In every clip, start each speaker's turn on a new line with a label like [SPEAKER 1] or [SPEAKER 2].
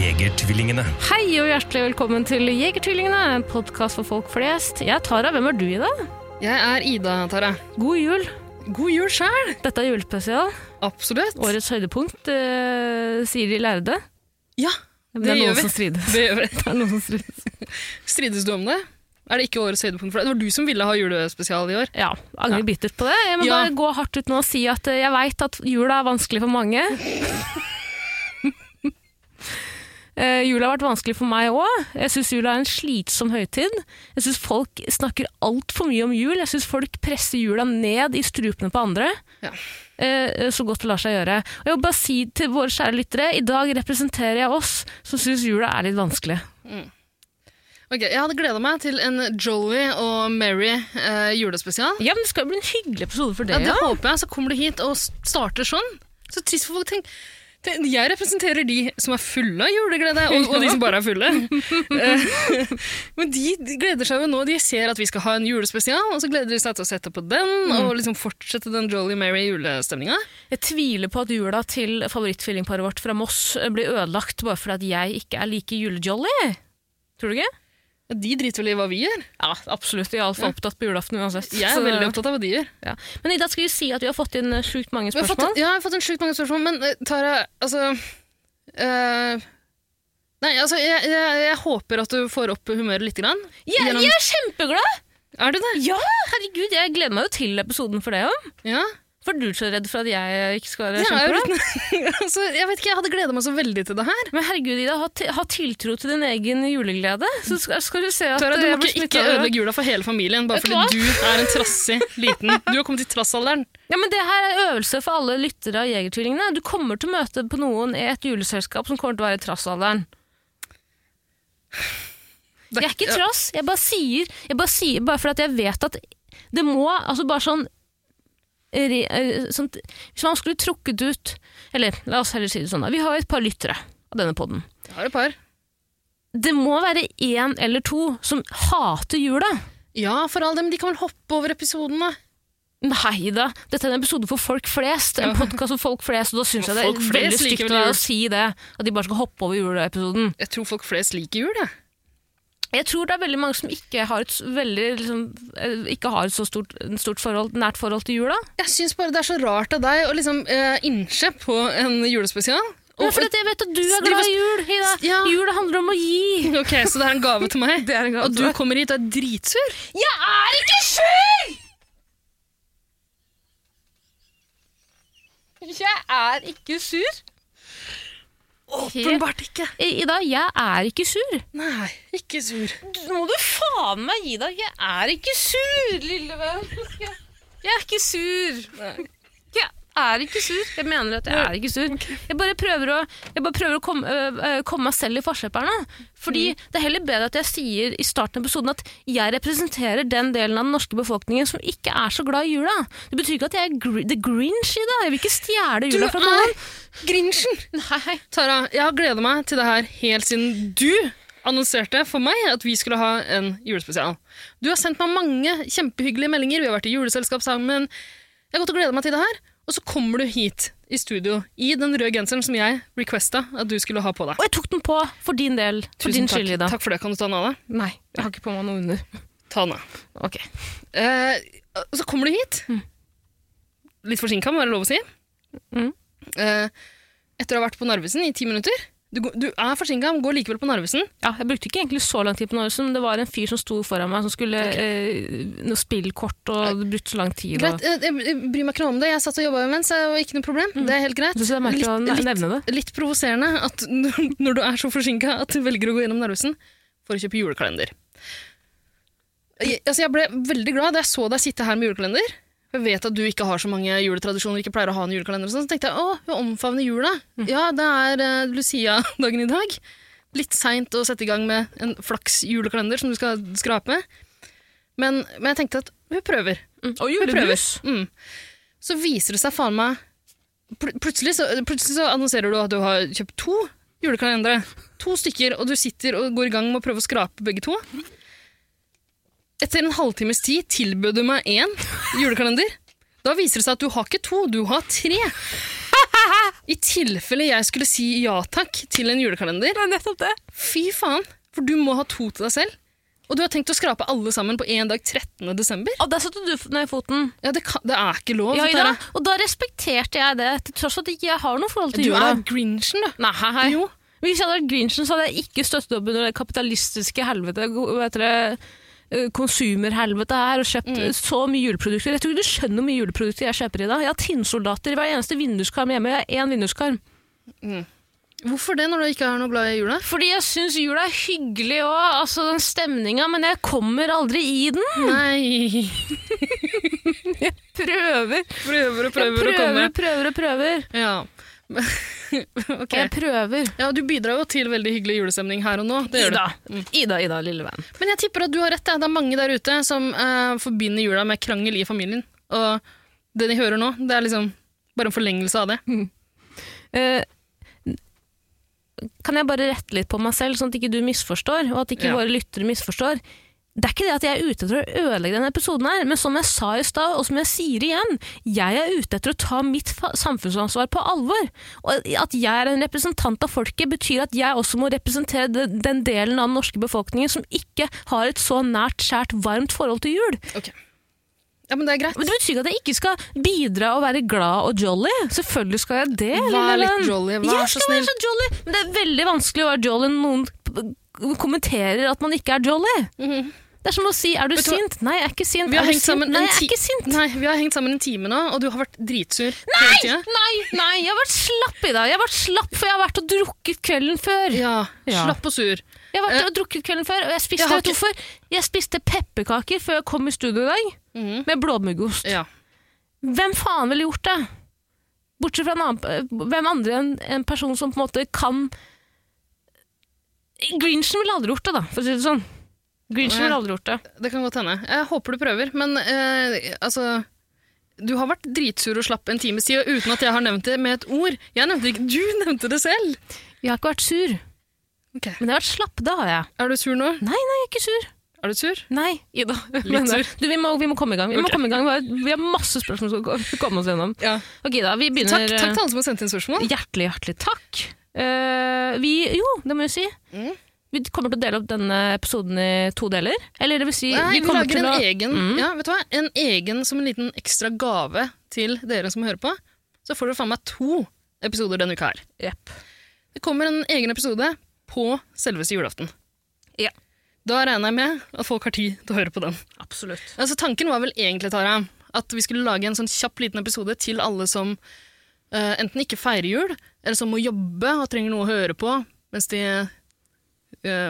[SPEAKER 1] Jegertvillingene.
[SPEAKER 2] Hei og hjertelig velkommen til Jegertvillingene, en podkast for folk flest. Jeg er Tara, hvem er du i dag?
[SPEAKER 3] Jeg er Ida, Tara.
[SPEAKER 2] God jul.
[SPEAKER 3] God jul sjæl!
[SPEAKER 2] Dette er julespesial.
[SPEAKER 3] Absolutt.
[SPEAKER 2] Årets høydepunkt, eh, sier de lærde.
[SPEAKER 3] Ja,
[SPEAKER 2] Men
[SPEAKER 3] det,
[SPEAKER 2] er
[SPEAKER 3] gjør
[SPEAKER 2] noen
[SPEAKER 3] vi.
[SPEAKER 2] som strides.
[SPEAKER 3] det gjør vi.
[SPEAKER 2] Det er noen som strides.
[SPEAKER 3] Strides du om det? Er det ikke årets høydepunkt for deg? Det var du som ville ha julespesial i år.
[SPEAKER 2] Ja, angrer
[SPEAKER 3] Ja.
[SPEAKER 2] bittert på det. Jeg må
[SPEAKER 3] Ja.
[SPEAKER 2] bare gå hardt ut nå og si at eh, jeg veit at jula er vanskelig for mange. Eh, jula har vært vanskelig for meg òg. Jeg syns jula er en slitsom høytid. Jeg syns folk snakker altfor mye om jul. Jeg syns folk presser jula ned i strupene på andre.
[SPEAKER 3] Ja.
[SPEAKER 2] Eh, så godt det lar seg gjøre. Og jeg vil bare si til våre kjære lyttere, i dag representerer jeg oss som syns jula er litt vanskelig.
[SPEAKER 3] Ok, Jeg hadde gleda meg til en Jolly og Mary eh, julespesial.
[SPEAKER 2] Ja, men det skal jo bli en hyggelig episode for
[SPEAKER 3] Ja,
[SPEAKER 2] det,
[SPEAKER 3] det håper jeg. Så kommer du hit og s- starter sånn. Så trist for folk. Tenk, tenk, jeg representerer de som er fulle av juleglede, og, og de som bare er fulle. Eh, Men de, de gleder seg jo nå. De ser at vi skal ha en julespesial, og så gleder de seg til å sette på den, og liksom fortsette den Jolly Mary julestemninga.
[SPEAKER 2] Jeg tviler på at jula til favorittfillingparet vårt fra Moss eh, blir ødelagt bare fordi at jeg ikke er like julejolly. Tror du ikke?
[SPEAKER 3] De driter vel i hva vi gjør.
[SPEAKER 2] Ja, absolutt. Jeg er altfor opptatt på julaften uansett.
[SPEAKER 3] Jeg er
[SPEAKER 2] Så-
[SPEAKER 3] veldig opptatt av hva de gjør.
[SPEAKER 2] ja. Men Ida, skal vi si at vi har fått inn eh, sjukt mange
[SPEAKER 3] Jeg har fått,
[SPEAKER 2] spørsmål?
[SPEAKER 3] ja, jeg har fått en sjukt mange spørsmål, men eh, Tara, altså eh, Nei, altså, jeg, jeg, jeg håper at du får opp humøret lite grann.
[SPEAKER 2] Jeg,
[SPEAKER 3] Gjennom-
[SPEAKER 2] jeg er kjempeglad!
[SPEAKER 3] Er du det?
[SPEAKER 2] Ja, herregud, jeg gleder meg jo til episoden for det òg.
[SPEAKER 3] Ja.
[SPEAKER 2] For du er så redd for at jeg ikke skal være
[SPEAKER 3] Jeg, er jo
[SPEAKER 2] kjempeglad.
[SPEAKER 3] litt- altså, jeg vet ikke, jeg hadde gleda meg så veldig til det her.
[SPEAKER 2] Men herregud, Ida, ha, ti- ha tiltro til din egen juleglede. Så skal, skal du se at
[SPEAKER 3] Tara, du
[SPEAKER 2] eh, jeg
[SPEAKER 3] må
[SPEAKER 2] blir
[SPEAKER 3] ikke,
[SPEAKER 2] smittet
[SPEAKER 3] ikke
[SPEAKER 2] av det.
[SPEAKER 3] ødelegge jula for hele familien bare
[SPEAKER 2] Vet du
[SPEAKER 3] fordi du er en trassig liten. Du har kommet i trassalderen.
[SPEAKER 2] Ja, men Det her er øvelse for alle lyttere av Jegertvillingene. Du kommer til å møte på noen i et juleselskap som kommer til å være i trassalderen.
[SPEAKER 3] Det-
[SPEAKER 2] Jeg er ikke
[SPEAKER 3] ja.
[SPEAKER 2] trass, jeg bare sier jeg bare, sier, bare fordi at jeg vet at det må altså bare sånn, re, eh, sånt, Hvis man skulle trukket ut Eller la oss heller si det sånn, da. Vi har jo et par lyttere av denne podden.
[SPEAKER 3] Jeg har et par.
[SPEAKER 2] Det må være én eller to som hater jula.
[SPEAKER 3] Ja, for all det, men de kan vel hoppe over episoden, da.
[SPEAKER 2] Nei da, dette er en episode for folk flest. En podkast for folk flest, og da syns jeg det
[SPEAKER 3] Folk
[SPEAKER 2] er
[SPEAKER 3] flest
[SPEAKER 2] veldig stygt
[SPEAKER 3] liker
[SPEAKER 2] av
[SPEAKER 3] vel
[SPEAKER 2] deg
[SPEAKER 3] jul.
[SPEAKER 2] å si det. At de bare skal hoppe over juleepisoden.
[SPEAKER 3] Jeg tror folk flest liker jul, jeg.
[SPEAKER 2] Jeg tror det er veldig mange som ikke har et, s- veldig, liksom, eh, ikke har et så stort, en stort forhold, nært forhold til jula.
[SPEAKER 3] Jeg syns bare det er så rart av deg å liksom eh, innse på en julespesial. Og-
[SPEAKER 2] Men fordi at jeg vet at du er
[SPEAKER 3] driver-
[SPEAKER 2] glad i jul, Hida.
[SPEAKER 3] Ja.
[SPEAKER 2] Jul handler om å gi.
[SPEAKER 3] Ok, Så det er en gave til meg?
[SPEAKER 2] Det er en gave
[SPEAKER 3] og
[SPEAKER 2] til
[SPEAKER 3] du
[SPEAKER 2] deg.
[SPEAKER 3] kommer hit og er dritsur?
[SPEAKER 2] Jeg er ikke sur! Jeg er ikke sur.
[SPEAKER 3] Åpenbart ikke.
[SPEAKER 2] Ida, jeg er ikke sur.
[SPEAKER 3] Nei, ikke sur.
[SPEAKER 2] Nå må du faen meg gi deg. Jeg er ikke sur, lille venn. Jeg- Jeg er ikke sur. Jeg er ikke sur. Jeg mener at jeg er ikke sur. Jeg bare prøver å, jeg bare prøver å komme, øh, øh, komme meg selv i forskjellene. Fordi det er heller bedre at jeg sier i starten av episoden at jeg representerer den delen av den norske befolkningen som ikke er så glad i jula. Det betyr ikke at jeg er gr the grinch i det. Jeg vil ikke stjele
[SPEAKER 3] Du
[SPEAKER 2] jula fra noen.
[SPEAKER 3] er Grinchen!
[SPEAKER 2] Nei.
[SPEAKER 3] Tara, jeg har gleda meg til det her helt siden du annonserte for meg at vi skulle ha en julespesial. Du har sendt meg mange kjempehyggelige meldinger, vi har vært i juleselskap sammen. Jeg har gått og gleda meg til det her. Og så kommer du hit i studio i den røde genseren som jeg requesta at du skulle ha på deg.
[SPEAKER 2] Og jeg tok den på for din del. For din
[SPEAKER 3] takk.
[SPEAKER 2] skyld, Ida.
[SPEAKER 3] Takk for det. Kan du ta den av deg?
[SPEAKER 2] Nei, jeg har ikke på meg noe under.
[SPEAKER 3] Ta den av.
[SPEAKER 2] Ok.
[SPEAKER 3] Eh, og så kommer du hit. Litt forsinka, må være lov å si.
[SPEAKER 2] Mm.
[SPEAKER 3] Eh, etter å ha vært på Narvesen i ti minutter. Du, går- du er forsinka, men går likevel på Narvesen.
[SPEAKER 2] Ja, jeg brukte ikke egentlig så lang tid på Narvesen, men det var en fyr som sto foran meg som skulle eh, noe spillkort og det brukte så lang tid. Og...
[SPEAKER 3] Greit, eh, jeg jeg bryr meg ikke noe om det. Jeg satt og jobba imens, det var ikke noe problem. Det er helt greit.
[SPEAKER 2] Jeg synes det er merkelig å ne- nevne det.
[SPEAKER 3] litt provoserende at n- når du er så forsinka at du velger å gå gjennom Narvesen for å kjøpe julekalender. Jeg, altså, jeg ble veldig glad da jeg så deg sitte her med julekalender. Jeg vet at du ikke har så mange juletradisjoner, ikke pleier å ha en julekalender. Og sånn, så tenkte jeg å, vi omfavner jula. Ja, det er eh, Lucia-dagen i dag. Litt seint å sette i gang med en flaks julekalender som du skal skrape. Men, men jeg tenkte at hun prøver.
[SPEAKER 2] Mm. Og
[SPEAKER 3] Hun prøver.
[SPEAKER 2] julebrus.
[SPEAKER 3] Mm. Så viser det seg faen meg pl plutselig, så, plutselig så annonserer du at du har kjøpt to julekalendere. To stykker, og du sitter og går i gang med å prøve å skrape begge to. Etter en halvtimes tid tilbød du meg én julekalender. Da viser det seg at du har ikke to, du har tre. I tilfelle jeg skulle si ja takk til en julekalender,
[SPEAKER 2] Det er nettopp det.
[SPEAKER 3] Fy faen, for du må ha to til deg selv. Og du har tenkt å skrape alle sammen på én dag 13. desember?
[SPEAKER 2] Og der satte du f- ned foten.
[SPEAKER 3] Ja, det, kan, det er ikke lov.
[SPEAKER 2] Ja,
[SPEAKER 3] dette
[SPEAKER 2] Ida.
[SPEAKER 3] her.
[SPEAKER 2] Og da respekterte jeg det, til tross for at ikke jeg har noe forhold til
[SPEAKER 3] Du
[SPEAKER 2] jula.
[SPEAKER 3] er grinchen, du.
[SPEAKER 2] Nei, hei, hei.
[SPEAKER 3] Jo.
[SPEAKER 2] Hvis jeg hadde vært Grinchen, så hadde jeg ikke støttet opp under det kapitalistiske helvete, go- hva heter det, eh, konsumerhelvete her, og kjøpt
[SPEAKER 3] Mm.
[SPEAKER 2] eh, så mye juleprodukter. Jeg tror ikke du skjønner hvor mye juleprodukter jeg kjøper i dag. Jeg har tinnsoldater i hver eneste vinduskarm hjemme. Jeg har én vinduskarm.
[SPEAKER 3] Hvorfor det, når du ikke er noe glad i jula?
[SPEAKER 2] Fordi jeg syns jula er hyggelig òg, altså den stemninga, men jeg kommer aldri i den.
[SPEAKER 3] Nei
[SPEAKER 2] Prøver.
[SPEAKER 3] Prøver og
[SPEAKER 2] Jeg prøver og prøver og prøver.
[SPEAKER 3] Ja. ok.
[SPEAKER 2] Jeg prøver.
[SPEAKER 3] Ja, du bidrar jo til veldig hyggelig julestemning her og nå. Det gjør du. Mm.
[SPEAKER 2] Ida. Ida, Ida, lille venn.
[SPEAKER 3] Men jeg tipper at du har rett. ja. Det er mange der ute som eh, forbinder jula med krangel i familien. Og det de hører nå, det er liksom bare en forlengelse av det.
[SPEAKER 2] Hmm. Eh, kan jeg bare rette litt på meg selv, sånn at ikke du misforstår, og at ikke
[SPEAKER 3] Ja.
[SPEAKER 2] våre lyttere misforstår? Det er ikke det at jeg er ute etter å ødelegge denne episoden, her, men som jeg sa i stad, og som jeg sier igjen, jeg er ute etter å ta mitt fa- samfunnsansvar på alvor. Og at jeg er en representant av folket, betyr at jeg også må representere de- den delen av den norske befolkningen som ikke har et så nært, skjært, varmt forhold til jul.
[SPEAKER 3] Ok. Ja, men det er greit.
[SPEAKER 2] Men Det betyr ikke at jeg ikke skal bidra og være glad og jolly. Selvfølgelig skal jeg det.
[SPEAKER 3] Vær
[SPEAKER 2] lille
[SPEAKER 3] litt
[SPEAKER 2] venn.
[SPEAKER 3] jolly, vær
[SPEAKER 2] jeg
[SPEAKER 3] så
[SPEAKER 2] skal
[SPEAKER 3] snill.
[SPEAKER 2] være så jolly, men det er veldig vanskelig å være jolly når noen p- kommenterer at man ikke er jolly. Det er som å si 'er du
[SPEAKER 3] Mhm. du hva?
[SPEAKER 2] sint'? Nei, jeg er ikke sint.
[SPEAKER 3] Vi har
[SPEAKER 2] er du
[SPEAKER 3] hengt
[SPEAKER 2] sint?
[SPEAKER 3] sammen
[SPEAKER 2] Nei,
[SPEAKER 3] en
[SPEAKER 2] jeg er
[SPEAKER 3] ti-
[SPEAKER 2] ikke sint.
[SPEAKER 3] Nei, vi har hengt sammen en time nå, og du har vært dritsur hele tida.
[SPEAKER 2] Nei, nei, jeg har vært slapp i dag. Jeg har vært slapp, for jeg har vært og drukket kvelden før.
[SPEAKER 3] Ja,
[SPEAKER 2] Ja.
[SPEAKER 3] slapp og sur.
[SPEAKER 2] Jeg har vært og drukket kvelden før, og jeg spiste,
[SPEAKER 3] Jeg har
[SPEAKER 2] vet du
[SPEAKER 3] ikke-
[SPEAKER 2] hvorfor? Jeg spiste pepperkaker før jeg kom i studio i dag,
[SPEAKER 3] Mhm.
[SPEAKER 2] med blåmuggost.
[SPEAKER 3] Ja.
[SPEAKER 2] Hvem faen ville gjort det? Bortsett fra en annen, hvem andre enn en person som på en måte kan Grinchen ville aldri gjort det, da, for å si det sånn. Grinchen ville aldri gjort det.
[SPEAKER 3] Det kan godt hende. Jeg håper du prøver, men eh, altså Du har vært dritsur og slapp en times tid og uten at jeg har nevnt det med et ord. Jeg nevnte ikke, Du nevnte det selv!
[SPEAKER 2] Jeg har ikke vært sur, men jeg har vært slapp. Det har jeg.
[SPEAKER 3] Er du sur nå?
[SPEAKER 2] Nei, nei, jeg er ikke sur.
[SPEAKER 3] Er du sur?
[SPEAKER 2] Nei. Ida.
[SPEAKER 3] Litt sur.
[SPEAKER 2] eh, Du, vi, må, vi må komme i gang. Vi, må
[SPEAKER 3] Ok.
[SPEAKER 2] komme i gang. Vi har- vi har masse spørsmål som skal gå- komme oss gjennom.
[SPEAKER 3] Ja.
[SPEAKER 2] Ok, da. Vi begynner
[SPEAKER 3] Takk, takk til alle som har sendt inn spørsmål.
[SPEAKER 2] Hjertelig, hjertelig takk. Eh, vi Jo, det må jeg si.
[SPEAKER 3] Mm.
[SPEAKER 2] Vi kommer til å dele opp denne episoden i to deler. Eller det vil si
[SPEAKER 3] Nei, vi
[SPEAKER 2] kommer
[SPEAKER 3] lager
[SPEAKER 2] til
[SPEAKER 3] en
[SPEAKER 2] å-
[SPEAKER 3] egen
[SPEAKER 2] Mm.
[SPEAKER 3] ja, vet du hva? En egen som en liten ekstra gave til dere som hører på. Så får dere faen meg to episoder denne uka her.
[SPEAKER 2] Jepp.
[SPEAKER 3] Det kommer en egen episode på selveste julaften.
[SPEAKER 2] Ja.
[SPEAKER 3] Da regner jeg med at folk har tid til å høre på den.
[SPEAKER 2] Absolutt.
[SPEAKER 3] Altså, tanken var vel egentlig, Tara, at vi skulle lage en sånn kjapp liten episode til alle som eh, enten ikke feirer jul, eller som må jobbe og trenger noe å høre på mens de, eh,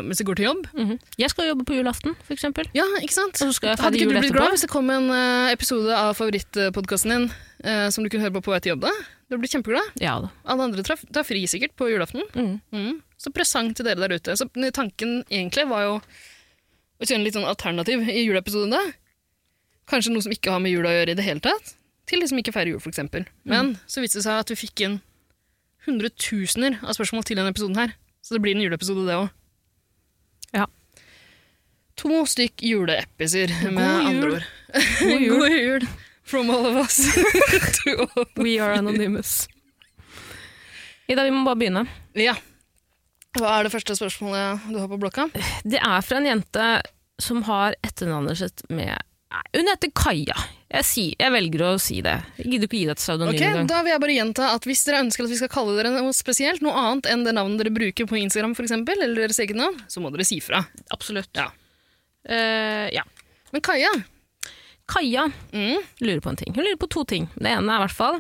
[SPEAKER 3] mens de går til jobb.
[SPEAKER 2] Mhm. Jeg skal jobbe på julaften, for eksempel.
[SPEAKER 3] Ja, ikke sant?
[SPEAKER 2] Og så skal jeg feire
[SPEAKER 3] Hadde ikke
[SPEAKER 2] jul
[SPEAKER 3] du blitt
[SPEAKER 2] etterpå.
[SPEAKER 3] glad hvis det kom en eh, episode av favorittpodkasten din eh, som du kunne høre på på vei til jobb? da? Du blir kjempeglad.
[SPEAKER 2] Ja da.
[SPEAKER 3] Alle andre tar, tar fri sikkert på julaften.
[SPEAKER 2] Mm.
[SPEAKER 3] Mm. Så presang til dere der ute. Så tanken egentlig var jo å kjøre en litt sånn alternativ i juleepisoden da. Kanskje noe som ikke har med jula å gjøre i det hele tatt. Til de som ikke feirer jul, for eksempel. Men
[SPEAKER 2] Mm.
[SPEAKER 3] så viste det seg at vi fikk inn hundretusener av spørsmål til denne episoden her. Så det blir en juleepisode, det òg.
[SPEAKER 2] Ja.
[SPEAKER 3] To stykk juleepiser, med
[SPEAKER 2] God
[SPEAKER 3] andre
[SPEAKER 2] jul.
[SPEAKER 3] ord. God jul. From all of us. to all.
[SPEAKER 2] We are anonymous. Ida, vi må bare begynne.
[SPEAKER 3] Ja. Hva er det første spørsmålet du har på blokka?
[SPEAKER 2] Det er fra en jente som har etternavnet sitt med Nei, Hun heter Kaja. Jeg, sier, jeg velger å si det. Jeg gidder ikke å gi deg et pseudonym
[SPEAKER 3] Ok,
[SPEAKER 2] engang.
[SPEAKER 3] Da vil jeg bare gjenta at hvis dere ønsker at vi skal kalle dere noe spesielt, noe annet enn det navnet dere bruker på Instagram, for eksempel, eller deres eget navn, så må dere si fra.
[SPEAKER 2] Absolutt.
[SPEAKER 3] Ja.
[SPEAKER 2] Eh, ja.
[SPEAKER 3] Men Kaja
[SPEAKER 2] Kaja
[SPEAKER 3] mm,
[SPEAKER 2] lurer på en ting. Hun lurer på to ting. Det ene er i hvert fall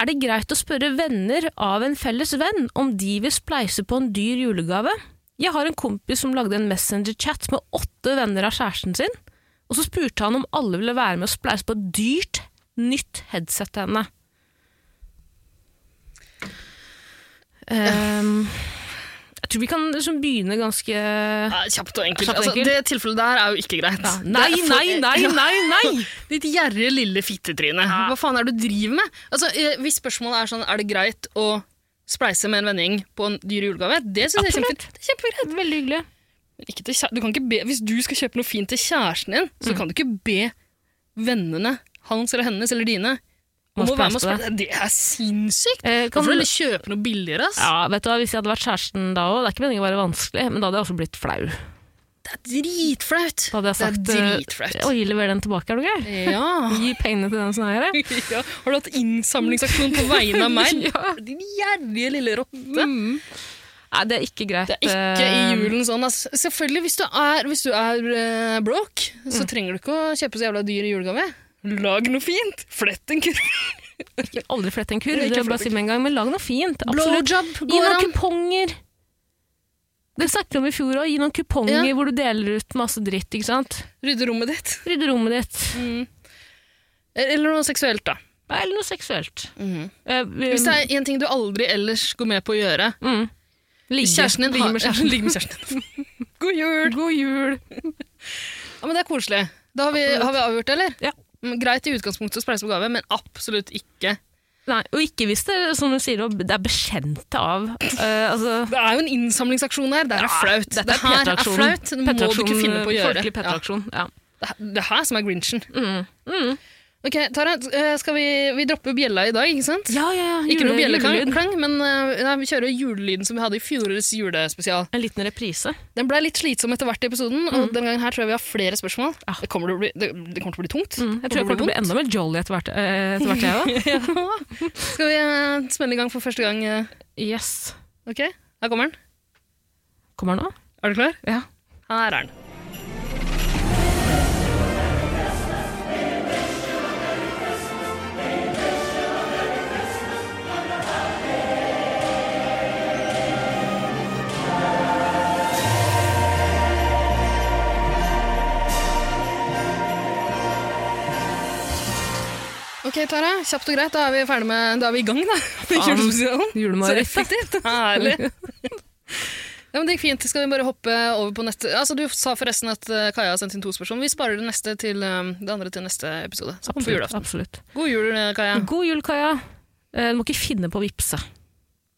[SPEAKER 2] Er det greit å spørre venner av en felles venn om de vil spleise på en dyr julegave? Jeg har en kompis som lagde en Messenger-chat med åtte venner av kjæresten sin, og så spurte han om alle ville være med å spleise på et dyrt, nytt headset til henne. Ehm, jeg tror vi kan liksom begynne ganske ja,
[SPEAKER 3] Ja, Kjapt og enkelt.
[SPEAKER 2] Kjapt og
[SPEAKER 3] Altså,
[SPEAKER 2] enkelt.
[SPEAKER 3] det tilfellet der er jo ikke greit.
[SPEAKER 2] Nei,
[SPEAKER 3] Det er for-
[SPEAKER 2] nei, nei, nei! nei.
[SPEAKER 3] Ditt gjerrige lille fittetryne. Hva faen er det du driver med? Altså, eh, Hvis spørsmålet er sånn, er det greit å spleise med en vennegjeng på en dyr julegave? Det synes jeg er
[SPEAKER 2] Absolutt.
[SPEAKER 3] kjempefint. Det er kjempegreit.
[SPEAKER 2] Veldig hyggelig.
[SPEAKER 3] Ikke til, kjæ- du kan ikke be, hvis du skal kjøpe noe fint til kjæresten din,
[SPEAKER 2] Mm.
[SPEAKER 3] så kan du ikke be vennene hans eller hennes eller dine om
[SPEAKER 2] Må
[SPEAKER 3] å være med
[SPEAKER 2] spleise
[SPEAKER 3] og
[SPEAKER 2] på
[SPEAKER 3] spleise. Det er sinnssykt!
[SPEAKER 2] Eh, kan
[SPEAKER 3] Kan du
[SPEAKER 2] du-
[SPEAKER 3] heller kjøpe noe billigere? ass?
[SPEAKER 2] Ja, vet du hva, Hvis jeg hadde vært kjæresten da òg, det er ikke meningen å være vanskelig, men da hadde jeg også blitt flau.
[SPEAKER 3] Det er dritflaut!
[SPEAKER 2] Da hadde jeg sagt
[SPEAKER 3] det er
[SPEAKER 2] eh,
[SPEAKER 3] dritflaut.
[SPEAKER 2] Oi, lever den tilbake, er du gøy?
[SPEAKER 3] Ja.
[SPEAKER 2] Gi pengene til den som eier det.
[SPEAKER 3] ja. Har du hatt innsamlingsaksjon på vegne av meg?
[SPEAKER 2] Ja.
[SPEAKER 3] Din gjerrige lille rotte.
[SPEAKER 2] Nei, det er ikke greit.
[SPEAKER 3] Mm. Det er ikke i
[SPEAKER 2] eh,
[SPEAKER 3] julen sånn. ass. Selvfølgelig, hvis du er, hvis du er eh, broke,
[SPEAKER 2] Mm.
[SPEAKER 3] så trenger du ikke å kjøpe så jævla dyr julegave. Lag noe fint! Flett en kurv.
[SPEAKER 2] Ikke aldri flett en kurv, det
[SPEAKER 3] Ikke
[SPEAKER 2] vil jeg
[SPEAKER 3] flett
[SPEAKER 2] bare si med en gang, men lag noe fint. Absolutt.
[SPEAKER 3] Blowjob
[SPEAKER 2] Gi
[SPEAKER 3] går
[SPEAKER 2] noen
[SPEAKER 3] an.
[SPEAKER 2] kuponger! Det snakket vi om i fjor òg. Gi noen kuponger
[SPEAKER 3] Ja.
[SPEAKER 2] hvor du deler ut masse dritt. ikke sant?
[SPEAKER 3] Rydde rommet ditt. Mm.
[SPEAKER 2] Rydde rommet ditt.
[SPEAKER 3] Eller noe seksuelt, da.
[SPEAKER 2] Nei, Eller noe seksuelt. Eh, vi-
[SPEAKER 3] Hvis det er en ting du aldri ellers går med på å gjøre
[SPEAKER 2] mm. Ligge.
[SPEAKER 3] Kjæresten din
[SPEAKER 2] Ligge med
[SPEAKER 3] har-
[SPEAKER 2] kjæresten.
[SPEAKER 3] Ligge med kjæresten din. God jul!
[SPEAKER 2] God jul!
[SPEAKER 3] Ja, men Det er koselig. Da har vi, har vi avgjort det, eller?
[SPEAKER 2] Ja.
[SPEAKER 3] Mm, Greit i utgangspunktet å spleise på gave, men absolutt ikke.
[SPEAKER 2] Nei, og ikke hvis det, som du sier, det er bekjente av eh, altså,
[SPEAKER 3] Det er jo en innsamlingsaksjon her. Det her er flaut.
[SPEAKER 2] dette
[SPEAKER 3] det her er
[SPEAKER 2] Petra-aksjonen.
[SPEAKER 3] flaut. Det må du ikke
[SPEAKER 2] Petra-aksjonen,
[SPEAKER 3] finne på å gjøre.
[SPEAKER 2] Folkelig Petter-aksjon. Ja. Mm.
[SPEAKER 3] Det her- Det her som er grinchen. Ok, Tara, eh, skal vi, vi dropper bjella i dag, ikke sant?
[SPEAKER 2] ja, ja, ja.
[SPEAKER 3] Ikke noe
[SPEAKER 2] jule- julelyd.
[SPEAKER 3] bjelleklang, men eh, nei, vi kjører julelyden som vi hadde i fjorårets julespesial.
[SPEAKER 2] En liten reprise.
[SPEAKER 3] Den ble litt slitsom etter hvert i episoden, og denne gangen her tror jeg vi har flere spørsmål. Det, kommer til å bli, det, det kommer til å bli tungt.
[SPEAKER 2] Jeg tror jeg kommer til å bli enda mer jolly etter hvert, eh, etter hvert jeg òg.
[SPEAKER 3] vondt. Skal vi eh, spenne i gang for første gang? eh,
[SPEAKER 2] Yes.
[SPEAKER 3] Ok, her kommer den.
[SPEAKER 2] Kommer den nå?
[SPEAKER 3] Er du klar?
[SPEAKER 2] Ja.
[SPEAKER 3] Her er den. Ok, Tara. Kjapt og greit. Da er vi ferdig med Da er vi i gang, da. med
[SPEAKER 2] Faen.
[SPEAKER 3] Julespesialen. Så
[SPEAKER 2] Julemareritt. da.
[SPEAKER 3] effektivt. Herlig. Ja, men det gikk fint. Skal vi bare hoppe over på neste Altså, Du sa forresten at eh, Kaja har sendt inn to spørsmål. Vi sparer det neste til eh, det andre til neste episode. Så kommer på
[SPEAKER 2] Absolutt.
[SPEAKER 3] julaften.
[SPEAKER 2] absolutt.
[SPEAKER 3] God jul, eh, Kaja.
[SPEAKER 2] God jul, Kaja. Eh, Du må ikke finne på å vippse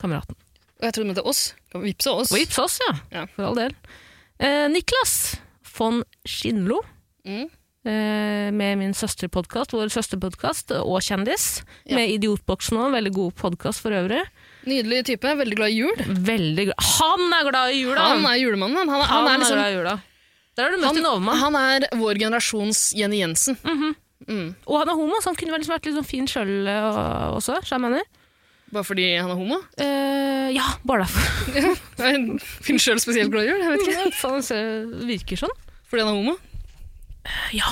[SPEAKER 2] kameraten.
[SPEAKER 3] Og jeg trodde du mente oss. Kan vi vippse oss?
[SPEAKER 2] Og vips oss, ja.
[SPEAKER 3] Ja.
[SPEAKER 2] For all del. Eh, Niklas von Skinlo,
[SPEAKER 3] Mm.
[SPEAKER 2] eh, med min søsterpodkast, vår søsterpodkast, og kjendis. Med Idiotboksen òg, veldig god podkast for øvrig.
[SPEAKER 3] Nydelig type. Veldig glad i jul.
[SPEAKER 2] Veldig glad Han er glad i jula!
[SPEAKER 3] Han er julemannen. Han, han, er, han er liksom
[SPEAKER 2] glad i jula. Der har du møtt en overmann.
[SPEAKER 3] han er vår generasjons Jenny Jensen. Mm.
[SPEAKER 2] Og han er homo, så han kunne vel liksom vært litt sånn fin sjøl og- også, så jeg mener.
[SPEAKER 3] Bare fordi han er homo?
[SPEAKER 2] Eh, ja, bare derfor.
[SPEAKER 3] Jeg finner sjøl spesielt glad i jul. Jeg vet ikke.
[SPEAKER 2] Faen, Sånn, så virker sånn.
[SPEAKER 3] Fordi han er homo?
[SPEAKER 2] Ja.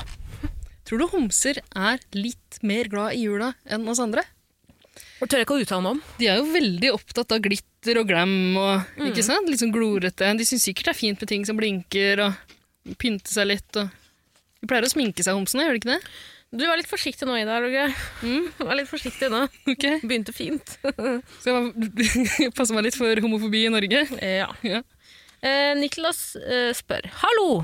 [SPEAKER 3] Tror du homser er litt mer glad i jula enn oss andre?
[SPEAKER 2] Og tør jeg ikke å uttale meg om.
[SPEAKER 3] De er jo veldig opptatt av glitter og glam og ikke sant? litt sånn glorete. De syns sikkert det er fint med ting som blinker og pynte seg litt. Og de pleier å sminke seg, homsene, gjør de ikke det?
[SPEAKER 2] Du var litt forsiktig nå, Ida. er du ikke? Vær litt forsiktig nå.
[SPEAKER 3] Ok.
[SPEAKER 2] Begynte fint.
[SPEAKER 3] Skal jeg bare passe meg litt for homofobi i Norge?
[SPEAKER 2] ja.
[SPEAKER 3] Ja.
[SPEAKER 2] Eh, Niklas eh, spør. Hallo!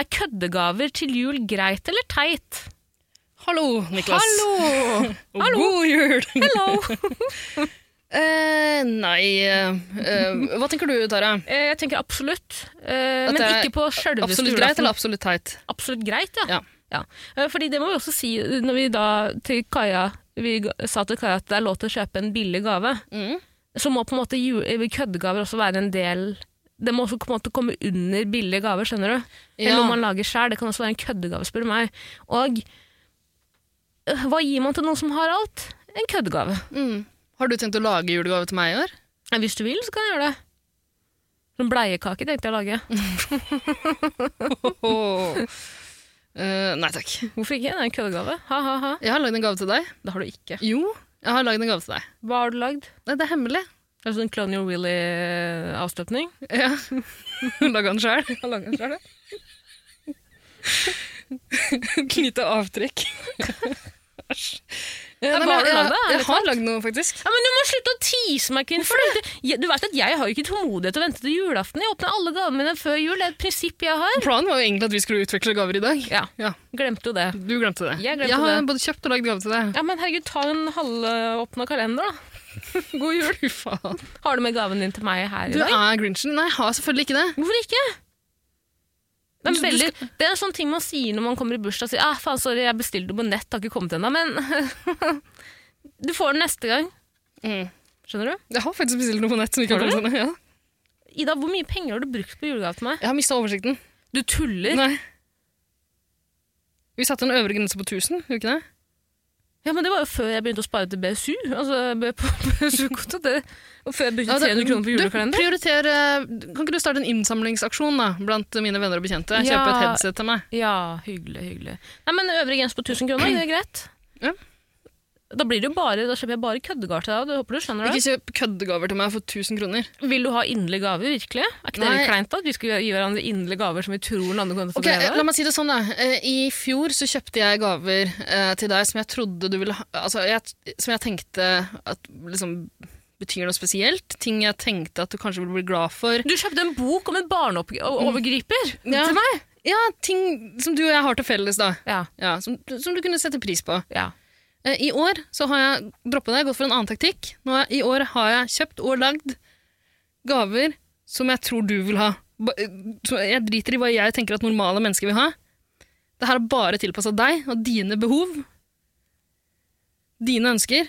[SPEAKER 2] Er køddegaver til jul greit eller teit?
[SPEAKER 3] Hallo, Niklas.
[SPEAKER 2] Hallo!
[SPEAKER 3] Og god jul!
[SPEAKER 2] Hello!
[SPEAKER 3] Eh, nei eh, Hva tenker du, Tara?
[SPEAKER 2] Eh, jeg tenker absolutt. Eh,
[SPEAKER 3] At
[SPEAKER 2] men
[SPEAKER 3] det er
[SPEAKER 2] ikke på sjølveste
[SPEAKER 3] Absolutt greit eller absolutt teit?
[SPEAKER 2] absolutt greit, ja.
[SPEAKER 3] Ja.
[SPEAKER 2] Ja. Eh, Fordi det må vi også si når vi da til Kaja vi ga- sa til Kaja at det er lov til å kjøpe en billig gave,
[SPEAKER 3] Mm.
[SPEAKER 2] så må på en måte ju- eh, køddegaver også være en del Det må også på en måte komme under billige gaver, skjønner du? Eller
[SPEAKER 3] Ja.
[SPEAKER 2] noe man lager sjøl. Det kan også være en køddegave, spør du meg. Og øh, hva gir man til noen som har alt? En køddegave.
[SPEAKER 3] Mm. Har du tenkt å lage julegave til meg i år?
[SPEAKER 2] Ja, Hvis du vil, så kan jeg gjøre det. En bleiekake tenkte jeg å lage.
[SPEAKER 3] Åh. Eh, nei takk.
[SPEAKER 2] Hvorfor ikke? Det er en køddegave. Ha-ha-ha.
[SPEAKER 3] Jeg har lagd en gave til deg.
[SPEAKER 2] Det har du ikke.
[SPEAKER 3] Jo, jeg har lagd en gave til deg.
[SPEAKER 2] Hva har du lagd?
[SPEAKER 3] Nei, det er hemmelig.
[SPEAKER 2] Er det sånn Clone Your Willy-avstøpning?
[SPEAKER 3] Ja. Laga den sjøl. Et lite avtrykk. Æsj. Ja, nei,
[SPEAKER 2] Hva har
[SPEAKER 3] men
[SPEAKER 2] du
[SPEAKER 3] jeg-
[SPEAKER 2] lagd, da? Er
[SPEAKER 3] Jeg
[SPEAKER 2] det
[SPEAKER 3] har lagd noe, faktisk.
[SPEAKER 2] Ja, men Du må slutte å tease meg, kvinne. For det, jeg- du vet at Jeg har jo ikke tålmodighet til å vente til julaften. Jeg åpner alle gavene mine før jul. Det er et prinsipp jeg har.
[SPEAKER 3] Planen var jo egentlig at vi skulle utveksle gaver i dag.
[SPEAKER 2] Ja,
[SPEAKER 3] Ja,
[SPEAKER 2] Glemte jo det.
[SPEAKER 3] Du glemte det.
[SPEAKER 2] Jeg glemte
[SPEAKER 3] har
[SPEAKER 2] det.
[SPEAKER 3] både kjøpt og lagd gave til deg.
[SPEAKER 2] Ja, Men herregud, ta en halvåpna kalender, da. God jul.
[SPEAKER 3] Fy faen.
[SPEAKER 2] Har du med gaven din til meg her i
[SPEAKER 3] Du
[SPEAKER 2] dag?
[SPEAKER 3] er grinchen. Nei, jeg har selvfølgelig ikke det.
[SPEAKER 2] Hvorfor ikke? Det er,
[SPEAKER 3] Du- du
[SPEAKER 2] veldig, det er en sånn ting man sier når man kommer i bursdag og sier ah, faen, sorry, jeg bestilte det på nett, det har ikke kommet ennå, men du får den neste gang.
[SPEAKER 3] Mm.
[SPEAKER 2] Skjønner du?
[SPEAKER 3] Jeg har faktisk bestilt noe på nett som ikke har
[SPEAKER 2] Har du
[SPEAKER 3] kommet ennå. Ja.
[SPEAKER 2] Ida, hvor mye penger har du brukt på julegave til meg?
[SPEAKER 3] Jeg har mista oversikten.
[SPEAKER 2] Du tuller?
[SPEAKER 3] Nei. Vi satte en øvre grense på 1000, gjorde vi ikke det?
[SPEAKER 2] Ja, men Det var jo før jeg begynte å spare til BSU. Altså, jeg ble på BSU-konto. det- Og før jeg brukte
[SPEAKER 3] Ja, det-
[SPEAKER 2] 300 kroner på
[SPEAKER 3] du,
[SPEAKER 2] julekalender.
[SPEAKER 3] prioriter, eh, kan ikke du starte en innsamlingsaksjon da, blant mine venner og bekjente?
[SPEAKER 2] Ja.
[SPEAKER 3] Kjøpe et headset til meg.
[SPEAKER 2] Ja, hyggelig, hyggelig. Nei, men Øvre grense på 1000 kroner, det er greit.
[SPEAKER 3] Ja.
[SPEAKER 2] Da blir det jo bare, da slipper jeg bare køddegard til deg. og det håper du skjønner det.
[SPEAKER 3] Ikke kjøp køddegaver til meg for 1000 kroner.
[SPEAKER 2] Vil du ha inderlige gaver, virkelig? Er ikke det
[SPEAKER 3] Nei.
[SPEAKER 2] litt kleint da? at vi skulle gi hverandre inderlige gaver som vi tror den andre kommer til å
[SPEAKER 3] Ok,
[SPEAKER 2] få glede
[SPEAKER 3] La
[SPEAKER 2] av?
[SPEAKER 3] meg si det sånn, da. Eh, I fjor så kjøpte jeg gaver eh, til deg som jeg trodde du ville ha altså, jeg, Som jeg tenkte at liksom betyr noe spesielt. Ting jeg tenkte at du kanskje ville bli glad for.
[SPEAKER 2] Du kjøpte en bok om en Mm. barneovergriper
[SPEAKER 3] Ja.
[SPEAKER 2] til meg!
[SPEAKER 3] Ja, ting som du og jeg har til felles, da.
[SPEAKER 2] Ja,
[SPEAKER 3] Ja, som, som du kunne sette pris på.
[SPEAKER 2] ja.
[SPEAKER 3] Eh, I år så har jeg droppet det, gått for en annen taktikk. Nå er, I år har jeg kjøpt og lagd gaver som jeg tror du vil ha. Ba- eh, så Jeg driter i hva jeg tenker at normale mennesker vil ha. Det her er bare tilpassa deg og dine behov. Dine ønsker.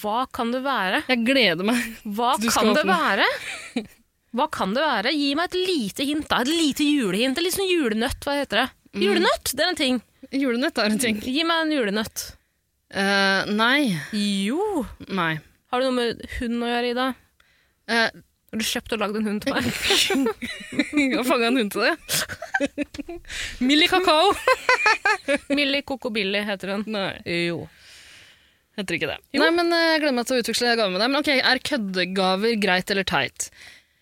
[SPEAKER 2] Hva kan det være?
[SPEAKER 3] Jeg gleder meg.
[SPEAKER 2] Hva
[SPEAKER 3] Du skal
[SPEAKER 2] kan det
[SPEAKER 3] åpne.
[SPEAKER 2] være? Hva kan det være? Gi meg et lite hint, da. Et lite julehint. Det er Litt sånn julenøtt, hva heter det? Julenøtt, det er en ting.
[SPEAKER 3] Julenøtt er en ting.
[SPEAKER 2] Gi meg en julenøtt.
[SPEAKER 3] Eh, nei.
[SPEAKER 2] Jo!
[SPEAKER 3] Nei.
[SPEAKER 2] Har det noe med hund å gjøre, Ida?
[SPEAKER 3] Eh,
[SPEAKER 2] Har du kjøpt og lagd en hund til meg?
[SPEAKER 3] jeg fanga en hund til det. Millie kakao.
[SPEAKER 2] Millie Coco Billy heter den.
[SPEAKER 3] Nei.
[SPEAKER 2] Jo.
[SPEAKER 3] Heter ikke det.
[SPEAKER 2] Jo.
[SPEAKER 3] Nei, men eh, Jeg gleder meg til å utveksle gaver med deg. Men ok, Er køddegaver greit eller teit?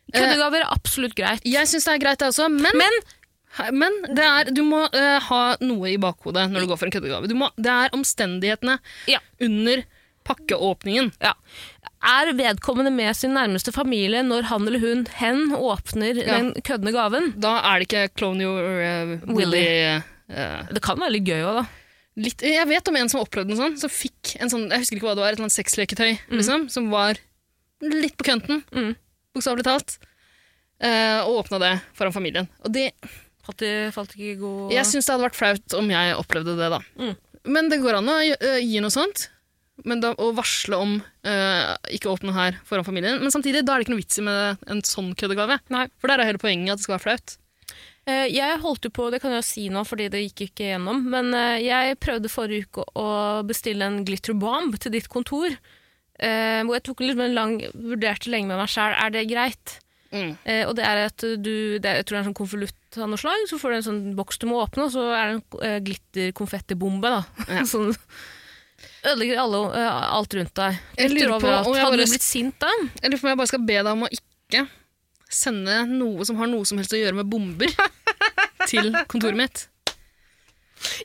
[SPEAKER 2] Køddegaver er absolutt greit.
[SPEAKER 3] Jeg syns det er greit, det også, men,
[SPEAKER 2] Men
[SPEAKER 3] men det er, du må eh, ha noe i bakhodet når du går for en køddegave. Du må, det er omstendighetene
[SPEAKER 2] Ja.
[SPEAKER 3] under pakkeåpningen.
[SPEAKER 2] Ja. Er vedkommende med sin nærmeste familie når han eller hun hen åpner den køddende gaven?
[SPEAKER 3] Da er det ikke Clone You Willy.
[SPEAKER 2] Willy.
[SPEAKER 3] eh,
[SPEAKER 2] Det kan være litt gøy òg, da.
[SPEAKER 3] litt, jeg vet om en som opplevde noe sånt, som fikk en sånn, jeg husker ikke hva det var, et eller annet sexleketøy, liksom, som var litt på kønten,
[SPEAKER 2] Mm.
[SPEAKER 3] bokstavelig talt, eh, og åpna det foran familien. Og det,
[SPEAKER 2] Falt, i- falt ikke i god
[SPEAKER 3] Jeg syns det hadde vært flaut om jeg opplevde det, da.
[SPEAKER 2] Mm.
[SPEAKER 3] Men det går an å gi, øh, gi noe sånt. Men da, å varsle om øh, ikke åpne her foran familien. Men samtidig, da er det ikke noe vits i med en sånn køddegave.
[SPEAKER 2] Nei.
[SPEAKER 3] For der er hele poenget at det skal være flaut.
[SPEAKER 2] Eh, Jeg holdt jo på, det kan jeg jo si nå fordi det gikk ikke gjennom, men eh, jeg prøvde forrige uke å bestille en glitter bomb til ditt kontor. eh, Hvor jeg tok liksom en lang, vurderte lenge med meg sjæl, er det greit? Eh, og det er at du, det er, jeg tror det er en sånn konvolutt av noe slag, så får du en sånn boks du må åpne, og så er det en eh, glitterkonfettibombe, da.
[SPEAKER 3] Ja.
[SPEAKER 2] sånn ødelegger alle, eh, alt rundt deg.
[SPEAKER 3] Jeg
[SPEAKER 2] Glitter
[SPEAKER 3] lurer på
[SPEAKER 2] overalt.
[SPEAKER 3] om jeg
[SPEAKER 2] Hadde
[SPEAKER 3] bare-
[SPEAKER 2] du blitt sint da?
[SPEAKER 3] Jeg lurer på om jeg bare skal be deg om å ikke sende noe som har noe som helst å gjøre med bomber, til kontoret mitt.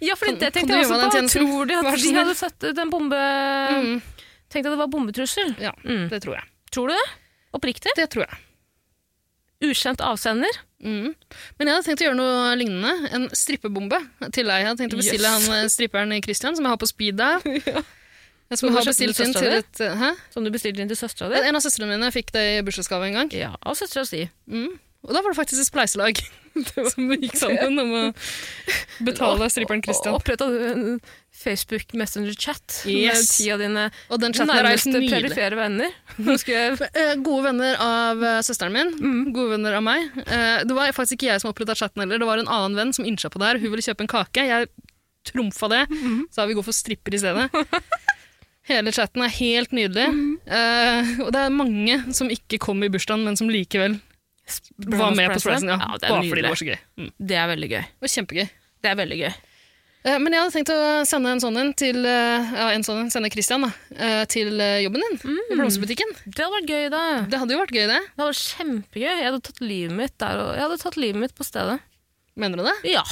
[SPEAKER 2] Ja, for
[SPEAKER 3] Kan-
[SPEAKER 2] det
[SPEAKER 3] kan
[SPEAKER 2] tenkte
[SPEAKER 3] du
[SPEAKER 2] jeg
[SPEAKER 3] gjøre
[SPEAKER 2] også
[SPEAKER 3] meg
[SPEAKER 2] på.
[SPEAKER 3] den tjenesten?
[SPEAKER 2] Tror de at
[SPEAKER 3] Vær så
[SPEAKER 2] de
[SPEAKER 3] snill.
[SPEAKER 2] hadde satt ut en bombe
[SPEAKER 3] Mm.
[SPEAKER 2] Tenkte at det var bombetrussel.
[SPEAKER 3] Ja,
[SPEAKER 2] Mm.
[SPEAKER 3] det tror jeg.
[SPEAKER 2] Tror du det? Oppriktig?
[SPEAKER 3] Det tror jeg.
[SPEAKER 2] Ukjent avsender?
[SPEAKER 3] Mm. Men jeg hadde tenkt å gjøre noe lignende. En strippebombe til deg. Jeg hadde tenkt å bestille
[SPEAKER 2] Yes.
[SPEAKER 3] han eh, stripperen Christian, som jeg har på speed dial. Jeg
[SPEAKER 2] Og
[SPEAKER 3] Som
[SPEAKER 2] du
[SPEAKER 3] har
[SPEAKER 2] kjøpte
[SPEAKER 3] bestilt
[SPEAKER 2] til
[SPEAKER 3] inn til
[SPEAKER 2] søstera
[SPEAKER 3] et eh, Hæ?
[SPEAKER 2] Som du bestilte inn til søstera di?
[SPEAKER 3] En av søstrene mine fikk det i bursdagsgave en gang.
[SPEAKER 2] Ja, og søstera si.
[SPEAKER 3] Mm. Og da var det faktisk et spleiselag som gikk sammen om å betale stripperen Christian.
[SPEAKER 2] Oppretta du en Facebook Messenger-chat med
[SPEAKER 3] Yes.
[SPEAKER 2] ti av dine
[SPEAKER 3] Og den chatten er helt
[SPEAKER 2] nærmeste
[SPEAKER 3] nydelig.
[SPEAKER 2] perifere venner. Nå skal jeg
[SPEAKER 3] Eh, Gode venner av eh, søsteren min,
[SPEAKER 2] Mm.
[SPEAKER 3] gode venner av meg. Eh, Det var faktisk ikke jeg som opprettet chatten heller, det var en annen venn som innsja på det her. Hun ville kjøpe en kake, jeg trumfa det,
[SPEAKER 2] Mm-hmm.
[SPEAKER 3] så har vi gått for stripper i stedet. Hele chatten er helt nydelig.
[SPEAKER 2] Mm-hmm.
[SPEAKER 3] Eh, og det er mange som ikke kom i bursdagen, men som likevel var med på Sprison. Ja,
[SPEAKER 2] det sånn. er
[SPEAKER 3] bare fordi det var
[SPEAKER 2] nydelig.
[SPEAKER 3] så gøy. Mm.
[SPEAKER 2] Det er veldig gøy.
[SPEAKER 3] Det var kjempegøy.
[SPEAKER 2] Det er veldig gøy.
[SPEAKER 3] Eh, Men jeg hadde tenkt å sende en sånn en til eh, ja, en sånn en, sende Christian da, eh, til eh, jobben din
[SPEAKER 2] Mm.
[SPEAKER 3] i blomsterbutikken.
[SPEAKER 2] Det hadde vært gøy, da.
[SPEAKER 3] Det hadde jo vært gøy, det.
[SPEAKER 2] Det hadde vært kjempegøy. Jeg hadde tatt livet mitt der og Jeg hadde tatt livet mitt på stedet.
[SPEAKER 3] Mener du det?
[SPEAKER 2] Ja.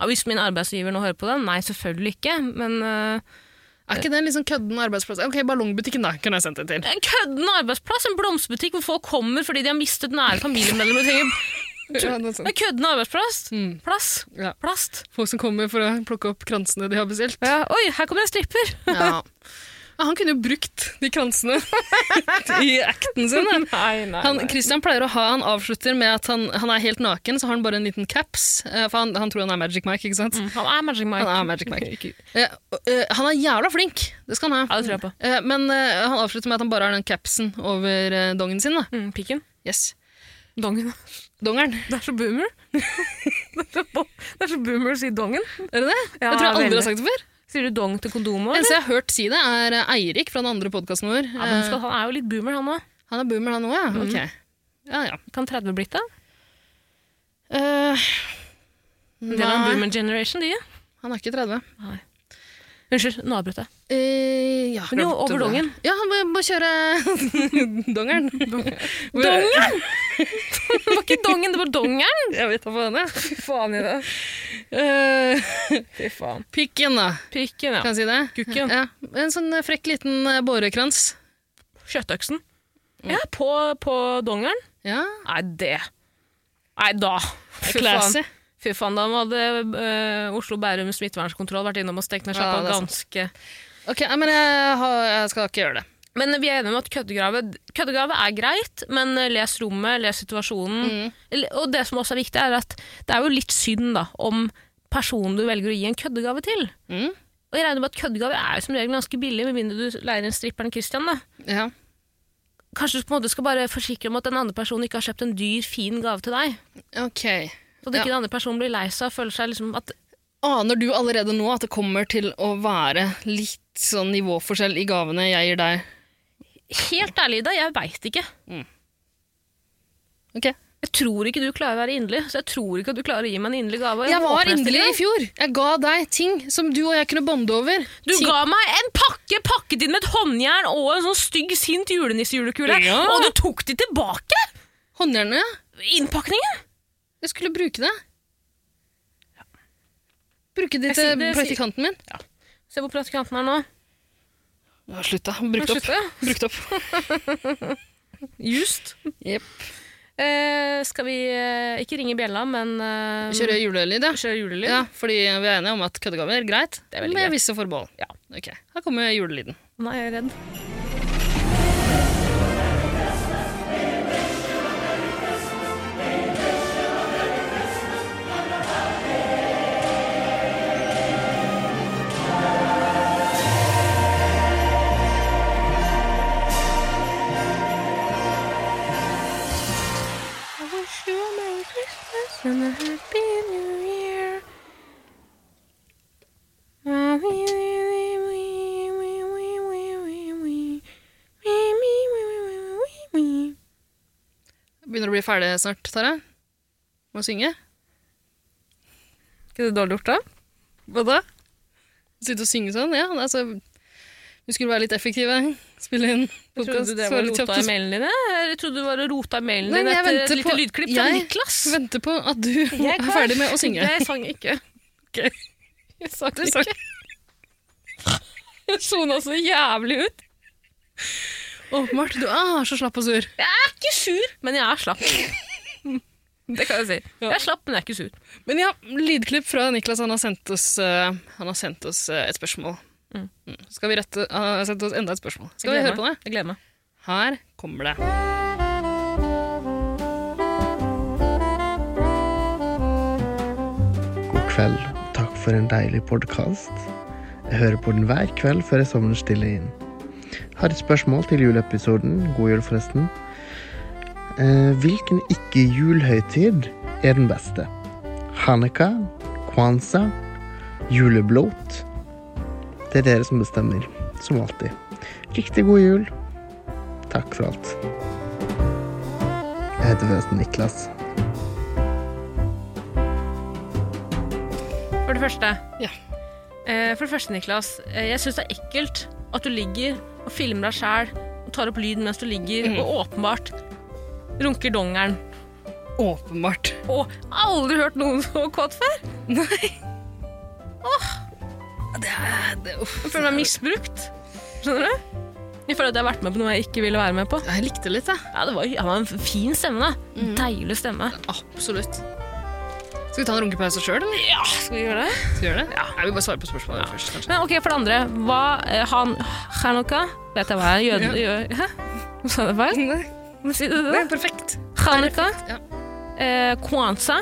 [SPEAKER 2] Ja, hvis min arbeidsgiver nå hører på den, nei, selvfølgelig ikke. Men øh,
[SPEAKER 3] Er ikke det en litt sånn kødden arbeidsplass? Ok, Ballongbutikken, da, kunne jeg sendt det til.
[SPEAKER 2] en køddende arbeidsplass, en blomsterbutikk hvor folk kommer fordi de har mistet nære familiemedlemmer. og trenger-
[SPEAKER 3] Ja, noe sånt.
[SPEAKER 2] En køddende arbeidsplass. Plass.
[SPEAKER 3] Ja.
[SPEAKER 2] Plast.
[SPEAKER 3] Folk som kommer for å plukke opp kransene de har bestilt.
[SPEAKER 2] Ja, oi, her kommer en stripper!
[SPEAKER 3] Ja. Han kunne jo brukt de kransene i acten sin. da.
[SPEAKER 2] Nei, nei,
[SPEAKER 3] Han, Christian pleier å ha, han avslutter med at han, han er helt naken, så har han bare en liten caps. eh, For han, han tror han er Magic Mike, ikke sant?
[SPEAKER 2] Han er Magic Mike.
[SPEAKER 3] Han er Magic Mike. Eh, og, eh, han er jævla flink, det skal han ha.
[SPEAKER 2] Ja, det tror jeg på.
[SPEAKER 3] Eh, Men eh, han avslutter med at han bare har den capsen over eh, dongen sin. Da.
[SPEAKER 2] Mm, pikken.
[SPEAKER 3] Yes.
[SPEAKER 2] Dongen.
[SPEAKER 3] Dongeren,
[SPEAKER 2] Det er så boomer. det er så boomer å si dongen.
[SPEAKER 3] er det det?
[SPEAKER 2] Ja,
[SPEAKER 3] jeg tror jeg aldri
[SPEAKER 2] veldig.
[SPEAKER 3] har sagt det før.
[SPEAKER 2] Sier du dong til
[SPEAKER 3] Det
[SPEAKER 2] kondomet?
[SPEAKER 3] eneste jeg har hørt si det, er eh, Eirik fra den andre podkasten vår.
[SPEAKER 2] Ja, men skal, Mhm.
[SPEAKER 3] Eh,
[SPEAKER 2] han er jo litt boomer, han òg.
[SPEAKER 3] Han er boomer, han òg, ja? Ok. Ja, ja.
[SPEAKER 2] Kan 30 blitt det?
[SPEAKER 3] Eh,
[SPEAKER 2] En del av en
[SPEAKER 3] nei,
[SPEAKER 2] boomer generation, de.
[SPEAKER 3] han er ikke 30.
[SPEAKER 2] Unnskyld, nå avbrøt jeg.
[SPEAKER 3] Eh, ja,
[SPEAKER 2] Men jo,
[SPEAKER 3] glemte
[SPEAKER 2] over
[SPEAKER 3] det.
[SPEAKER 2] dongen.
[SPEAKER 3] Ja, han må, må kjøre dongeren.
[SPEAKER 2] Dongen! det var ikke dongen, det var dongeren!
[SPEAKER 3] Jeg vet hva faen det er.
[SPEAKER 2] Fy faen i det.
[SPEAKER 3] Eh,
[SPEAKER 2] Fy faen.
[SPEAKER 3] pikken, da.
[SPEAKER 2] Pikken, ja.
[SPEAKER 3] Kan jeg si det?
[SPEAKER 2] Kukken.
[SPEAKER 3] Ja, en sånn eh, frekk liten eh, bårekrans.
[SPEAKER 2] Kjøttøksen. Ja, på, på dongeren.
[SPEAKER 3] Ja,
[SPEAKER 2] Nei, det Nei, da. Fy faen.
[SPEAKER 3] classy.
[SPEAKER 2] Fy faen, da hadde eh, Oslo Bærum smittevernskontroll vært innom og stengt ned
[SPEAKER 3] Ja,
[SPEAKER 2] sjappa
[SPEAKER 3] det er sant.
[SPEAKER 2] ganske
[SPEAKER 3] Ok, nei, men jeg, har, jeg skal ikke gjøre det.
[SPEAKER 2] Men vi er enige om at køddegrave, køddegrave er greit, men les rommet, les situasjonen.
[SPEAKER 3] Mm.
[SPEAKER 2] Eller- Og det som også er viktig, er at det er jo litt synd da, om personen du velger å gi en køddegave til.
[SPEAKER 3] Mm.
[SPEAKER 2] Og jeg regner med at køddegave er jo som regel ganske billig, med mindre du leier en stripper enn Christian. Da.
[SPEAKER 3] Mm. Ja.
[SPEAKER 2] Kanskje du på en måte skal bare forsikre om at den andre personen ikke har kjøpt en dyr, fin gave til deg.
[SPEAKER 3] Ok.
[SPEAKER 2] Så at ikke den andre personen blir lei seg og føler seg liksom at
[SPEAKER 3] Aner du allerede nå at det kommer til å være litt sånn nivåforskjell i gavene jeg gir deg?
[SPEAKER 2] Helt ærlig, Ida, jeg veit ikke.
[SPEAKER 3] Ok.
[SPEAKER 2] Jeg tror ikke du klarer å være inderlig, så jeg tror ikke at du klarer å gi meg en inderlig gave.
[SPEAKER 3] Jeg
[SPEAKER 2] håper
[SPEAKER 3] var
[SPEAKER 2] neste
[SPEAKER 3] inderlig
[SPEAKER 2] gang.
[SPEAKER 3] i fjor. Jeg ga deg ting som du og jeg kunne bonde over.
[SPEAKER 2] Du
[SPEAKER 3] ting.
[SPEAKER 2] ga meg en pakke pakket inn med et håndjern og en sånn stygg, sint julenissejulekule.
[SPEAKER 3] Ja.
[SPEAKER 2] Og du tok de tilbake!
[SPEAKER 3] Håndjernet, ja.
[SPEAKER 2] Innpakningen!
[SPEAKER 3] Jeg skulle bruke det. Bruke det
[SPEAKER 2] Jeg sier-
[SPEAKER 3] til
[SPEAKER 2] det sier-
[SPEAKER 3] praktikanten min.
[SPEAKER 2] Se hvor praktikanten er nå.
[SPEAKER 3] Ja, slutt, da. Brukt
[SPEAKER 2] Nå
[SPEAKER 3] opp.
[SPEAKER 2] slutter jeg.
[SPEAKER 3] Brukt opp.
[SPEAKER 2] Just.
[SPEAKER 3] Jepp.
[SPEAKER 2] Eh, skal vi eh, ikke ringe bjella, men eh,
[SPEAKER 3] Kjøre julelyd, ja.
[SPEAKER 2] kjøre julelyd?
[SPEAKER 3] ja. Fordi vi er enige om at køddegaver er greit,
[SPEAKER 2] Det er veldig
[SPEAKER 3] med
[SPEAKER 2] greit.
[SPEAKER 3] visse forbehold.
[SPEAKER 2] Ja.
[SPEAKER 3] Ok, Her kommer julelyden.
[SPEAKER 2] Nå er jeg redd.
[SPEAKER 3] Begynner å bli ferdig snart, Tara. Må synge.
[SPEAKER 2] Ikke det dårlig gjort, da?
[SPEAKER 3] Hva da? Sitte og synge sånn? Ja, altså Vi skulle være litt effektive. Spille inn
[SPEAKER 2] Trodde du
[SPEAKER 3] podkast.
[SPEAKER 2] det var rota i mailene dine? Eller trodde du var og rota i mailene
[SPEAKER 3] Nei,
[SPEAKER 2] dine
[SPEAKER 3] men jeg
[SPEAKER 2] etter et eh,
[SPEAKER 3] venter
[SPEAKER 2] lite
[SPEAKER 3] på-
[SPEAKER 2] lydklipp fra
[SPEAKER 3] jeg-
[SPEAKER 2] Niklas?
[SPEAKER 3] Vente på at du
[SPEAKER 2] Jeg
[SPEAKER 3] er
[SPEAKER 2] kan-
[SPEAKER 3] ferdig med å synge.
[SPEAKER 2] Jeg sang ikke. Jeg sang
[SPEAKER 3] Du sang.
[SPEAKER 2] ikke. Jeg sona så jævlig ut.
[SPEAKER 3] Åpenbart. Du er så slapp og sur.
[SPEAKER 2] Jeg er ikke sur, men jeg er slapp. Det kan jeg si.
[SPEAKER 3] Ja.
[SPEAKER 2] Jeg er slapp, men jeg er ikke sur.
[SPEAKER 3] Men ja, lydklipp fra Niklas. Han har sendt oss, eh, han har sendt oss eh, et spørsmål.
[SPEAKER 2] Mm.
[SPEAKER 3] Mm. Skal vi rette, Han har sendt oss enda et spørsmål. Skal vi
[SPEAKER 2] Jeg
[SPEAKER 3] høre
[SPEAKER 2] gleder
[SPEAKER 3] på
[SPEAKER 2] meg.
[SPEAKER 3] det?
[SPEAKER 2] Jeg gleder meg.
[SPEAKER 3] Her kommer det.
[SPEAKER 4] God kveld, og takk for en deilig podkast. Jeg hører på den hver kveld før jeg sovner stille inn. Har et spørsmål til juleepisoden. God jul, forresten. Eh, hvilken ikke-julhøytid er den beste? Hanukka? Kwanza? Juleblot? Det er dere som bestemmer, som alltid. Riktig god jul. Takk for alt. Jeg heter forresten Niklas.
[SPEAKER 2] For det første,
[SPEAKER 3] Ja.
[SPEAKER 2] Eh, for det første Niklas, eh, jeg syns det er ekkelt at du ligger og filmer deg
[SPEAKER 3] Mhm.
[SPEAKER 2] sjæl og tar opp lyd mens du ligger og åpenbart runker dongeren.
[SPEAKER 3] Åpenbart.
[SPEAKER 2] Og aldri hørt noen så kåt før.
[SPEAKER 3] Nei. Åh. Det er, det, uff.
[SPEAKER 2] Jeg føler meg misbrukt. Skjønner du? Jeg føler at jeg har vært med på noe jeg ikke ville være med på. Mhm.
[SPEAKER 3] Jeg likte litt, jeg.
[SPEAKER 2] Ja, det var, han har en fin stemme, da. Deilig stemme.
[SPEAKER 3] Absolutt. Skal vi ta en runkepause sjøl, eller?
[SPEAKER 2] Ja, skal vi gjøre det?
[SPEAKER 3] Skal vi gjøre det? Jeg vil bare svare på spørsmålet først, kanskje.
[SPEAKER 2] Men ok, for det andre. Hva eh, Han Chanukka Vet jeg hva er? Jøde... jø- Hæ? Sa jeg det feil?
[SPEAKER 3] Nei,
[SPEAKER 2] Sier du
[SPEAKER 3] det
[SPEAKER 2] det?
[SPEAKER 3] er perfekt.
[SPEAKER 2] Chanukka.
[SPEAKER 3] ja.
[SPEAKER 2] Eh, Kwanza.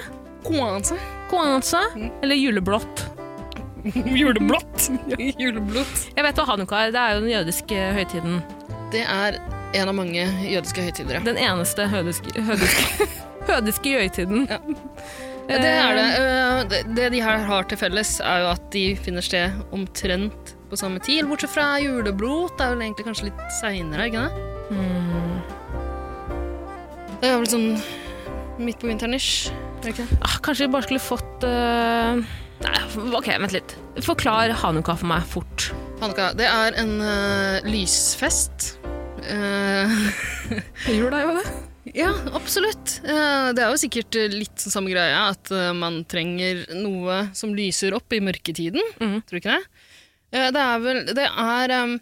[SPEAKER 3] Kwanza.
[SPEAKER 2] Kwanza eller juleblått.
[SPEAKER 3] Juleblått. Juleblått.
[SPEAKER 2] Jeg vet hva hanukka er. Det er jo den jødiske høytiden.
[SPEAKER 3] Det er en av mange jødiske høytider, ja.
[SPEAKER 2] Den eneste hødiske Hødiske, hødiske jøytiden.
[SPEAKER 3] Ja. Ja, Det er det. Eh, det- Det de her har til felles, er jo at de finner sted omtrent på samme tid. Bortsett fra juleblot, det er vel egentlig kanskje litt seinere, ikke det? Hmm. Det er vel sånn midt på vinteren ish. er det Ikke? det?
[SPEAKER 2] Ah, kanskje vi bare skulle fått eh, Nei, OK, vent litt. Forklar hanukka for meg fort.
[SPEAKER 3] Hanukka, det er en eh, lysfest. Eh,
[SPEAKER 2] Jula er jo det.
[SPEAKER 3] ja, absolutt. Eh, det er jo sikkert eh, litt sånn samme greia, at eh, man trenger noe som lyser opp i mørketiden.
[SPEAKER 2] Mhm.
[SPEAKER 3] Tror du ikke det? Eh, Det er vel Det er um,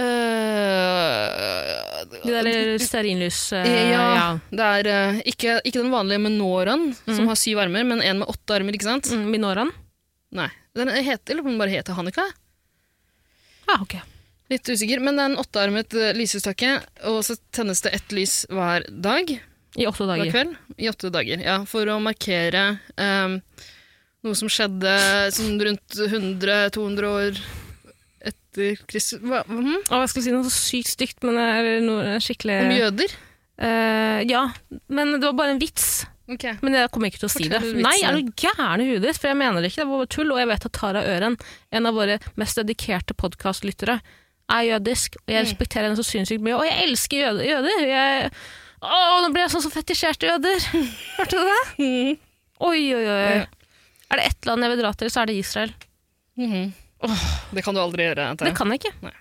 [SPEAKER 3] eh,
[SPEAKER 2] De der stearinlys... eh,
[SPEAKER 3] ja,
[SPEAKER 2] ja. Mhm.
[SPEAKER 3] det er eh, ikke, ikke den vanlige menoraen, som har syv armer, men en med åtte armer, ikke sant?
[SPEAKER 2] Mm, Minoraen?
[SPEAKER 3] Nei. Den heter, eller om den bare heter Hanukka.
[SPEAKER 2] Ja, Ah, ok.
[SPEAKER 3] Litt usikker. Men det er en åttearmet eh, lysestakke, og så tennes det ett lys hver dag.
[SPEAKER 2] I åtte
[SPEAKER 3] Hver
[SPEAKER 2] dager.
[SPEAKER 3] kveld. I åtte dager, ja. For å markere eh, noe som skjedde sånn rundt 100-200 år etter Kristus hva- mhm.
[SPEAKER 2] Å, jeg skulle si noe så sykt stygt, men det er noe skikkelig
[SPEAKER 3] Om jøder.
[SPEAKER 2] Eh, Ja, men det var bare en vits.
[SPEAKER 3] Ok.
[SPEAKER 2] Men jeg kommer ikke til å si
[SPEAKER 3] Fortell
[SPEAKER 2] det.
[SPEAKER 3] vitsen
[SPEAKER 2] Nei, er du gæren i huet ditt? For jeg mener det ikke. Det var bare tull. Og jeg vet at Tara Øren, en av våre mest dedikerte podkastlyttere, er jødisk. Og
[SPEAKER 3] Mm.
[SPEAKER 2] jeg respekterer henne så sinnssykt mye. Og jeg elsker jøde- jøder. Jeg å, nå ble jeg sånn som fetisjerte jøder. Hørte du det?
[SPEAKER 3] Mm.
[SPEAKER 2] Oi, oi, oi. Er det ett land jeg vil dra til, så er det Israel.
[SPEAKER 3] Mhm. Det kan du aldri gjøre.
[SPEAKER 2] Det
[SPEAKER 3] antar jeg.
[SPEAKER 2] kan jeg ikke.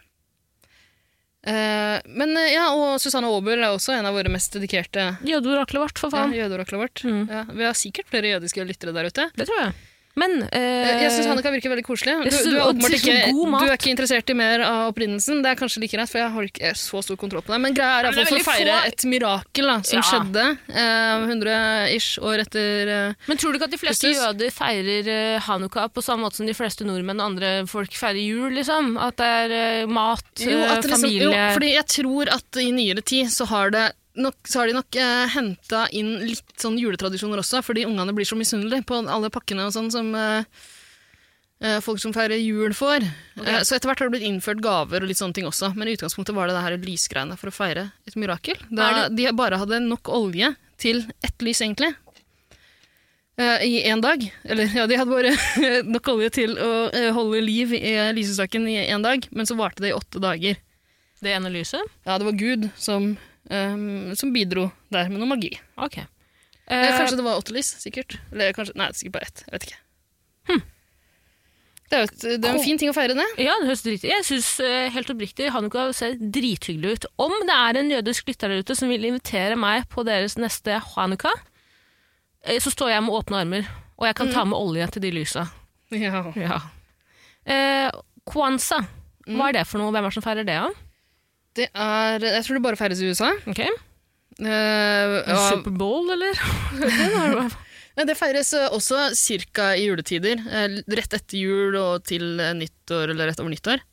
[SPEAKER 3] Eh, men eh, ja, og Susanne Aabel er også en av våre mest dedikerte
[SPEAKER 2] Jødeoraklet vårt, for
[SPEAKER 3] ja,
[SPEAKER 2] faen.
[SPEAKER 3] jødeoraklet vårt.
[SPEAKER 2] Mhm.
[SPEAKER 3] Ja, vi har sikkert flere jødiske lyttere der ute.
[SPEAKER 2] Det tror jeg. Men
[SPEAKER 3] Eh,
[SPEAKER 2] eh,
[SPEAKER 3] Jeg syns Hannika virker veldig koselig.
[SPEAKER 2] jeg
[SPEAKER 3] Du,
[SPEAKER 2] synes
[SPEAKER 3] du, er
[SPEAKER 2] hun-
[SPEAKER 3] åpenbart
[SPEAKER 2] synes hun
[SPEAKER 3] ikke,
[SPEAKER 2] er god mat.
[SPEAKER 3] du er ikke interessert i mer av opprinnelsen. Det er kanskje like greit, for jeg har ikke så stor kontroll på det. Men greia er
[SPEAKER 2] Men det er
[SPEAKER 3] iallfall for
[SPEAKER 2] veldig
[SPEAKER 3] å feire
[SPEAKER 2] få-
[SPEAKER 3] et mirakel da, som
[SPEAKER 2] Ja.
[SPEAKER 3] skjedde eh, 100 ish år etter eh,
[SPEAKER 2] Men tror du ikke at de fleste
[SPEAKER 3] Kristus?
[SPEAKER 2] jøder feirer eh, hanukka på samme måte som de fleste nordmenn og andre folk feirer jul, liksom? At det er eh, mat,
[SPEAKER 3] jo,
[SPEAKER 2] eh,
[SPEAKER 3] at det liksom,
[SPEAKER 2] familie
[SPEAKER 3] jo, fordi jeg tror at i nyere tid så har, det nok, så har de nok eh, henta inn litt sånn juletradisjoner også, fordi ungene blir så misunnelige på alle pakkene og sånn som eh, eh, folk som feirer jul får. Eh, Så etter hvert har det blitt innført gaver og litt sånne ting også. Men i utgangspunktet var det det her lysgreiene for å feire et mirakel. Da
[SPEAKER 2] Er
[SPEAKER 3] de bare hadde nok olje til ett lys, egentlig. eh, I én dag. Eller ja, de hadde bare nok olje til å eh, holde liv i eh, lysestaken i én dag, men så varte det i åtte dager.
[SPEAKER 2] Det ene lyset?
[SPEAKER 3] Ja, det var Gud som, eh, som bidro der med noe magi.
[SPEAKER 2] Ok. Eh,
[SPEAKER 3] Eh, kanskje det var åtte lys, sikkert. Eller kanskje, nei, det er sikkert bare ett. Jeg vet ikke. Hm. Det er jo et, det er en fin ting å feire det.
[SPEAKER 2] Ja, det høres dritt Jeg syns helt oppriktig hanukka ser drithyggelig ut. Om det er en jødisk lytter der ute som vil invitere meg på deres neste hanukka, eh, så står jeg med åpne armer, og jeg kan ta med olje til de lysa.
[SPEAKER 3] Mm. Ja. Mm.
[SPEAKER 2] Ja. Eh, Kwanza, hva er det for noe? Hvem er det som feirer det, da?
[SPEAKER 3] Det er, jeg tror det bare feires i USA.
[SPEAKER 2] Ok.
[SPEAKER 3] Eh, av-
[SPEAKER 2] Superbowl, eller? Den har du-
[SPEAKER 3] Nei, det feires eh, også cirka i juletider. eh, Rett etter jul og til eh, nyttår, eller rett over nyttår.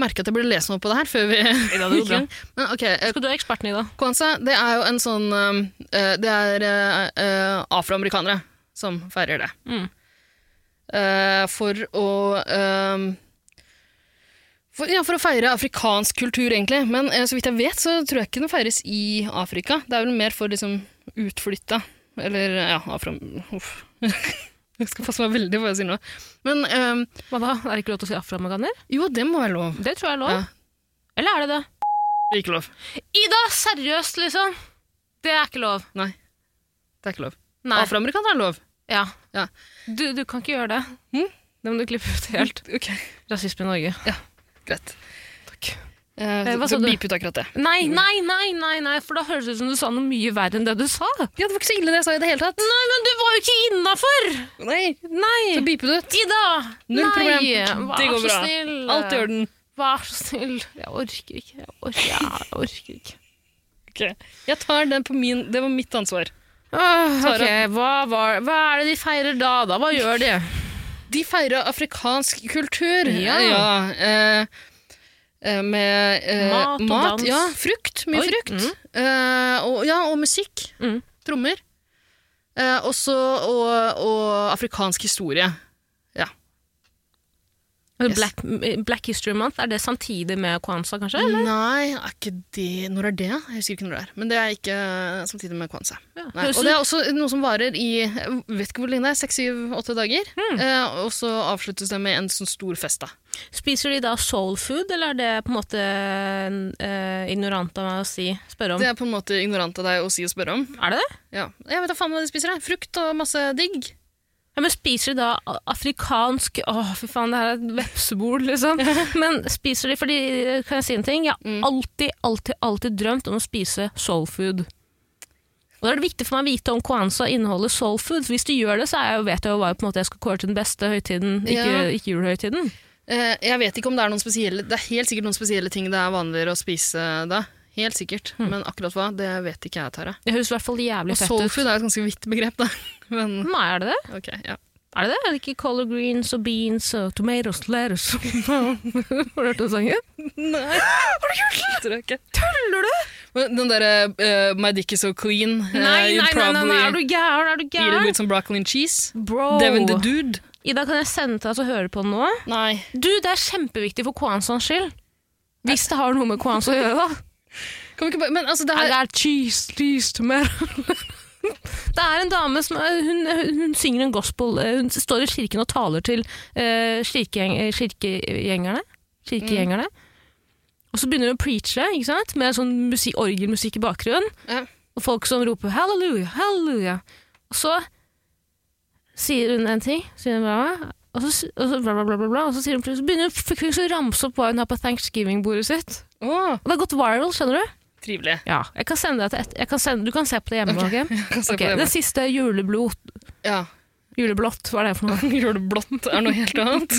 [SPEAKER 3] Merker at jeg burde lese noe på det her før vi
[SPEAKER 2] Ja, det går bra.
[SPEAKER 3] Men ok, eh,
[SPEAKER 2] Skal du være eksperten i det?
[SPEAKER 3] Kwanza, det er jo en sånn eh, Det er eh, eh, afroamerikanere som feirer det.
[SPEAKER 2] Mm.
[SPEAKER 3] Eh, for å eh, for, ja, for å feire afrikansk kultur, egentlig. Men eh, så vidt jeg vet, så tror jeg ikke den feires i Afrika. Det er vel mer for liksom utflytta. Eller ja, afro... Uff. jeg skal passe meg veldig på hva jeg sier nå. Men eh,
[SPEAKER 2] Hva da? Er det ikke lov til å si afroamerikaner?
[SPEAKER 3] jo, det må være lov.
[SPEAKER 2] Det tror jeg er lov.
[SPEAKER 3] Ja.
[SPEAKER 2] Eller er det det?
[SPEAKER 3] Ikke lov.
[SPEAKER 2] Ida, seriøst, liksom! Det er ikke lov.
[SPEAKER 3] Nei. Det er ikke lov.
[SPEAKER 2] Nei.
[SPEAKER 3] Afroamerikanere er lov.
[SPEAKER 2] Ja.
[SPEAKER 3] Ja.
[SPEAKER 2] Du, du kan ikke gjøre det.
[SPEAKER 3] Hm?
[SPEAKER 2] Det må du klippe ut helt.
[SPEAKER 3] Ok,
[SPEAKER 2] Rasisme i Norge.
[SPEAKER 3] greit.
[SPEAKER 2] Takk.
[SPEAKER 3] Eh,
[SPEAKER 2] Eh, hva
[SPEAKER 3] så
[SPEAKER 2] sa du?
[SPEAKER 3] Beep ut akkurat det.
[SPEAKER 2] Nei, nei, nei, nei, nei, for da høres det ut som du sa noe mye verre enn det du sa. Nei,
[SPEAKER 3] Ja, det var ikke så ille det jeg sa i det hele tatt.
[SPEAKER 2] men du var jo ikke innafor!
[SPEAKER 3] Nei,
[SPEAKER 2] Nei!
[SPEAKER 3] Så beepet du ut.
[SPEAKER 2] Ida!
[SPEAKER 3] Null
[SPEAKER 2] nei,
[SPEAKER 3] problem. Det
[SPEAKER 2] vær
[SPEAKER 3] går
[SPEAKER 2] så
[SPEAKER 3] bra.
[SPEAKER 2] Snill.
[SPEAKER 3] Alt i orden.
[SPEAKER 2] Vær så snill. Jeg orker ikke. Jeg orker, jeg orker ikke.
[SPEAKER 3] Ok. Jeg tar den på min Det var mitt ansvar.
[SPEAKER 2] Åh,
[SPEAKER 3] Tara.
[SPEAKER 2] Ah, ok, hva, var, hva er det de feirer da, da? Hva gjør de?
[SPEAKER 3] De feirer afrikansk kultur.
[SPEAKER 2] Ja.
[SPEAKER 3] eh, eh, med eh,
[SPEAKER 2] Mat og dans.
[SPEAKER 3] Ja, frukt. Mye
[SPEAKER 2] Oi,
[SPEAKER 3] frukt.
[SPEAKER 2] mm.
[SPEAKER 3] Eh, og, ja, og musikk.
[SPEAKER 2] Mm.
[SPEAKER 3] Trommer. Eh, også, og, og afrikansk historie. Yes.
[SPEAKER 2] Black, Black History Month, er det samtidig med Kwanza, kanskje? Eller?
[SPEAKER 3] Nei, er ikke det Når er det? Jeg husker ikke når det er. Men det er ikke eh, samtidig med Kwanza.
[SPEAKER 2] Ja.
[SPEAKER 3] Nei,
[SPEAKER 2] Høres
[SPEAKER 3] og det er også noe som varer i jeg vet ikke hvor lenge det er, seks, syv, åtte dager.
[SPEAKER 2] Mm.
[SPEAKER 3] Eh, og så avsluttes det med en sånn stor fest. da.
[SPEAKER 2] ut- Spiser de da soul food, eller er det på en måte eh, ignorant av meg å si, spørre om?
[SPEAKER 3] Det er på en måte ignorant av deg å si og spørre om.
[SPEAKER 2] Er det det?
[SPEAKER 3] Ja. Jeg vet da faen hva de spiser. Jeg. Frukt og masse digg.
[SPEAKER 2] Ja, men spiser de da a- afrikansk Åh, fy faen, det her er et vepsebol, liksom. Men spiser de Fordi, eh, kan jeg si en ting? Jeg har
[SPEAKER 3] Mm.
[SPEAKER 2] alltid, alltid, alltid drømt om å spise soul food. Og da er det viktig for meg å vite om Kwanza inneholder soul food. For hvis de gjør det, så er jeg, jo- vet jeg jo hva jeg på en måte jeg skal kåre til den beste høytiden, ikke,
[SPEAKER 3] Ja.
[SPEAKER 2] ikke julehøytiden.
[SPEAKER 3] Eh, jeg vet ikke om det er noen spesielle Det er helt sikkert noen spesielle ting det er vanligere å spise da. Helt sikkert.
[SPEAKER 2] Hmm.
[SPEAKER 3] Men akkurat hva, det vet ikke jeg, Tara.
[SPEAKER 2] Det høres i hvert fall jævlig
[SPEAKER 3] Og
[SPEAKER 2] fett
[SPEAKER 3] soul
[SPEAKER 2] ut.
[SPEAKER 3] food er et ganske vidt begrep, da. Men
[SPEAKER 2] Nei, er det det?
[SPEAKER 3] ok, ja.
[SPEAKER 2] Er det det? Er det ikke color greens og beans og tomatoes, lettuce Har du hørt den sangen?
[SPEAKER 3] Nei. Har du gjort det? Tror jeg ikke. Tuller du? Den derre eh, My dick is so clean. eh,
[SPEAKER 2] Nei, nei,
[SPEAKER 3] you'd
[SPEAKER 2] nei, nei, nei, er
[SPEAKER 3] probably
[SPEAKER 2] du gæren? Er du
[SPEAKER 3] Eat it
[SPEAKER 2] gæren?
[SPEAKER 3] with some broccoli and cheese.
[SPEAKER 2] Bro.
[SPEAKER 3] Devin the dude.
[SPEAKER 2] Ida, kan jeg sende til deg og høre på den nå?
[SPEAKER 3] Nei.
[SPEAKER 2] Du, det er kjempeviktig for Kwanzas skyld. Hvis det har noe med Kwanza å gjøre, da.
[SPEAKER 3] Kan vi ikke bare Men altså, det her
[SPEAKER 2] got cheese, cheese tomato. Det er en dame som eh, hun, hun, hun synger en gospel. eh, Hun står i kirken og taler til eh, kirkegjeng, eh, kirkegjengerne. kirkegjengerne. Og så begynner hun å preache ikke sant? med sånn musi- orgelmusikk i bakgrunnen.
[SPEAKER 3] Ja.
[SPEAKER 2] Og folk som roper 'halleluja, halleluja'. Og så sier hun en ting, sier hun bla, bla, og så, s- og så, bla, bla, bla, bla, bla, og så sier hun, plutselig- så begynner hun plutselig å ramse opp hva hun har på thanksgiving-bordet sitt.
[SPEAKER 3] Å,
[SPEAKER 2] Og det har gått viral, skjønner du?
[SPEAKER 3] trivelig.
[SPEAKER 2] Ja, jeg kan sende deg til et, jeg kan sende, Du kan se på det hjemme. ok?
[SPEAKER 3] Jeg kan se
[SPEAKER 2] Ok,
[SPEAKER 3] på
[SPEAKER 2] Den
[SPEAKER 3] det.
[SPEAKER 2] siste juleblod,
[SPEAKER 3] Ja.
[SPEAKER 2] juleblått, hva er det for noe?
[SPEAKER 3] Gjør det blått er noe helt annet.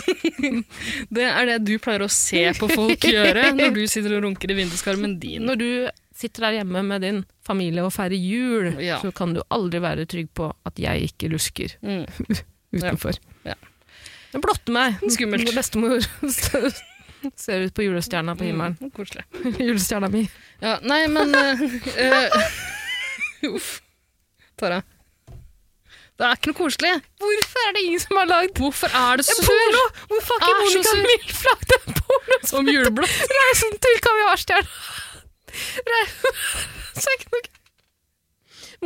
[SPEAKER 3] Det er det du pleier å se på folk gjøre når du sitter og runker i vinduskarmen din.
[SPEAKER 2] Når du sitter der hjemme med din familie og feirer jul,
[SPEAKER 3] Ja.
[SPEAKER 2] så kan du aldri være trygg på at jeg ikke lusker
[SPEAKER 3] Mm.
[SPEAKER 2] utenfor.
[SPEAKER 3] Ja.
[SPEAKER 2] Jeg blotter meg.
[SPEAKER 3] Skummelt.
[SPEAKER 2] Bestemor ser ut på julestjerna på himmelen.
[SPEAKER 3] Mm, Koselig.
[SPEAKER 2] Julestjerna mi.
[SPEAKER 3] Ja, nei, men eh, eh, Uff. Tara. Det er ikke noe koselig.
[SPEAKER 2] Hvorfor er det ingen som har lagd
[SPEAKER 3] Hvorfor er det så
[SPEAKER 2] porno? Hvorfor har
[SPEAKER 3] Er
[SPEAKER 2] ikke
[SPEAKER 3] så
[SPEAKER 2] Monica
[SPEAKER 3] sur.
[SPEAKER 2] Milf lagd en porno? som
[SPEAKER 3] om juleblått?
[SPEAKER 2] Reisen til kaviarstjerna. Re- Søk nok.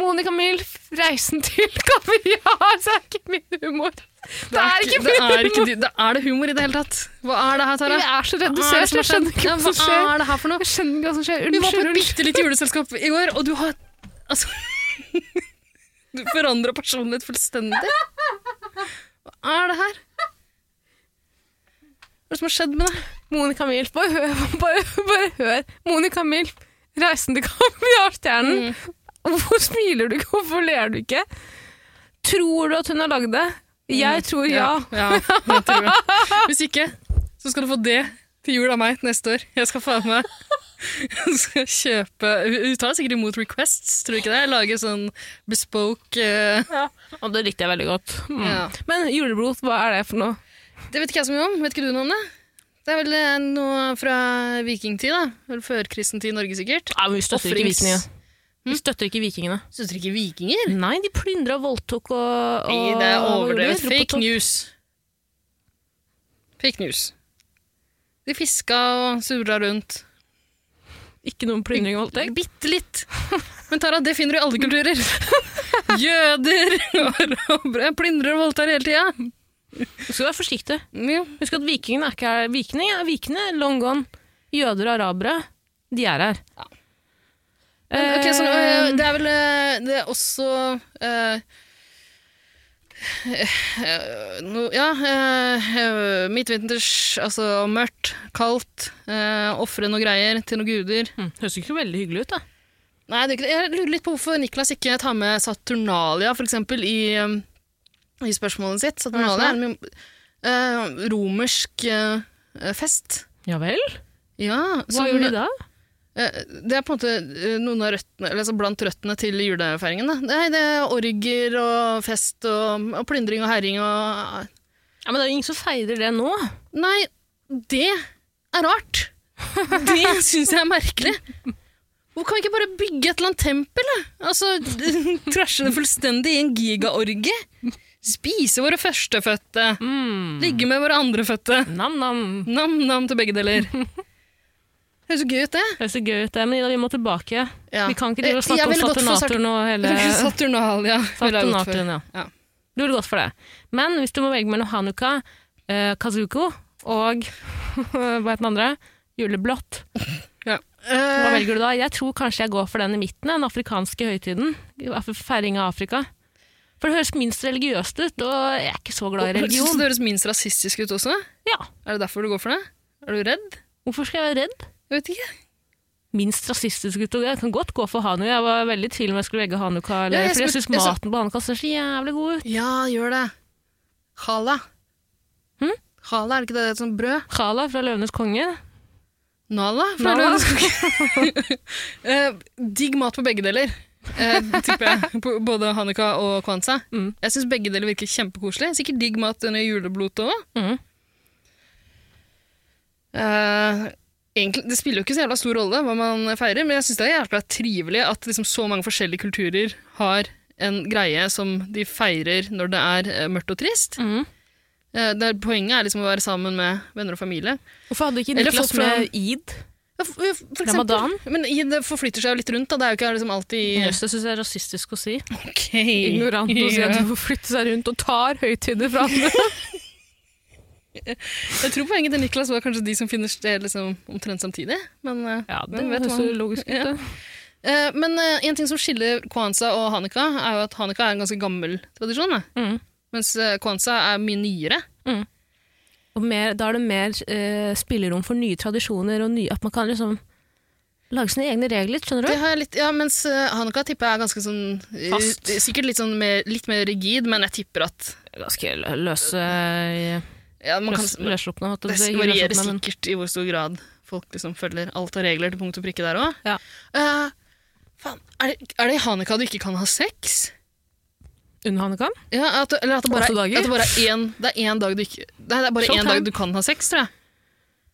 [SPEAKER 2] Monica Milf, reisen til kaviar, så er ikke min humor. Det er ikke
[SPEAKER 3] det
[SPEAKER 2] min
[SPEAKER 3] er, ikke,
[SPEAKER 2] humor.
[SPEAKER 3] det, det er det humor i det hele tatt? Hva er det her, Tara?
[SPEAKER 2] Jeg er så
[SPEAKER 3] Hva er det
[SPEAKER 2] redusert,
[SPEAKER 3] som har
[SPEAKER 2] jeg skjønner
[SPEAKER 3] skjedd?
[SPEAKER 2] ikke
[SPEAKER 3] Ja,
[SPEAKER 2] hva som skjer.
[SPEAKER 3] Hva er det her for noe?
[SPEAKER 2] Jeg skjønner ikke hva som skjer.
[SPEAKER 3] Vi var
[SPEAKER 2] Unnskyld,
[SPEAKER 3] på et
[SPEAKER 2] unnskyld.
[SPEAKER 3] bitte lite juleselskap i går, og du har Altså Du forandra personlighet fullstendig. Hva er det her? Hva er det som har skjedd med deg?
[SPEAKER 2] Monica Milf, bare hør. Bare, bare hør. Monica Milf, reisen til kaviarstjernen. Hvorfor smiler du ikke? Hvorfor ler du ikke? Tror du at hun har lagd det? Jeg tror Mm. ja.
[SPEAKER 3] ja. det tror jeg. Hvis ikke, så skal du få det til jul av meg neste år. Jeg skal faen meg jeg skal kjøpe Hun tar sikkert imot requests, tror du ikke det? Jeg lager sånn bespoke eh,
[SPEAKER 2] Og det likte jeg veldig godt. Mm.
[SPEAKER 3] Ja.
[SPEAKER 2] Men juleblod, hva er det for noe?
[SPEAKER 3] Det vet ikke jeg så mye om. Vet ikke du noe om det? Det er vel eh, noe fra vikingtid, da. Vel førkristen tid i Norge, sikkert.
[SPEAKER 2] Ja, men vi støtter
[SPEAKER 3] Ofrings-
[SPEAKER 2] ikke vikingene. Vi støtter ikke vikingene.
[SPEAKER 3] Syns dere ikke vikinger?
[SPEAKER 2] Hm? Nei, de plyndra og voldtok og, og
[SPEAKER 3] Nei, det er overdrevet.
[SPEAKER 2] og-
[SPEAKER 3] Fake news. Fake news. De fiska og surra rundt.
[SPEAKER 2] Ikke noen plyndring og voldtekt.
[SPEAKER 3] Bitte litt. Men Tara, det finner du i alle kulturer. Jøder arabere plyndrer og voldtar hele tida.
[SPEAKER 2] Du skal være forsiktig.
[SPEAKER 3] Ja.
[SPEAKER 2] Husk at vikingene er ikke her. Vikingene er vikene, long gone. Jøder og arabere, de er her.
[SPEAKER 3] Men, ok, så, øh,
[SPEAKER 2] Eh,
[SPEAKER 3] det er vel øh, Det er også øh, Eh, no, ja eh, eh, Midtvinters, altså mørkt, kaldt. Uh, Ofre noe greier til noen guder.
[SPEAKER 2] Hm, Høres ikke veldig hyggelig ut, da.
[SPEAKER 3] Nei, det er ikke det. Jeg lurer litt på hvorfor Niklas ikke tar med Saturnalia, for eksempel, i, um, i spørsmålet sitt. Saturnalia er en eh, romersk eh, fest.
[SPEAKER 2] Ja vel?
[SPEAKER 3] Ja,
[SPEAKER 2] Hva gjør de da?
[SPEAKER 3] Eh, Det er på en måte eh, noen av røttene, eller altså blant røttene til julefeiringen. Da. Nei, det er orger og fest og, og plyndring og herring og
[SPEAKER 2] Ja, men det er jo ingen som feirer det nå.
[SPEAKER 3] Nei, det er rart. Det syns jeg er merkelig. Hvor kan vi ikke bare bygge et eller annet tempel? Da? Altså, Trasje det fullstendig i en gigaorgie? Spise våre førstefødte.
[SPEAKER 2] Mm.
[SPEAKER 3] Ligge med våre andrefødte.
[SPEAKER 2] Nam-nam.
[SPEAKER 3] Nam-nam til begge deler. Det er så gøy ut, det.
[SPEAKER 2] Det høres så gøy ut, det, men Ida, vi må tilbake.
[SPEAKER 3] Ja.
[SPEAKER 2] Vi kan ikke drive og
[SPEAKER 3] Jeg
[SPEAKER 2] snakke om
[SPEAKER 3] ville gått for
[SPEAKER 2] saturnatoren og hele
[SPEAKER 3] Saturnalia. ville jeg gått for.
[SPEAKER 2] Saturnatoren, ja.
[SPEAKER 3] Ja.
[SPEAKER 2] Du ville gått for det. Men hvis du må velge mellom Hanuka, eh, Kazuko og hva heter den andre? Juleblått.
[SPEAKER 3] Ja.
[SPEAKER 2] Hva velger du da? Jeg tror kanskje jeg går for den i midten, den afrikanske høytiden. Feiring av Afrika. For det høres minst religiøst ut, og jeg er ikke så glad i
[SPEAKER 3] Synes du
[SPEAKER 2] religion.
[SPEAKER 3] det høres minst rasistisk ut også?
[SPEAKER 2] Ja.
[SPEAKER 3] Er det derfor du går for det? Er du redd?
[SPEAKER 2] Hvorfor skal jeg være redd?
[SPEAKER 3] Jeg vet ikke.
[SPEAKER 2] Minst rasistisk ut. og Jeg kan godt gå for Hanuka. Jeg var veldig i tvil om jeg skulle velge Hanuka. Eller,
[SPEAKER 3] Ja, jeg
[SPEAKER 2] for jeg
[SPEAKER 3] spurte-
[SPEAKER 2] syns
[SPEAKER 3] jeg sa-
[SPEAKER 2] maten på Hanuka ser så jævlig god ut.
[SPEAKER 3] Ja, gjør det. Chala.
[SPEAKER 2] Hm?
[SPEAKER 3] Chala, er det ikke det, det er et sånt brød?
[SPEAKER 2] Khala fra Løvenes konge.
[SPEAKER 3] Nala? fra
[SPEAKER 2] Nala.
[SPEAKER 3] Lørenskog. Eh, digg mat på begge deler, eh, tipper jeg. På Både Hanuka og Kwanza.
[SPEAKER 2] Mm.
[SPEAKER 3] Jeg syns begge deler virker kjempekoselig. Sikkert digg mat under juleblotet òg.
[SPEAKER 2] Mm.
[SPEAKER 3] Eh, egentlig, det spiller jo ikke så jævla stor rolle hva man feirer, men jeg syns det er jævla trivelig at liksom så mange forskjellige kulturer har en greie som de feirer når det er eh, mørkt og trist.
[SPEAKER 2] Mm.
[SPEAKER 3] Eh, der poenget er liksom å være sammen med venner og familie.
[SPEAKER 2] Hvorfor hadde ikke
[SPEAKER 3] Eller
[SPEAKER 2] Niklas
[SPEAKER 3] folk fra-
[SPEAKER 2] med id?
[SPEAKER 3] Ja, for, for eksempel,
[SPEAKER 2] Ramadan?
[SPEAKER 3] Men i- det forflytter seg jo litt rundt, da. Det er jo ikke liksom alltid
[SPEAKER 2] Jøss, det syns jeg er rasistisk å si.
[SPEAKER 3] okay.
[SPEAKER 2] Ignorant å si at du får flytte seg rundt og tar høytider fra andre.
[SPEAKER 3] Jeg tror poenget til Niklas var kanskje de som finner sted liksom, omtrent samtidig. Men, eh,
[SPEAKER 2] Ja, det
[SPEAKER 3] Hvem vet
[SPEAKER 2] høres
[SPEAKER 3] hva-
[SPEAKER 2] jo logisk ut.
[SPEAKER 3] Ja.
[SPEAKER 2] det.
[SPEAKER 3] eh, men eh, en ting som skiller Kwanza og Hanuka, er jo at Hanuka er en ganske gammel tradisjon. Da.
[SPEAKER 2] Mm.
[SPEAKER 3] Mens eh, Kwanza er mye nyere.
[SPEAKER 2] Og mer, da er det mer eh, spillerom for nye tradisjoner, og nye, at man kan liksom lage sine egne regler, skjønner
[SPEAKER 3] Det
[SPEAKER 2] du?
[SPEAKER 3] har jeg litt, ja, mens eh, Hanuka tipper jeg er ganske sånn eh,
[SPEAKER 2] Fast.
[SPEAKER 3] Sikkert litt, sånn mer, litt mer rigid, men jeg tipper at
[SPEAKER 2] Ganske lø- løse
[SPEAKER 3] ja, man kan,
[SPEAKER 2] løs- løsslupne. holdt jeg på
[SPEAKER 3] Det
[SPEAKER 2] å si. Ikke
[SPEAKER 3] varierer
[SPEAKER 2] løsslupne, men-
[SPEAKER 3] sikkert i hvor stor grad folk liksom følger alt av regler til punkt og prikke der òg.
[SPEAKER 2] Ja.
[SPEAKER 3] faen, er det, er det i Hanukkah du ikke kan ha sex?
[SPEAKER 2] Under Hanukkah?
[SPEAKER 3] Ja, at, eller at det bare,
[SPEAKER 2] Åtte
[SPEAKER 3] er-
[SPEAKER 2] dager?
[SPEAKER 3] at det bare er én, det er én dag du ikke Nei, det er bare én
[SPEAKER 2] Showtime.
[SPEAKER 3] dag du kan ha sex, tror jeg.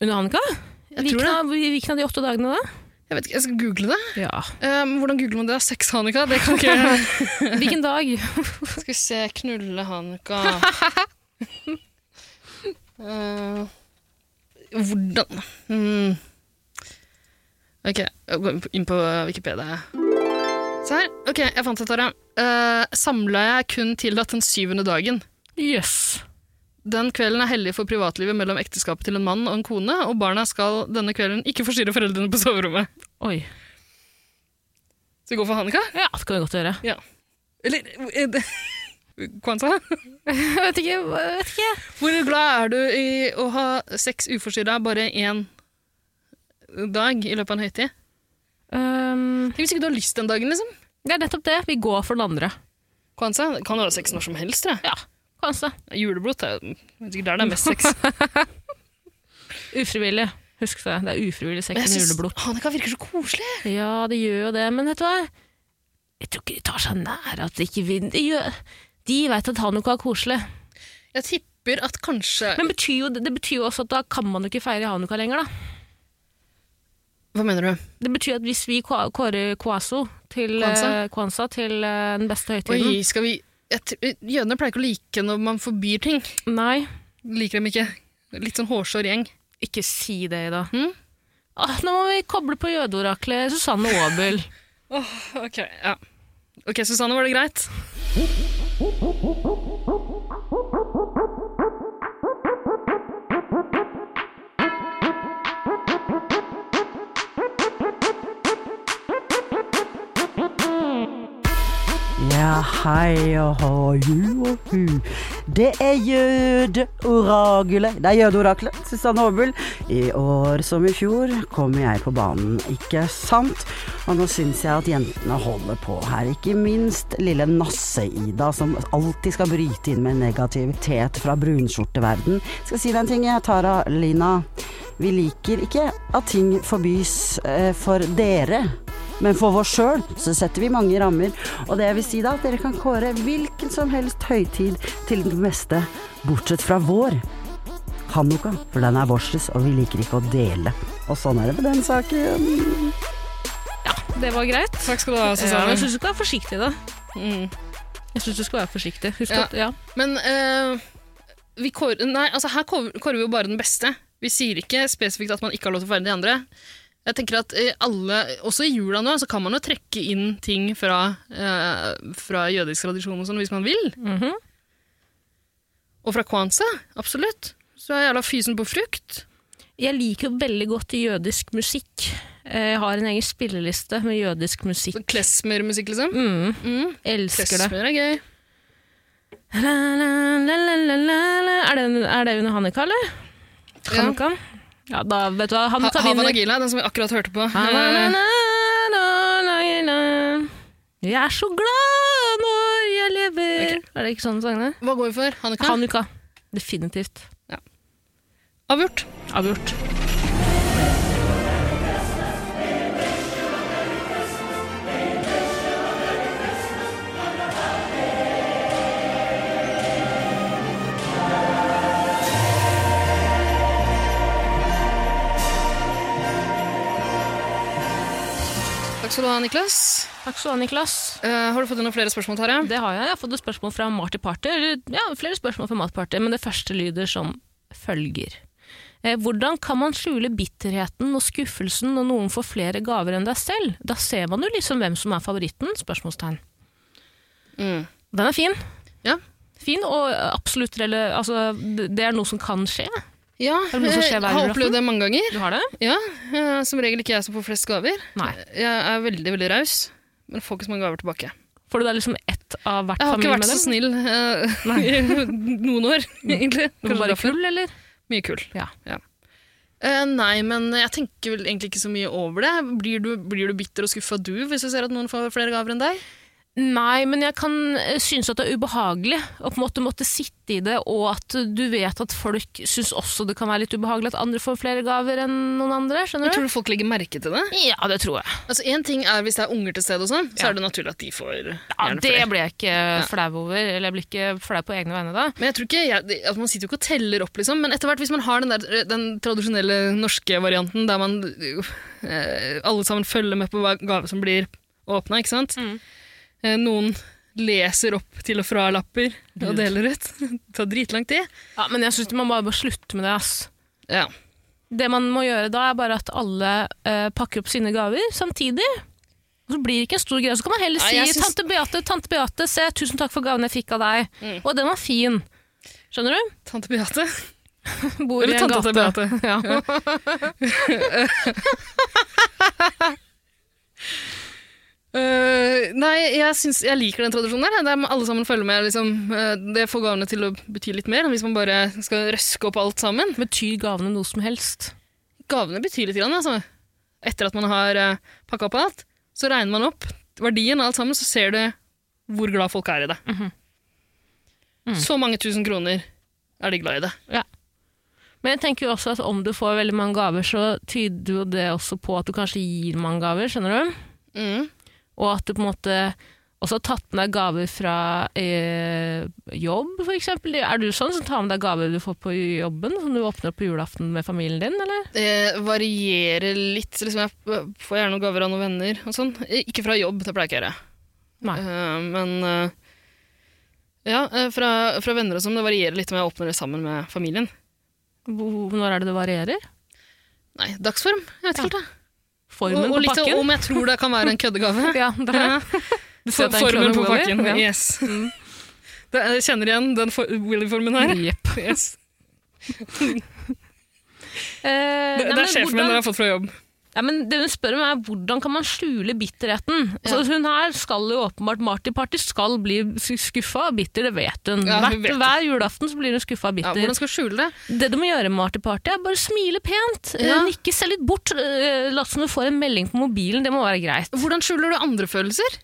[SPEAKER 2] Under Hanukkah?
[SPEAKER 3] Jeg tror
[SPEAKER 2] Hvilken
[SPEAKER 3] det.
[SPEAKER 2] av hvilken av de åtte dagene da?
[SPEAKER 3] Jeg vet ikke, jeg skal google det.
[SPEAKER 2] Ja.
[SPEAKER 3] Eh, men hvordan googler man det? da? Sex Hanukkah? Det kan ikke jeg.
[SPEAKER 2] Hvilken dag?
[SPEAKER 3] Skal vi se Knulle Hanukkah. Eh, hvordan mm. Ok, jeg går inn på- inn på Wikipedia. Se her. Ok, jeg fant det, Tara. Uh, Samleie er kun tillatt den syvende dagen.
[SPEAKER 2] Jøss.
[SPEAKER 3] Den kvelden er hellig for privatlivet mellom ekteskapet til en mann og en kone, og barna skal denne kvelden ikke forstyrre foreldrene på soverommet.
[SPEAKER 2] Oi.
[SPEAKER 3] Så vi går for Hanukkah?
[SPEAKER 2] Ja, det kan vi godt gjøre.
[SPEAKER 3] Eller eh, det- Kwanza?
[SPEAKER 2] Jeg vet ikke, jeg vet ikke.
[SPEAKER 3] Hvor glad er du i å ha sex uforstyrra bare én dag i løpet av en høytid?
[SPEAKER 2] Ehm,
[SPEAKER 3] Tenk hvis ikke du har lyst den dagen, liksom.
[SPEAKER 2] det er nettopp det. Vi går for den andre.
[SPEAKER 3] Kwanza, kan du ha sex når som helst, tror jeg.
[SPEAKER 2] Ja, kanskje.
[SPEAKER 3] Juleblot er jo jeg vet ikke, der det er mest sex.
[SPEAKER 2] Ufrivillig. Husk det. Det er ufrivillig sex
[SPEAKER 3] Men jeg
[SPEAKER 2] med
[SPEAKER 3] synes
[SPEAKER 2] juleblod.
[SPEAKER 3] Hanukkah virker så koselig.
[SPEAKER 2] Ja, det gjør jo det, men vet du hva? Jeg tror ikke de tar seg nær at de ikke vil De, gjør- de veit at Hanukka er koselig.
[SPEAKER 3] Jeg tipper at kanskje
[SPEAKER 2] Men betyr jo, det betyr jo også at da kan man jo ikke feire Hanukka lenger, da.
[SPEAKER 3] Hva mener du?
[SPEAKER 2] Det betyr at hvis vi kå- kårer Kwaso til
[SPEAKER 3] Kwanzaa?
[SPEAKER 2] eh, Kwanzaa til eh, den beste høytiden
[SPEAKER 3] Oi, skal vi jeg tr- Jødene pleier ikke å like når man forbyr ting.
[SPEAKER 2] Nei,
[SPEAKER 3] Liker dem ikke. Litt sånn hårsår gjeng.
[SPEAKER 2] ikke si det, Ida.
[SPEAKER 3] Mm?
[SPEAKER 2] Åh, nå må vi koble på jødeoraklet Susanne Aabel.
[SPEAKER 3] Ok, ja. Ok, Susanne, var det greit?
[SPEAKER 5] Ja, Hei og hå, ju og hu. Det er jødeoragelet. Det er jødeoraklet, Susanne Aabel. I år som i fjor kommer jeg på banen, ikke sant? Og nå syns jeg at jentene holder på her. Ikke minst lille Nasse-Ida, som alltid skal bryte inn med negativitet fra brunskjorteverden. Skal si deg en ting, jeg, Tara Lina. Vi liker ikke at ting forbys eh, for dere. Men for oss sjøl så setter vi mange rammer, og det vil si da at dere kan kåre hvilken som helst høytid til den beste, bortsett fra vår. Hanukka, for den er vårs, og vi liker ikke å dele. Og sånn er det med den saken.
[SPEAKER 2] Det var greit.
[SPEAKER 3] Takk skal du ha,
[SPEAKER 2] Ja, men
[SPEAKER 3] Susanne.
[SPEAKER 2] jeg syns du skal være forsiktig, da. Jeg synes du skal være forsiktig. Husk
[SPEAKER 3] Mm. Ja.
[SPEAKER 2] at ja.
[SPEAKER 3] Men eh, vi kår, nei, altså her kår- kårer vi jo bare den beste. Vi sier ikke spesifikt at man ikke har lov til å feire de andre. Jeg tenker at eh, alle, Også i jula nå så kan man jo trekke inn ting fra, eh, fra jødisk tradisjon og sånn hvis man vil.
[SPEAKER 2] Mhm.
[SPEAKER 3] Og fra kwanza, absolutt. Så er jævla fysen på frukt.
[SPEAKER 2] Jeg liker jo veldig godt jødisk musikk. Eh, Jeg har en egen spilleliste med jødisk musikk.
[SPEAKER 3] Klesmermusikk, liksom.
[SPEAKER 2] Mm,
[SPEAKER 3] Mm.
[SPEAKER 2] elsker det.
[SPEAKER 3] Klesmer er gøy.
[SPEAKER 2] La, la, la, la, la, la, la. Er det, er det under Hanukka, eller?
[SPEAKER 3] Ja.
[SPEAKER 2] Hanukka? Ja, da vet du hva.
[SPEAKER 3] Ha
[SPEAKER 2] Hanukka
[SPEAKER 3] Havan
[SPEAKER 2] vinner.
[SPEAKER 3] Agila, den som vi akkurat hørte på.
[SPEAKER 2] Na, na, na, na, na, na, na. Jeg er så glad når jeg lever Er det ikke sånn sangene?
[SPEAKER 3] Hva går vi for? Hanukka?
[SPEAKER 2] Hanukka. Definitivt.
[SPEAKER 3] Avgjort.
[SPEAKER 2] Avgjort.
[SPEAKER 3] Takk skal du ha, Niklas.
[SPEAKER 2] Takk skal du ha, Niklas.
[SPEAKER 3] Eh, har du fått inn noen flere spørsmål, Tarjei?
[SPEAKER 2] Det har jeg. Jeg har fått et spørsmål fra Marty Party. eller, Ja, flere spørsmål fra Matparty, men det første lyder som følger. Eh, Hvordan kan man skjule bitterheten og skuffelsen når noen får flere gaver enn deg selv? Da ser man jo liksom hvem som er favoritten? Spørsmålstegn.
[SPEAKER 3] Mm.
[SPEAKER 2] Den er fin.
[SPEAKER 3] Ja.
[SPEAKER 2] Fin og absolutt rele... Altså, det det er noe som kan skje.
[SPEAKER 3] Ja,
[SPEAKER 2] det noe som skjer
[SPEAKER 3] jeg
[SPEAKER 2] hver
[SPEAKER 3] har
[SPEAKER 2] julaften?
[SPEAKER 3] opplevd det mange ganger.
[SPEAKER 2] Du har det?
[SPEAKER 3] Ja, eh, Som regel ikke jeg som får flest gaver.
[SPEAKER 2] Nei.
[SPEAKER 3] Jeg er veldig veldig raus, men får ikke så mange gaver tilbake.
[SPEAKER 2] Får du da liksom ett av hvert
[SPEAKER 3] Jeg har ikke vært så
[SPEAKER 2] familiemedlem?
[SPEAKER 3] snill eh, i noen år, egentlig.
[SPEAKER 2] Du var
[SPEAKER 3] Kanskje
[SPEAKER 2] Mm. Bare
[SPEAKER 3] derfor.
[SPEAKER 2] kull, eller?
[SPEAKER 3] Mye kull.
[SPEAKER 2] Ja.
[SPEAKER 3] Eh, nei, men jeg tenker vel egentlig ikke så mye over det. Blir du, blir du bitter og skuffa du hvis du ser at noen får flere gaver enn deg?
[SPEAKER 2] Nei, men jeg kan eh, synes at det er ubehagelig å på en måte måtte sitte i det, og at du vet at folk synes også det kan være litt ubehagelig at andre får flere gaver enn noen andre,
[SPEAKER 3] Men
[SPEAKER 2] skjønner du?
[SPEAKER 3] Tror du folk legger merke til det?
[SPEAKER 2] Ja, det tror jeg.
[SPEAKER 3] Altså, Én ting er hvis det er unger til stede, og sånn,
[SPEAKER 2] Ja.
[SPEAKER 3] så er det naturlig at de får
[SPEAKER 2] Ja,
[SPEAKER 3] gjerne
[SPEAKER 2] det
[SPEAKER 3] flere.
[SPEAKER 2] ble jeg ikke flau over, eller jeg ble ikke flau på egne vegne da.
[SPEAKER 3] Men jeg tror ikke, jeg, det- altså Man sitter jo ikke og teller opp, liksom, men etter hvert hvis man har den, der, eh, den tradisjonelle norske varianten der man eh, alle sammen følger med på hva gave som blir åpna, ikke sant?
[SPEAKER 2] Mm.
[SPEAKER 3] Eh, noen leser opp til og fra lapper og deler ut. det tar dritlang tid.
[SPEAKER 2] Ja, men jeg synes man bare må slutte med det, ass.
[SPEAKER 3] Ja.
[SPEAKER 2] Det man må gjøre da er bare at alle eh, pakker opp sine gaver samtidig, og så blir det ikke en stor greie. Så kan man heller
[SPEAKER 3] Ja,
[SPEAKER 2] si,
[SPEAKER 3] jeg synes-
[SPEAKER 2] Tante Beate, Tante Beate, se, tusen takk for gaven jeg fikk av deg.
[SPEAKER 3] Mm.
[SPEAKER 2] Og den var fin. Skjønner du?
[SPEAKER 3] Tante Beate.
[SPEAKER 2] Bor i
[SPEAKER 3] Eller
[SPEAKER 2] en
[SPEAKER 3] tante
[SPEAKER 2] gate.
[SPEAKER 3] til Beate.
[SPEAKER 2] Ja.
[SPEAKER 3] Eh, nei, jeg, syns, jeg liker den tradisjonen der. Der må alle sammen følge med. Liksom, Eh, det får gavene til å bety litt mer enn hvis man bare skal røske opp alt sammen.
[SPEAKER 2] Betyr gavene noe som helst?
[SPEAKER 3] gavene betyr litt, grann, altså. Etter at man har uh, pakka opp alt, så regner man opp verdien av alt sammen, så ser du hvor glad folk er i det. Så mange tusen kroner er de glad i det.
[SPEAKER 2] Men jeg tenker jo også at om du får veldig mange gaver, så tyder jo det også på at du kanskje gir mange gaver, skjønner du?
[SPEAKER 3] Mm.
[SPEAKER 2] Og at du på en måte også har tatt med deg gaver fra eh, jobb, for eksempel. Er du sånn som tar med deg gaver du får på jobben, som du åpner opp på julaften med familien din, eller?
[SPEAKER 3] Det Eh, varierer litt. så Liksom, jeg får gjerne noen gaver av noen venner og sånn. Ikke fra jobb, det pleier ikke jeg å gjøre.
[SPEAKER 2] Nei.
[SPEAKER 3] Eh, men eh, ja, eh, fra, fra venner og sånn. Det varierer litt om jeg åpner det sammen med familien.
[SPEAKER 2] Hvor- Når er det det varierer?
[SPEAKER 3] Nei, dagsform. Jeg vet ikke helt, jeg.
[SPEAKER 2] Formen
[SPEAKER 3] Og, og
[SPEAKER 2] på
[SPEAKER 3] litt sånn
[SPEAKER 2] pakken?
[SPEAKER 3] om jeg tror det kan være en køddegave.
[SPEAKER 2] Ja, det er det. Du ser at det er en
[SPEAKER 3] Formen
[SPEAKER 2] krone
[SPEAKER 3] på
[SPEAKER 2] over.
[SPEAKER 3] pakken,
[SPEAKER 2] Ja.
[SPEAKER 3] yes. Det, jeg kjenner igjen den for- Willy-formen her.
[SPEAKER 2] Jepp.
[SPEAKER 3] Yes.
[SPEAKER 2] Eh,
[SPEAKER 3] Det,
[SPEAKER 2] nei,
[SPEAKER 3] det
[SPEAKER 2] men
[SPEAKER 3] er
[SPEAKER 2] Eh,
[SPEAKER 3] sjefen min
[SPEAKER 2] hvordan-
[SPEAKER 3] dere har fått fra jobb.
[SPEAKER 2] Ja, men det hun spør om er hvordan kan man skjule bitterheten? Så hun her skal jo åpenbart Marty Party skal bli skuffa og bitter, det vet hun.
[SPEAKER 3] Ja, hun
[SPEAKER 2] Hvert-
[SPEAKER 3] vet det.
[SPEAKER 2] Hver julaften så blir hun skuffa og
[SPEAKER 3] Ja,
[SPEAKER 2] bitter.
[SPEAKER 3] hvordan skal du skjule det?
[SPEAKER 2] Det du må gjøre, Marty Party, er bare smile pent.
[SPEAKER 3] Ja.
[SPEAKER 2] Eh, Nikke, se litt bort. eh, Lat som du får en melding på mobilen, det må være greit.
[SPEAKER 3] Hvordan skjuler du andre følelser?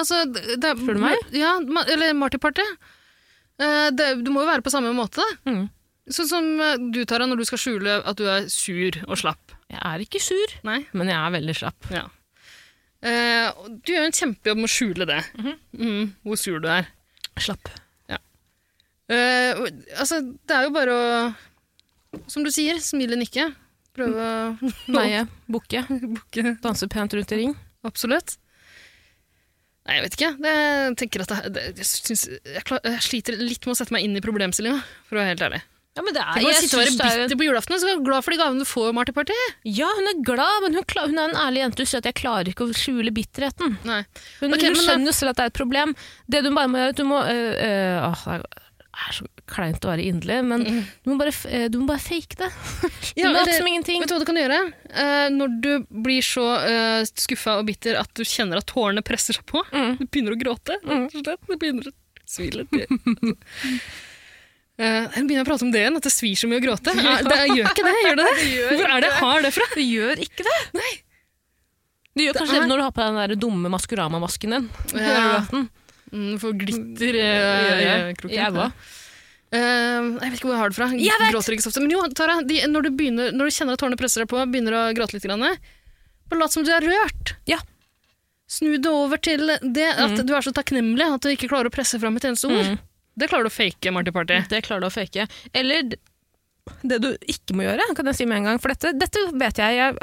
[SPEAKER 3] Altså, det, det,
[SPEAKER 2] Spør du meg?
[SPEAKER 3] Ja, ma- eller Marty-party. Eh, det- Du må jo være på samme måte, da.
[SPEAKER 2] Mm.
[SPEAKER 3] Sånn som eh, du, Tara, når du skal skjule at du er sur og slapp.
[SPEAKER 2] Jeg er ikke sur,
[SPEAKER 3] Nei?
[SPEAKER 2] men jeg er veldig slapp.
[SPEAKER 3] Ja. Eh, og du gjør en kjempejobb med å skjule det, Mhm, hvor sur du er.
[SPEAKER 2] Slapp.
[SPEAKER 3] Eh, og- altså, det er jo bare å, som du sier, smile, nikke. Prøve å
[SPEAKER 2] Meie, bukke,
[SPEAKER 3] bukke.
[SPEAKER 2] danse pent rundt i ring.
[SPEAKER 3] Absolutt. Nei, jeg vet ikke. Det, jeg tenker at det, det, jeg, syns- jeg, klar, jeg sliter litt med å sette meg inn i problemstillinga, for å være helt ærlig.
[SPEAKER 2] Ja, men det er,
[SPEAKER 3] Du kan sitte og være bitter på julaften og så er du glad for de gavene du får, Marty Party.
[SPEAKER 2] Ja, hun er glad, men hun, kla- hun er en ærlig jente. Hun sier at jeg klarer ikke å skjule bitterheten.
[SPEAKER 3] Nei.
[SPEAKER 2] Hun,
[SPEAKER 3] Ok, men
[SPEAKER 2] hun
[SPEAKER 3] da-
[SPEAKER 2] skjønner jo selv at det er et problem. Det du bare må gjøre, du må øh, øh, åh, Det er så kleint å være inderlig, men du, må bare, f- øh, du må bare fake det.
[SPEAKER 3] Mm. Ja,
[SPEAKER 2] Lat
[SPEAKER 3] eller-
[SPEAKER 2] som ingenting.
[SPEAKER 3] Vet du hva du kan gjøre? Eh, når du blir så eh, skuffa og bitter at du kjenner at tårene presser seg på, du begynner å gråte, rett og slett. Du begynner å svile. til. Eh, Nå begynner jeg å prate om det igjen, at det svir så mye å gråte. Eh, det, jeg gjør ikke det, gjør det det? Hvor er det jeg har det fra?
[SPEAKER 2] Du gjør ikke det. Nei. Du gjør kanskje
[SPEAKER 3] er-
[SPEAKER 2] det når du har på den der dumme Maskorama-masken din.
[SPEAKER 3] Ja.
[SPEAKER 2] Hører du den?
[SPEAKER 3] Mm, for glitter
[SPEAKER 2] Gjør
[SPEAKER 3] i
[SPEAKER 2] jeg.
[SPEAKER 3] kroken.
[SPEAKER 2] Jeg hva?
[SPEAKER 3] Eh, jeg vet ikke hvor jeg har det fra.
[SPEAKER 2] Jeg vet!
[SPEAKER 3] Gråter ikke så ofte. Men jo, Tara, de, når, du begynner, når du kjenner at tårene presser deg på, begynner å gråte litt, grann, bare lat som du er rørt.
[SPEAKER 2] Ja.
[SPEAKER 3] Snu det over til det at du er så takknemlig at du ikke klarer å presse fram et eneste ord.
[SPEAKER 2] Mm.
[SPEAKER 3] Det klarer du å fake, Marty Party.
[SPEAKER 2] Det klarer du å fake. Eller d- det du ikke må gjøre, kan jeg si med en gang. For dette, dette vet jeg. jeg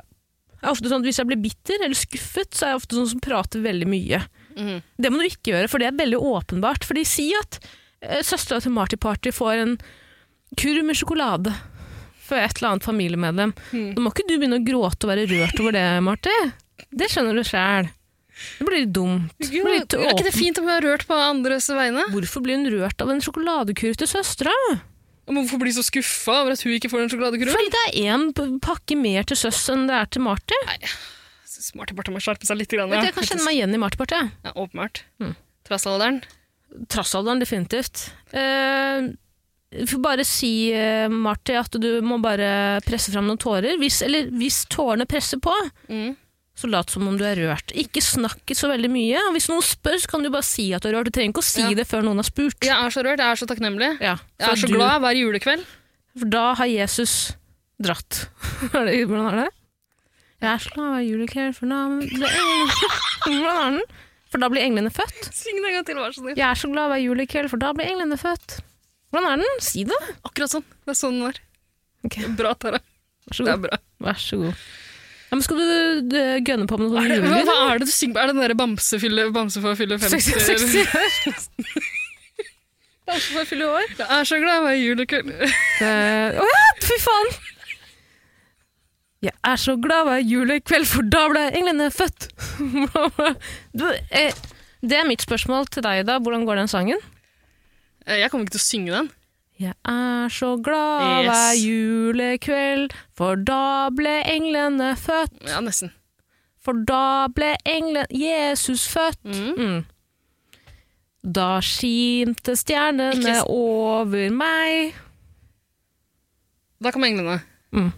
[SPEAKER 2] er ofte sånn at Hvis jeg blir bitter eller skuffet, så er jeg ofte sånn som prater veldig mye.
[SPEAKER 3] Mhm.
[SPEAKER 2] Det må du ikke gjøre, for det er veldig åpenbart. Fordi si at eh, søstera til Marty Party får en kurv med sjokolade for et eller annet familiemedlem. Da må ikke du begynne å gråte og være rørt over det, Marty. Det skjønner du sjæl. Det blir litt dumt. Det
[SPEAKER 3] Jo,
[SPEAKER 2] blir
[SPEAKER 3] er
[SPEAKER 2] litt
[SPEAKER 3] ikke det
[SPEAKER 2] åpen.
[SPEAKER 3] fint å være rørt på andres vegne?
[SPEAKER 2] Hvorfor blir hun rørt av en sjokoladekurv til søstera?
[SPEAKER 3] Men Hvorfor bli så skuffa over at hun ikke får den sjokoladekurven?
[SPEAKER 2] Fordi det er én p- pakke mer til søs enn det er til Marty.
[SPEAKER 3] Jeg synes Marty Party må skjerpe seg litt. Grann,
[SPEAKER 2] Vet du, jeg kan kjenne meg igjen i Marty-partiet.
[SPEAKER 3] ja, åpenbart.
[SPEAKER 2] Mm.
[SPEAKER 3] Trassalderen.
[SPEAKER 2] Trassalderen, definitivt. Eh, vi får bare si, eh, Marty, at du må bare presse fram noen tårer. Hvis, eller hvis tårene presser på,
[SPEAKER 3] Mm.
[SPEAKER 2] så lat som om du er rørt. Ikke snakk så veldig mye. Og hvis noen spør, så kan du bare si at du er rørt. Du trenger ikke å si
[SPEAKER 3] Ja.
[SPEAKER 2] det før noen har spurt.
[SPEAKER 3] Jeg er så rørt, jeg er så takknemlig.
[SPEAKER 2] Ja,
[SPEAKER 3] Jeg
[SPEAKER 2] for
[SPEAKER 3] er så
[SPEAKER 2] du-
[SPEAKER 3] glad hver julekveld.
[SPEAKER 2] For da har Jesus dratt. Er det- Hvordan er det? Jeg er så glad i julekveld, for da ble Hvordan er den? For da blir englene født.
[SPEAKER 3] Syng den en gang til, vær så snill.
[SPEAKER 2] Jeg er så glad i julekveld, for da blir englene født. Hvordan er den? Si det.
[SPEAKER 3] Akkurat sånn. Det er sånn den var.
[SPEAKER 2] Ok,
[SPEAKER 3] Bra, Tara.
[SPEAKER 2] Vær så
[SPEAKER 3] Det er
[SPEAKER 2] god.
[SPEAKER 3] bra.
[SPEAKER 2] Vær så god. Ja, men skal du eh, gønne på med noen
[SPEAKER 3] Er det, hva,
[SPEAKER 2] julelyd?
[SPEAKER 3] hva er det du synger på? Er det den derre bamsefylle Bamse for å fylle 50
[SPEAKER 2] 60 Kanskje for å fylle år?
[SPEAKER 3] Jeg er så glad i julekveld.
[SPEAKER 2] Eh, Å ja, fy faen! Jeg er så glad hver julekveld, for da ble englene født. du, eh, det er mitt spørsmål til deg, da. Hvordan går den sangen?
[SPEAKER 3] Eh, Jeg kommer ikke til å synge den.
[SPEAKER 2] Jeg er så glad
[SPEAKER 3] Yes.
[SPEAKER 2] hver julekveld, for da ble englene født.
[SPEAKER 3] Ja, nesten.
[SPEAKER 2] For da ble englen Jesus født.
[SPEAKER 3] Mm.
[SPEAKER 2] Mm. Da skinte stjernene
[SPEAKER 3] Ikke s-
[SPEAKER 2] over meg.
[SPEAKER 3] Da kom englene.
[SPEAKER 2] Mm.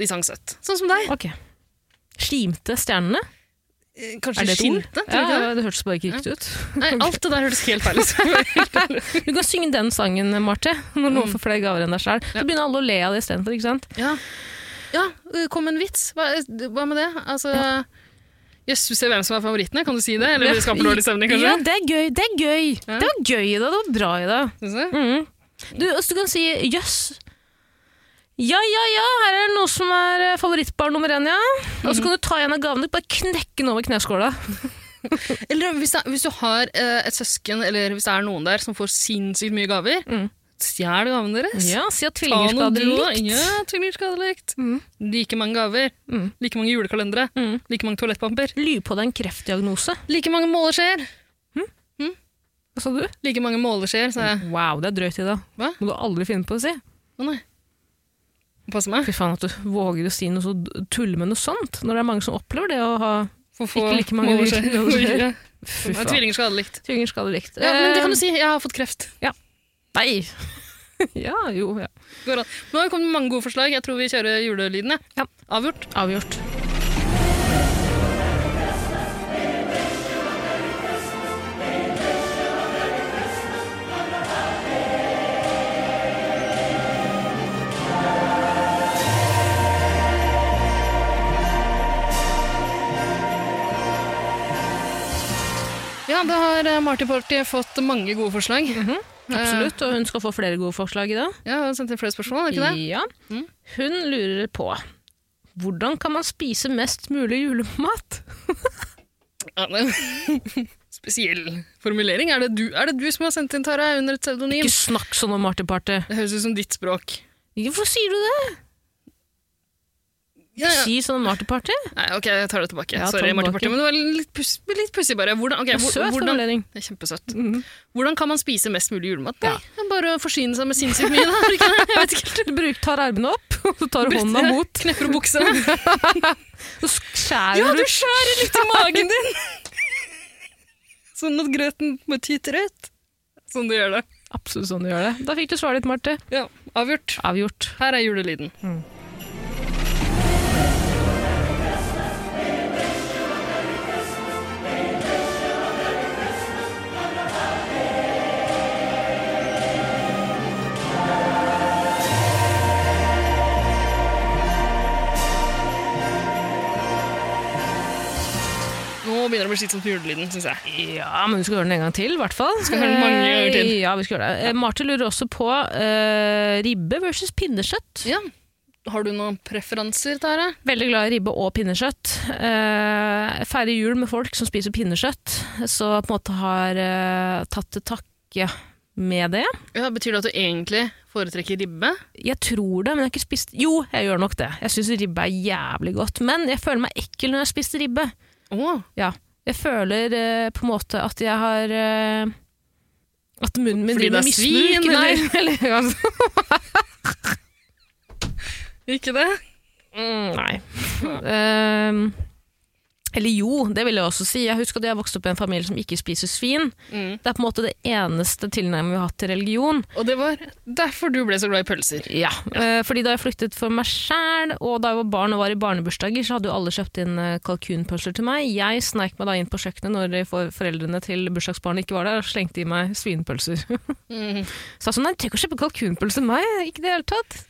[SPEAKER 3] De sang søtt. Sånn som deg.
[SPEAKER 2] Ok. Skimte stjernene?
[SPEAKER 3] Eh,
[SPEAKER 2] Er
[SPEAKER 3] Kanskje
[SPEAKER 2] det et ord?
[SPEAKER 3] skinte? tror du ikke
[SPEAKER 2] Ja, det hørtes bare ikke riktig ut.
[SPEAKER 3] det? Nei, alt det der hørtes helt feil ut.
[SPEAKER 2] Du kan synge den sangen, Marte, når noen får flere gaver enn deg selv. Så begynner alle å le av det istedenfor, ikke sant?
[SPEAKER 3] ja. ja, eh, kom en vits. Hva, hva med det? Altså Jøss, du ser hvem som er favorittene. Kan du si det? Eller det skaper dårlig stemning,
[SPEAKER 2] Ja,
[SPEAKER 3] kanskje?
[SPEAKER 2] det er gøy. Det er gøy. Det var gøy i det. Det var bra i det.
[SPEAKER 3] Synes du?
[SPEAKER 2] Mm. Du, også du kan si jøss. Ja, ja, ja, her er det noe som er eh, favorittbarn nummer én, ja. Og så kan du ta en av gavene, bare knekke den over kneskåla.
[SPEAKER 3] Eller hvis, det, hvis du har eh, et søsken, eller hvis det er noen der som får sinnssykt mye gaver,
[SPEAKER 2] Mm.
[SPEAKER 3] stjel gavene deres.
[SPEAKER 2] Ja, si at
[SPEAKER 3] Ta
[SPEAKER 2] tvillinger skal
[SPEAKER 3] noe
[SPEAKER 2] ha det
[SPEAKER 3] du også.
[SPEAKER 2] likt.
[SPEAKER 3] Ja, tvillinger skal ha det likt.
[SPEAKER 2] Mm.
[SPEAKER 3] Like mange gaver,
[SPEAKER 2] Mm.
[SPEAKER 3] like mange julekalendere,
[SPEAKER 2] Mm.
[SPEAKER 3] like mange toalettpamper,
[SPEAKER 2] Ly på deg en kreftdiagnose.
[SPEAKER 3] like mange måleskjeer.
[SPEAKER 2] Hva sa du?
[SPEAKER 3] Like mange måleskjeer, sa jeg.
[SPEAKER 2] Wow, det er drøyt i det.
[SPEAKER 3] Hva?
[SPEAKER 2] Må du aldri finne på å si.
[SPEAKER 3] Å nei. Passe meg.
[SPEAKER 2] Fy faen at du våger å si noe så tulle med noe sånt, når det er mange som opplever det å ha
[SPEAKER 3] For
[SPEAKER 2] Ikke like mange
[SPEAKER 3] måneder siden.
[SPEAKER 2] virkelig overskjær.
[SPEAKER 3] Ja.
[SPEAKER 2] Fy
[SPEAKER 3] Ja,
[SPEAKER 2] faen.
[SPEAKER 3] Tvillinger skal ha det likt.
[SPEAKER 2] Tvillinger skal ha det likt.
[SPEAKER 3] Ja, men det kan
[SPEAKER 2] Eh,
[SPEAKER 3] du si. Jeg har fått kreft.
[SPEAKER 2] Nei! ja, jo, ja.
[SPEAKER 3] Går an. Nå har det kommet mange gode forslag. Jeg tror vi kjører julelydene.
[SPEAKER 2] Ja.
[SPEAKER 3] Avgjort.
[SPEAKER 2] Avgjort.
[SPEAKER 3] Ja, da har eh, Marty Party fått mange gode forslag.
[SPEAKER 2] Mhm. Absolutt. Og hun skal få flere gode forslag i dag.
[SPEAKER 3] Ja, hun har sendt inn flere spørsmål, er det ikke det?
[SPEAKER 2] Ja.
[SPEAKER 3] Mm.
[SPEAKER 2] Hun lurer på hvordan kan man spise mest mulig julemat?
[SPEAKER 3] Ja, men- Spesiell formulering. Er det, du, er det du som har sendt inn, Tara, under et pseudonym?
[SPEAKER 2] Ikke snakk sånn om Marty Party.
[SPEAKER 3] Det høres ut som ditt språk.
[SPEAKER 2] Hvorfor sier du det?
[SPEAKER 3] Ja, ja.
[SPEAKER 2] Si sånn om Marty Party.
[SPEAKER 3] Nei, ok, jeg tar det tilbake.
[SPEAKER 2] Ja, ta
[SPEAKER 3] Sorry,
[SPEAKER 2] det
[SPEAKER 3] Marty
[SPEAKER 2] tilbake.
[SPEAKER 3] Party, men det var litt puss- litt pussig bare. Hvordan, ok,
[SPEAKER 2] Det er
[SPEAKER 3] hvor-
[SPEAKER 2] Søt
[SPEAKER 3] hvordan,
[SPEAKER 2] formulering.
[SPEAKER 3] Det er kjempesøtt.
[SPEAKER 2] Mhm.
[SPEAKER 3] Hvordan kan man spise mest mulig julemat?
[SPEAKER 2] Ja.
[SPEAKER 3] Nei, bare å forsyne seg med sinnssykt mye. Da. er det ikke det? Jeg vet ikke.
[SPEAKER 2] Du bruk, tar armene opp, og så tar du
[SPEAKER 3] Brette,
[SPEAKER 2] hånda mot.
[SPEAKER 3] Knepper opp buksa.
[SPEAKER 2] Så skjærer
[SPEAKER 3] Ja, du
[SPEAKER 2] du.
[SPEAKER 3] skjærer litt i magen din! sånn at grøten må tyte rødt. Sånn du gjør det.
[SPEAKER 2] Absolutt sånn du gjør det. Da fikk du svaret ditt, Marte.
[SPEAKER 3] Ja, Avgjort. Mm.
[SPEAKER 2] Avgjort.
[SPEAKER 3] Her er julelyden. Nå begynner det å bli slitsomt med julelyden, syns jeg.
[SPEAKER 2] Ja, men vi skal gjøre den en gang til, i hvert fall.
[SPEAKER 3] Skal vi gjøre den mange
[SPEAKER 2] Eh,
[SPEAKER 3] ganger til?
[SPEAKER 2] Ja, vi skal gjøre det. Eh, Marte lurer også på eh, ribbe versus pinnekjøtt.
[SPEAKER 3] Ja. Har du noen preferanser, Tara?
[SPEAKER 2] Veldig glad i ribbe og pinnekjøtt. Eh, jeg feirer jul med folk som spiser pinnekjøtt, så på en måte har eh, tatt til takke med det.
[SPEAKER 3] Ja, Betyr det at du egentlig foretrekker ribbe?
[SPEAKER 2] Jeg tror det, men jeg har ikke spist Jo, jeg gjør nok det. Jeg syns ribbe er jævlig godt, men jeg føler meg ekkel når jeg spiser ribbe.
[SPEAKER 3] Å,
[SPEAKER 2] Ja. Jeg føler eh, på en måte at jeg har eh, At munnen min
[SPEAKER 3] Fordi
[SPEAKER 2] driver
[SPEAKER 3] det
[SPEAKER 2] med
[SPEAKER 3] er
[SPEAKER 2] misbruk.
[SPEAKER 3] svin,
[SPEAKER 2] Nei, eller, altså,
[SPEAKER 3] ikke det?
[SPEAKER 2] mm, nei. Ehm, eller jo, det vil jeg også si. Jeg husker at jeg vokste opp i en familie som ikke spiser svin.
[SPEAKER 3] Mm.
[SPEAKER 2] Det er på en måte det eneste tilnærmingen vi har hatt til religion.
[SPEAKER 3] Og det var derfor du ble så glad i pølser.
[SPEAKER 2] Ja. eh, fordi da jeg flyktet for meg sjæl, og da jeg var barn og var i barnebursdager, så hadde jo alle kjøpt inn eh, kalkunpølser til meg. Jeg sneik meg da inn på kjøkkenet når de for foreldrene til bursdagsbarnet ikke var der, og slengte i meg svinpølser. Så
[SPEAKER 3] Mm.
[SPEAKER 2] jeg sa sånn, nei, tenk å kjøpe kalkunpølse til meg, ikke i det hele tatt.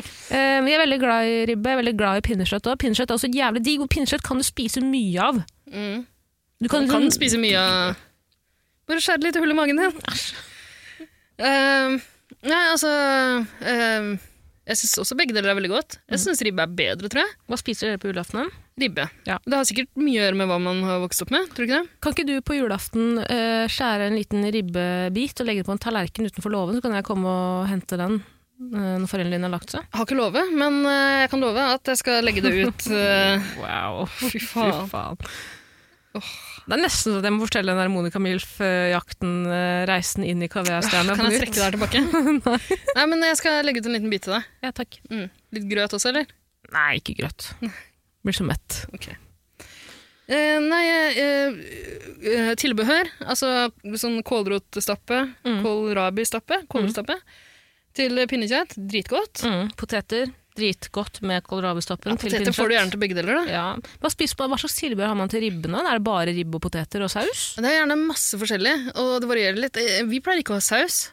[SPEAKER 2] Eh, men jeg er veldig glad i ribbe, jeg er veldig glad i pinnekjøtt også. Pinnekjøtt er også jævlig digg, og pinnekjøtt kan du spise mye av. Mhm.
[SPEAKER 3] Mm.
[SPEAKER 2] Du
[SPEAKER 3] Du
[SPEAKER 2] kan,
[SPEAKER 3] kan spise mye av Bare skjære litt hull i magen din. Ehm, nei, altså ehm, Jeg syns også begge deler er veldig godt. Jeg syns ribbe er bedre, tror jeg.
[SPEAKER 2] Hva spiser dere på julaften?
[SPEAKER 3] Ribbe.
[SPEAKER 2] Ja.
[SPEAKER 3] Det har sikkert mye å gjøre med hva man har vokst opp med. tror du ikke det?
[SPEAKER 2] Kan ikke du på julaften eh, skjære en liten ribbebit og legge det på en tallerken utenfor låven, så kan jeg komme og hente den eh, når foreldrene dine har lagt seg?
[SPEAKER 3] Jeg har ikke love, men eh, jeg kan love at jeg skal legge det ut. eh,
[SPEAKER 2] Wow, fy
[SPEAKER 3] faen.
[SPEAKER 2] Det er nesten så at jeg må fortelle den der Monica Milf-jakten, eh, reisen inn i Kaviar-stjerna.
[SPEAKER 3] kan jeg trekke det her tilbake? Nei. men jeg skal legge ut en liten bit til deg.
[SPEAKER 2] Ja, takk.
[SPEAKER 3] Mm. Litt grøt også, eller?
[SPEAKER 2] Nei, ikke grøt. Blir så mett.
[SPEAKER 3] Eh, nei, eh, eh, tilbehør, altså sånn kålrotstappe,
[SPEAKER 2] Mm.
[SPEAKER 3] kålrabistappe, kålrotstappe, til pinnekjøtt, dritgodt.
[SPEAKER 2] Mm, poteter, dritgodt med kålrabistappen.
[SPEAKER 3] Ja,
[SPEAKER 2] til
[SPEAKER 3] poteter
[SPEAKER 2] pinnekjøtt.
[SPEAKER 3] får du gjerne til begge deler, da.
[SPEAKER 2] Ja. Hva, spiser man, hva slags tilbehør har man til ribbene? Er det bare ribbe og poteter og saus?
[SPEAKER 3] Det er gjerne masse forskjellig, og det varierer litt. Eh, Vi pleier ikke å ha saus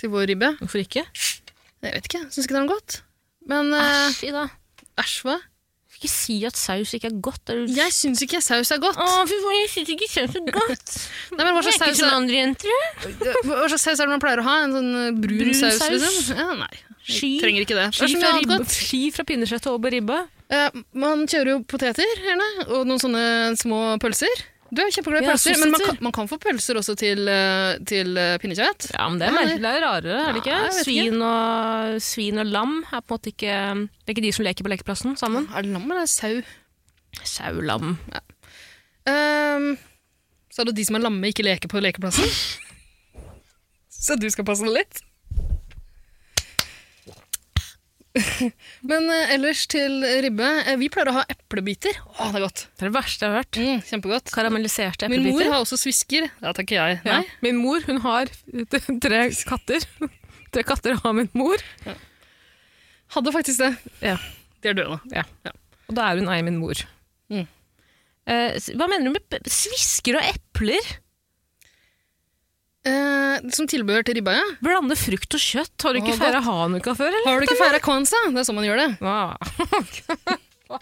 [SPEAKER 3] til vår ribbe.
[SPEAKER 2] Hvorfor ikke?
[SPEAKER 3] Jeg vet ikke, syns ikke det er noe godt. Men eh,
[SPEAKER 2] Æsj, Ida.
[SPEAKER 3] æsj, hva?
[SPEAKER 2] Ikke si at saus ikke er godt. Er du...
[SPEAKER 3] Jeg syns ikke saus er godt.
[SPEAKER 2] Å, fy faen, jeg syns ikke saus er godt.
[SPEAKER 3] Nei, men hva
[SPEAKER 2] Jeg er
[SPEAKER 3] slags
[SPEAKER 2] ikke
[SPEAKER 3] saus
[SPEAKER 2] som
[SPEAKER 3] er,
[SPEAKER 2] andre jenter. jeg.
[SPEAKER 3] hva slags saus er det man pleier å ha? En sånn eh, brun,
[SPEAKER 2] Brun
[SPEAKER 3] saus,
[SPEAKER 2] saus?
[SPEAKER 3] liksom? Ja, nei.
[SPEAKER 2] Sky.
[SPEAKER 3] Trenger ikke det. Det
[SPEAKER 2] Ski
[SPEAKER 3] er så
[SPEAKER 2] fra,
[SPEAKER 3] mye annet
[SPEAKER 2] ribbe,
[SPEAKER 3] godt.
[SPEAKER 2] ski fra pinnekjøtt og over ribbe.
[SPEAKER 3] Eh, man kjører jo poteter gjerne, og noen sånne små pølser. Du er jo kjempeglad i
[SPEAKER 2] Ja,
[SPEAKER 3] pølser, men man
[SPEAKER 2] sosseter.
[SPEAKER 3] kan, man kan få pølser også til, eh, til eh, pinnekjøtt.
[SPEAKER 2] Ja, men Det er,
[SPEAKER 3] Nei,
[SPEAKER 2] merkelig, det er rarere, er det ikke?
[SPEAKER 3] Nei, jeg vet ikke.
[SPEAKER 2] Svin og, svin og lam er på en måte ikke Det er ikke de som leker på lekeplassen sammen.
[SPEAKER 3] Er det lam eller er det sau?
[SPEAKER 2] Sau, lam.
[SPEAKER 3] Ehm, så er det de som er lamme, ikke leker på lekeplassen. så du skal passe deg litt. Men eh, ellers til ribbe. Eh, vi pleier å ha eplebiter. Å, det er godt.
[SPEAKER 2] Det er det verste jeg har hørt.
[SPEAKER 3] Mm, kjempegodt.
[SPEAKER 2] Karamelliserte
[SPEAKER 3] Min mor
[SPEAKER 2] eplebiter.
[SPEAKER 3] har også svisker. Ja, takker jeg.
[SPEAKER 2] Ja.
[SPEAKER 3] Nei.
[SPEAKER 2] Min mor hun har tre katter. Tre katter har min mor,
[SPEAKER 3] Hadde faktisk det.
[SPEAKER 2] Ja.
[SPEAKER 3] De er døde nå.
[SPEAKER 2] og da er hun ei min mor.
[SPEAKER 3] Mm.
[SPEAKER 2] Eh, s- hva mener du med p- svisker og epler?
[SPEAKER 3] Eh, som tilbehør til ribba, ja.
[SPEAKER 2] Blande frukt og kjøtt. Har du ikke
[SPEAKER 3] Å,
[SPEAKER 2] feira hanuka før, eller?
[SPEAKER 3] Har du ikke feira kwanza? Det er sånn man gjør det.
[SPEAKER 2] Ah. Ja,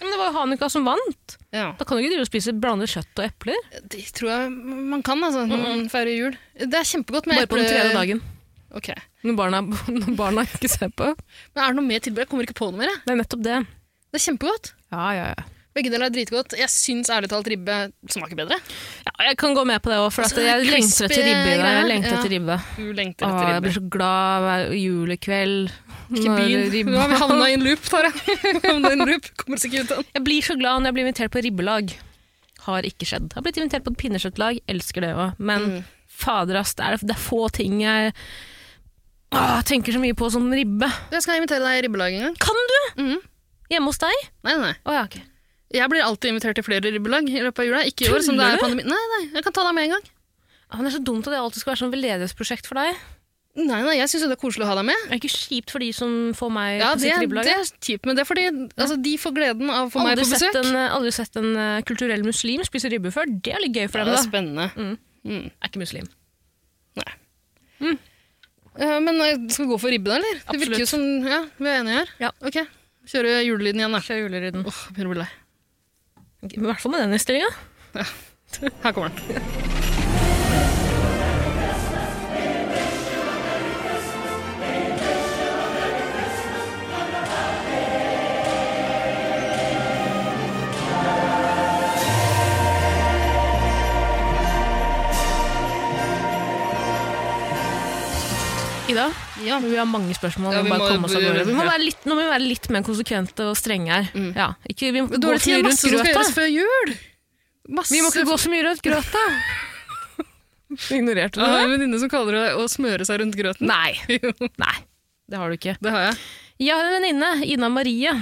[SPEAKER 2] Men det var jo hanuka som vant.
[SPEAKER 3] Ja.
[SPEAKER 2] Da kan du ikke drive og spise blande kjøtt og epler.
[SPEAKER 3] Det tror jeg man kan, altså, når man feirer jul. Det er kjempegodt med
[SPEAKER 2] Bare på den tredje dagen.
[SPEAKER 3] Ok.
[SPEAKER 2] Når barna, når barna ikke ser på.
[SPEAKER 3] Men er det noe mer tilbehør? Jeg kommer ikke på noe mer. jeg.
[SPEAKER 2] Det er nettopp det.
[SPEAKER 3] Det er kjempegodt.
[SPEAKER 2] Ja, ja, ja.
[SPEAKER 3] Begge deler er dritgodt. Jeg syns ærlig talt ribbe smaker bedre.
[SPEAKER 2] ja jeg kan gå med på det òg, for at
[SPEAKER 3] Altså,
[SPEAKER 2] jeg lengter
[SPEAKER 3] crispy
[SPEAKER 2] etter ribbe. i dag.
[SPEAKER 3] greier.
[SPEAKER 2] Jeg lengter etter ribbe.
[SPEAKER 3] Du lengter
[SPEAKER 2] Å,
[SPEAKER 3] etter
[SPEAKER 2] jeg
[SPEAKER 3] ribbe.
[SPEAKER 2] blir så glad hver julekveld.
[SPEAKER 3] Ikke byen.
[SPEAKER 2] når ribba-
[SPEAKER 3] Nå har vi havna i en loop, Tara. Havna i en loop. Kommer oss ikke ut av den.
[SPEAKER 2] Jeg blir så glad når jeg blir invitert på ribbelag. Har ikke skjedd. Jeg har blitt invitert på et pinnekjøttlag, elsker det òg. Men fader, ass, det er, det er få ting jeg Åh, tenker så mye på som ribbe.
[SPEAKER 3] Jeg skal invitere deg i ribbelag en gang.
[SPEAKER 2] Kan du?
[SPEAKER 3] Mhm.
[SPEAKER 2] Hjemme hos deg?
[SPEAKER 3] Nei, nei.
[SPEAKER 2] Mm. Å ja, ok.
[SPEAKER 3] Jeg blir alltid invitert til flere ribbelag i løpet av jula. Ikke i år, som det
[SPEAKER 2] Tuller
[SPEAKER 3] er
[SPEAKER 2] du?
[SPEAKER 3] pandemi. Nei, nei. Jeg kan ta deg med en gang.
[SPEAKER 2] Ja, Ah, men det er så dumt at det alltid skal være sånn veldedighetsprosjekt for deg.
[SPEAKER 3] Nei, nei, jeg syns det er koselig å ha deg med.
[SPEAKER 2] Det er ikke kjipt for de som får meg
[SPEAKER 3] Ja,
[SPEAKER 2] på
[SPEAKER 3] det,
[SPEAKER 2] sitt ribbelag.
[SPEAKER 3] det er kjipt, men det er fordi altså, de får gleden av å få meg
[SPEAKER 2] Aldri sett,
[SPEAKER 3] på besøk.
[SPEAKER 2] en, aldri sett en eh, kulturell muslim spise ribbe før. Det er litt gøy for
[SPEAKER 3] Ja,
[SPEAKER 2] dem,
[SPEAKER 3] det er
[SPEAKER 2] da.
[SPEAKER 3] spennende. Mm.
[SPEAKER 2] Er ikke muslim.
[SPEAKER 3] Eh, men eh, skal vi gå for ribbe, da, eller? Det virker jo som Ja, vi er enige her?
[SPEAKER 2] Ja.
[SPEAKER 3] Ok. Kjøre julelyden igjen, da.
[SPEAKER 2] Kjør juleryden.
[SPEAKER 3] Åh, jeg begynner å bli lei.
[SPEAKER 2] I hvert fall med den innstillinga.
[SPEAKER 3] Her kommer den.
[SPEAKER 2] Ida,
[SPEAKER 3] Ja.
[SPEAKER 2] vi har mange spørsmål.
[SPEAKER 3] Ja,
[SPEAKER 2] vi,
[SPEAKER 3] vi
[SPEAKER 2] må
[SPEAKER 3] må-
[SPEAKER 2] bare komme oss av gårde. Vi må
[SPEAKER 3] ja. Mm.
[SPEAKER 2] være litt, nå må vi være litt mer konsekvente og strenge her. Ja, ikke, vi må ikke gå
[SPEAKER 3] Dårlig
[SPEAKER 2] så
[SPEAKER 3] tid,
[SPEAKER 2] mye rundt
[SPEAKER 3] masse som skal gjøres
[SPEAKER 2] grøta.
[SPEAKER 3] før jul! Masse.
[SPEAKER 2] Vi må ikke gå så mye rundt grøta. Ignorerte
[SPEAKER 3] Jeg har en venninne som kaller det å smøre seg rundt grøten.
[SPEAKER 2] Nei,
[SPEAKER 3] Jo,
[SPEAKER 2] nei, det har du ikke.
[SPEAKER 3] det har jeg.
[SPEAKER 2] Jeg har en venninne, Ina Marie.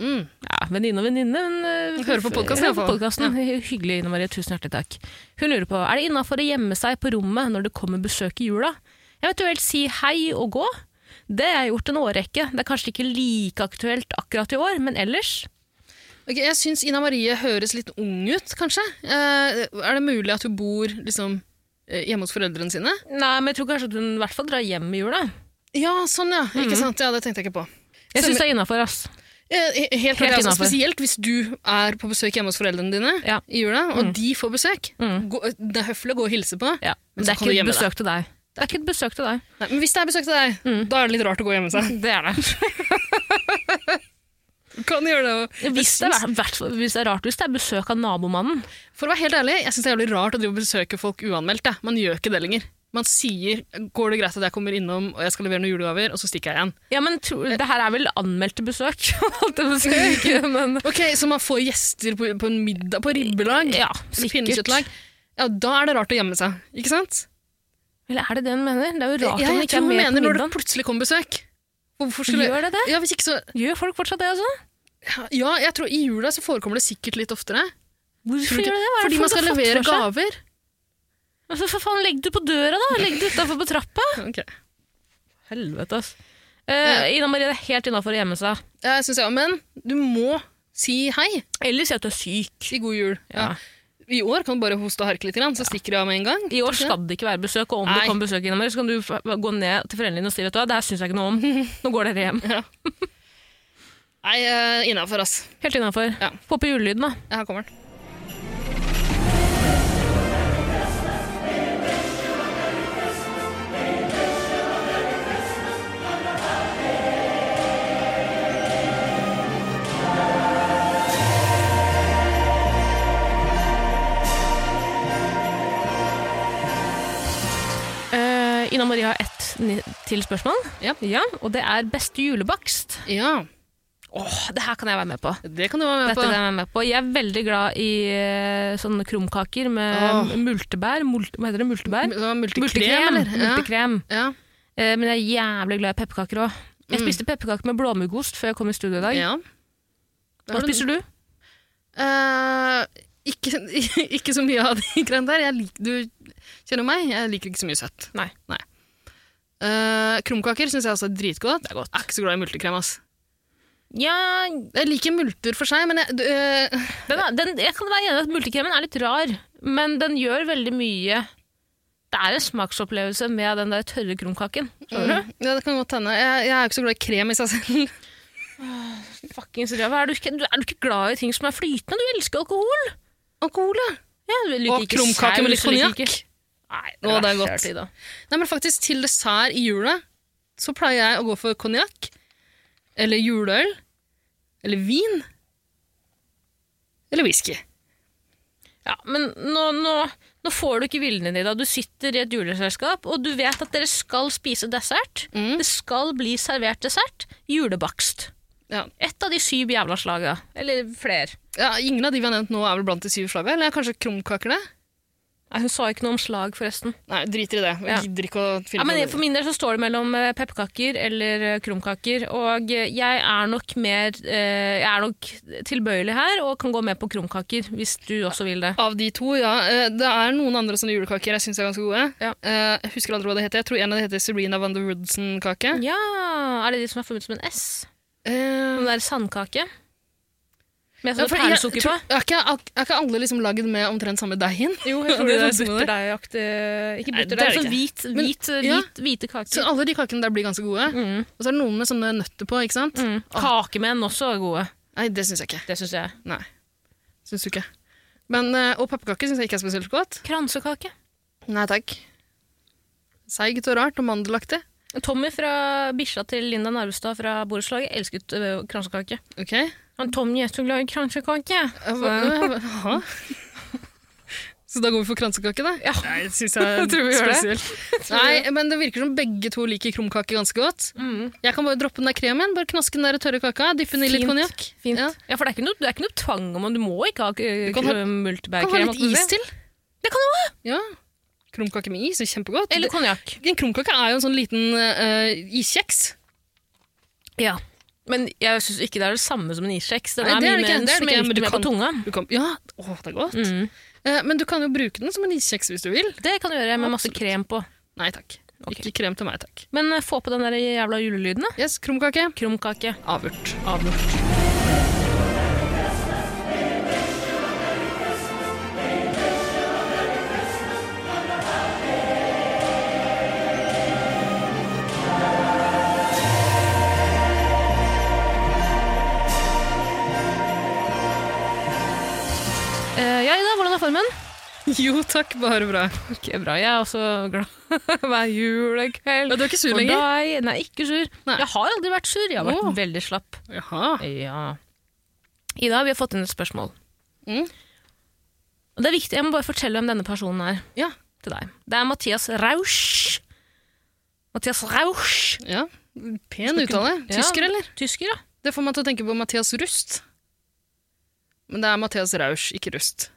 [SPEAKER 3] Mm.
[SPEAKER 2] Ja, venninne og venninne, men eh,
[SPEAKER 3] Hun hører på podcasten,
[SPEAKER 2] i hvert fall.
[SPEAKER 3] i hvert fall.
[SPEAKER 2] Hyggelig, Ina Marie. Tusen hjertelig takk. Hun lurer på er det innafor å gjemme seg på rommet når det kommer besøk i jula. Eventuelt si hei og gå. Det har jeg gjort en årrekke. Det er kanskje ikke like aktuelt akkurat i år, men ellers
[SPEAKER 3] Ok, jeg syns Ina Marie høres litt ung ut, kanskje. Eh, er det mulig at hun bor liksom, eh, hjemme hos foreldrene sine?
[SPEAKER 2] Nei, men jeg tror kanskje at hun i hvert fall drar hjem i jula.
[SPEAKER 3] Ja, sånn ja. Ikke sant? Ja, Det tenkte jeg ikke på.
[SPEAKER 2] Jeg syns
[SPEAKER 3] Stemmer.
[SPEAKER 2] det er innafor, ass.
[SPEAKER 3] Eh, he- helt klart,
[SPEAKER 2] Helt
[SPEAKER 3] altså,
[SPEAKER 2] innenfor.
[SPEAKER 3] spesielt hvis du er på besøk hjemme hos foreldrene dine
[SPEAKER 2] Ja.
[SPEAKER 3] i jula, og de får besøk.
[SPEAKER 2] Mm.
[SPEAKER 3] Gå, det er høflig å gå og hilse på.
[SPEAKER 2] Ja.
[SPEAKER 3] Men
[SPEAKER 2] Men
[SPEAKER 3] så
[SPEAKER 2] det er
[SPEAKER 3] kan du
[SPEAKER 2] ikke et
[SPEAKER 3] gjemme deg.
[SPEAKER 2] besøk til deg. Det er ikke et besøk til deg.
[SPEAKER 3] Nei, men hvis det er besøk til deg,
[SPEAKER 2] Mm.
[SPEAKER 3] da er det litt rart å gå hjemme seg.
[SPEAKER 2] Det er det.
[SPEAKER 3] Du kan gjøre det. og-
[SPEAKER 2] Hvis det er, hvert fall- hvis det er rart, hvis det er besøk av nabomannen.
[SPEAKER 3] For å være helt ærlig, jeg syns det er jævlig rart å drive og besøke folk uanmeldt. Jeg. Man gjør ikke det lenger. Man sier 'går det greit at jeg kommer innom og jeg skal levere noen julegaver', og så stikker jeg igjen.
[SPEAKER 2] Ja, men tro,
[SPEAKER 3] Eh.
[SPEAKER 2] det her er vel anmeldte besøk? holdt jeg på å si, ikke, men
[SPEAKER 3] Ok, Så man får gjester på, på en middag på ribbelag?
[SPEAKER 2] Ja,
[SPEAKER 3] eller
[SPEAKER 2] sikkert.
[SPEAKER 3] pinnekjøttlag? Ja, da er det rart å gjemme seg, ikke sant?
[SPEAKER 2] Eller er det det hun mener? Det er jo rart
[SPEAKER 3] Ja,
[SPEAKER 2] at hun
[SPEAKER 3] jeg
[SPEAKER 2] ikke
[SPEAKER 3] tror
[SPEAKER 2] er
[SPEAKER 3] hun
[SPEAKER 2] med
[SPEAKER 3] mener
[SPEAKER 2] på
[SPEAKER 3] når det
[SPEAKER 2] middagen.
[SPEAKER 3] plutselig kommer besøk. Hvorfor skulle
[SPEAKER 2] Gjør det det?
[SPEAKER 3] Ja, hvis ikke så
[SPEAKER 2] Gjør folk fortsatt det, altså?
[SPEAKER 3] Ja, jeg tror i jula så forekommer det sikkert litt oftere.
[SPEAKER 2] Hvorfor
[SPEAKER 3] Tror
[SPEAKER 2] gjør
[SPEAKER 3] du ikke?
[SPEAKER 2] det det? Hva er det
[SPEAKER 3] Fordi man
[SPEAKER 2] folk
[SPEAKER 3] skal
[SPEAKER 2] har fått
[SPEAKER 3] levere
[SPEAKER 2] for seg?
[SPEAKER 3] gaver.
[SPEAKER 2] Altså, for faen, legg det på døra, da! Legg det utafor på trappa!
[SPEAKER 3] Ok.
[SPEAKER 2] Helvete, ass. Eh, Ina Marie, det er helt innafor å gjemme seg.
[SPEAKER 3] Ja, jeg synes jeg, men du må si hei.
[SPEAKER 2] Eller si at du er syk.
[SPEAKER 3] Si god jul.
[SPEAKER 2] Ja.
[SPEAKER 3] I år kan du bare hoste og harke litt, grann, så stikker du av med en gang.
[SPEAKER 2] I år skal det ikke være besøk, og om
[SPEAKER 3] Nei.
[SPEAKER 2] det kommer besøk innom her, så kan du f- gå ned til foreldrene dine og si vet du hva, det her syns jeg ikke noe om. Nå går dere hjem.
[SPEAKER 3] Nei, uh, innafor, ass.
[SPEAKER 2] Helt innafor.
[SPEAKER 3] Ja.
[SPEAKER 2] Få på julelyden, da.
[SPEAKER 3] Ja, Her kommer den.
[SPEAKER 2] Eh, Ina Marie har ett ni- til spørsmål,
[SPEAKER 3] Ja.
[SPEAKER 2] og det er beste julebakst.
[SPEAKER 3] Ja,
[SPEAKER 2] Åh, det her kan jeg være med på.
[SPEAKER 3] det kan du være med
[SPEAKER 2] Dette
[SPEAKER 3] på.
[SPEAKER 2] kan jeg være med på. Jeg er veldig glad i eh, sånne krumkaker med
[SPEAKER 3] Åh.
[SPEAKER 2] multebær. Mult, hva heter det? Multebær?
[SPEAKER 3] Det var Multikrem,
[SPEAKER 2] Multekrem.
[SPEAKER 3] eller?
[SPEAKER 2] Multekrem.
[SPEAKER 3] Ja. ja.
[SPEAKER 2] Eh, men jeg er jævlig glad i pepperkaker òg. Jeg spiste pepperkaker med blåmuggost før jeg kom i studio i dag.
[SPEAKER 3] Mm. Ja.
[SPEAKER 2] Hva spiser du?
[SPEAKER 3] Eh, ikke, ikke så mye av de greiene der. Jeg lik, du kjenner meg, jeg liker ikke så mye søtt.
[SPEAKER 2] Nei.
[SPEAKER 3] Eh, krumkaker syns jeg også er dritgodt. Det er godt. Jeg er ikke så glad i multekrem. ass.
[SPEAKER 2] Ja,
[SPEAKER 3] Jeg liker multer for seg, men jeg, du, eh,
[SPEAKER 2] den er, den, jeg kan være enig i at multekremen er litt rar, men den gjør veldig mye. Det er en smaksopplevelse med den der tørre krumkaken. Skjønner du?
[SPEAKER 3] ja, det kan godt hende. Jeg, jeg er ikke så glad i krem i seg selv.
[SPEAKER 2] Fuckings ræva. Er, du ikke- du- er du ikke glad i ting som er flytende? Du elsker alkohol!
[SPEAKER 3] Alkohol, ja.
[SPEAKER 2] Ja, du liker
[SPEAKER 3] Og
[SPEAKER 2] ikke
[SPEAKER 3] krumkake med litt
[SPEAKER 2] saus, du liker
[SPEAKER 3] konjakk.
[SPEAKER 2] ikke- Nei,
[SPEAKER 3] Å, det er
[SPEAKER 2] verste jeg har
[SPEAKER 3] godt.
[SPEAKER 2] tid da.
[SPEAKER 3] Nei, men faktisk til dessert i jula så pleier jeg å gå for konjakk, eller juleøl, eller vin, eller whisky.
[SPEAKER 2] Ja, men nå, nå, nå får du ikke viljen din i dag. Du sitter i et juleselskap, og du vet at dere skal spise dessert.
[SPEAKER 3] Mm.
[SPEAKER 2] Det skal bli servert dessert. Julebakst.
[SPEAKER 3] Ja.
[SPEAKER 2] Et av de syv jævla slaga. Eller flere.
[SPEAKER 3] Ja, ingen av de vi har nevnt nå er vel blant de syv slaget, eller kanskje krumkaker det?
[SPEAKER 2] Nei, hun sa ikke noe om slag, forresten.
[SPEAKER 3] Nei, driter i det. Jeg
[SPEAKER 2] Ja.
[SPEAKER 3] gidder ikke å
[SPEAKER 2] Ja,
[SPEAKER 3] filme.
[SPEAKER 2] men
[SPEAKER 3] det.
[SPEAKER 2] For min del så står det mellom eh, pepperkaker eller eh, krumkaker. Og eh, jeg er nok mer eh, Jeg er nok tilbøyelig her og kan gå med på krumkaker, hvis du også vil det.
[SPEAKER 3] Av de to, ja. Eh, Det er noen andre sånne julekaker jeg syns er ganske gode.
[SPEAKER 2] Ja.
[SPEAKER 3] Eh, Jeg husker aldri hva det heter. Jeg tror en av det heter Serena van der Woodson-kake.
[SPEAKER 2] Ja, Er det de som er formet som en S?
[SPEAKER 3] Eh,
[SPEAKER 2] Sånn der sandkake. Med
[SPEAKER 3] ja,
[SPEAKER 2] sånn
[SPEAKER 3] for jeg
[SPEAKER 2] perlesukker på.
[SPEAKER 3] tror- Er ikke, er ikke alle liksom lagd med omtrent samme deigen?
[SPEAKER 2] Jo,
[SPEAKER 3] jeg tror det er sånn det
[SPEAKER 2] butterdeigaktig Ikke
[SPEAKER 3] Nei, det er
[SPEAKER 2] butterdeig,
[SPEAKER 3] det
[SPEAKER 2] sånn hvit,
[SPEAKER 3] Men-
[SPEAKER 2] hvit,
[SPEAKER 3] ja.
[SPEAKER 2] hvit, hvite
[SPEAKER 3] Så
[SPEAKER 2] kaker.
[SPEAKER 3] alle de kakene der blir ganske gode.
[SPEAKER 2] Mm,
[SPEAKER 3] Og så er det noen med sånne nøtter på, ikke sant?
[SPEAKER 2] mm. Kakemenn også er gode.
[SPEAKER 3] Nei, det syns jeg ikke.
[SPEAKER 2] Det syns jeg.
[SPEAKER 3] Nei, synes du ikke. Men, eh, og pepperkaker syns jeg ikke er spesielt godt.
[SPEAKER 2] Kransekake.
[SPEAKER 3] Nei takk. Seigt og rart og mandelaktig.
[SPEAKER 2] Tommy fra Bisja til Linda Narvestad fra borettslaget elsket eh, ø, kransekake.
[SPEAKER 3] Ok.
[SPEAKER 2] Han Tommy er så glad i kransekake.
[SPEAKER 3] Eh, hva- Hæ? Så da går vi for kransekake, da? Ja. Nei, det syns jeg er
[SPEAKER 2] tror vi gjør det.
[SPEAKER 3] spesielt. Nei, men det virker som begge to liker krumkake ganske godt.
[SPEAKER 2] Mm.
[SPEAKER 3] Jeg kan bare droppe den der kremen, bare knaske den der tørre kaka, dyppe den i litt
[SPEAKER 2] Fint,
[SPEAKER 3] konjakk.
[SPEAKER 2] Fint.
[SPEAKER 3] Ja.
[SPEAKER 2] Ja. for det er, ikke noe, det er ikke noe tvang om at du må ikke ha ø,
[SPEAKER 3] kan ha-
[SPEAKER 2] krø-
[SPEAKER 3] Kan ha
[SPEAKER 2] multebærkrem.
[SPEAKER 3] litt
[SPEAKER 2] holdt jeg på å
[SPEAKER 3] is
[SPEAKER 2] si.
[SPEAKER 3] til.
[SPEAKER 2] Det kan du ha!
[SPEAKER 3] Ja. Krumkake med is er kjempegodt.
[SPEAKER 2] Eller konjakk.
[SPEAKER 3] En krumkake er jo en sånn liten eh, iskjeks.
[SPEAKER 2] Ja. Men jeg syns ikke det er det samme som en iskjeks. Den
[SPEAKER 3] Nei,
[SPEAKER 2] er
[SPEAKER 3] det
[SPEAKER 2] mye
[SPEAKER 3] er det
[SPEAKER 2] mer
[SPEAKER 3] ikke, det er det ikke, men
[SPEAKER 2] smelter
[SPEAKER 3] du
[SPEAKER 2] mer på
[SPEAKER 3] kan-
[SPEAKER 2] tunga.
[SPEAKER 3] Du kan, ja, å, det er godt.
[SPEAKER 2] Mm.
[SPEAKER 3] Eh, men du kan jo bruke den som en iskjeks hvis du vil.
[SPEAKER 2] Det kan du gjøre med masse
[SPEAKER 3] Absolutt.
[SPEAKER 2] krem på.
[SPEAKER 3] Nei takk.
[SPEAKER 2] Ok.
[SPEAKER 3] Ikke krem til meg, takk.
[SPEAKER 2] Men eh, få på den der jævla julelyden, da.
[SPEAKER 3] Yes, krumkake.
[SPEAKER 2] Krumkake.
[SPEAKER 3] Avurt.
[SPEAKER 2] Avgjort. Eh, Ja, Ida, hvordan er formen?
[SPEAKER 3] Jo takk, bare bra.
[SPEAKER 2] Ok, bra. Jeg er også glad hver julekveld.
[SPEAKER 3] Ja, du er ikke sur
[SPEAKER 2] For
[SPEAKER 3] lenger?
[SPEAKER 2] deg. Nei, ikke sur.
[SPEAKER 3] Nei.
[SPEAKER 2] Jeg har aldri vært sur. Jeg har vært
[SPEAKER 3] Åh.
[SPEAKER 2] veldig slapp.
[SPEAKER 3] Jaha.
[SPEAKER 2] Ja. Ida, vi har fått inn et spørsmål.
[SPEAKER 3] Mm.
[SPEAKER 2] Og Det er viktig, Jeg må bare fortelle hvem denne personen er
[SPEAKER 3] Ja.
[SPEAKER 2] til deg. Det er Mathias Rausch. Mathias Rausch.
[SPEAKER 3] ja. Pen uttale.
[SPEAKER 2] Ja.
[SPEAKER 3] Tysker, eller?
[SPEAKER 2] Tysker, ja.
[SPEAKER 3] Det får meg til å tenke på Mathias Rust. Men det er Mathias Rausch, ikke Rust.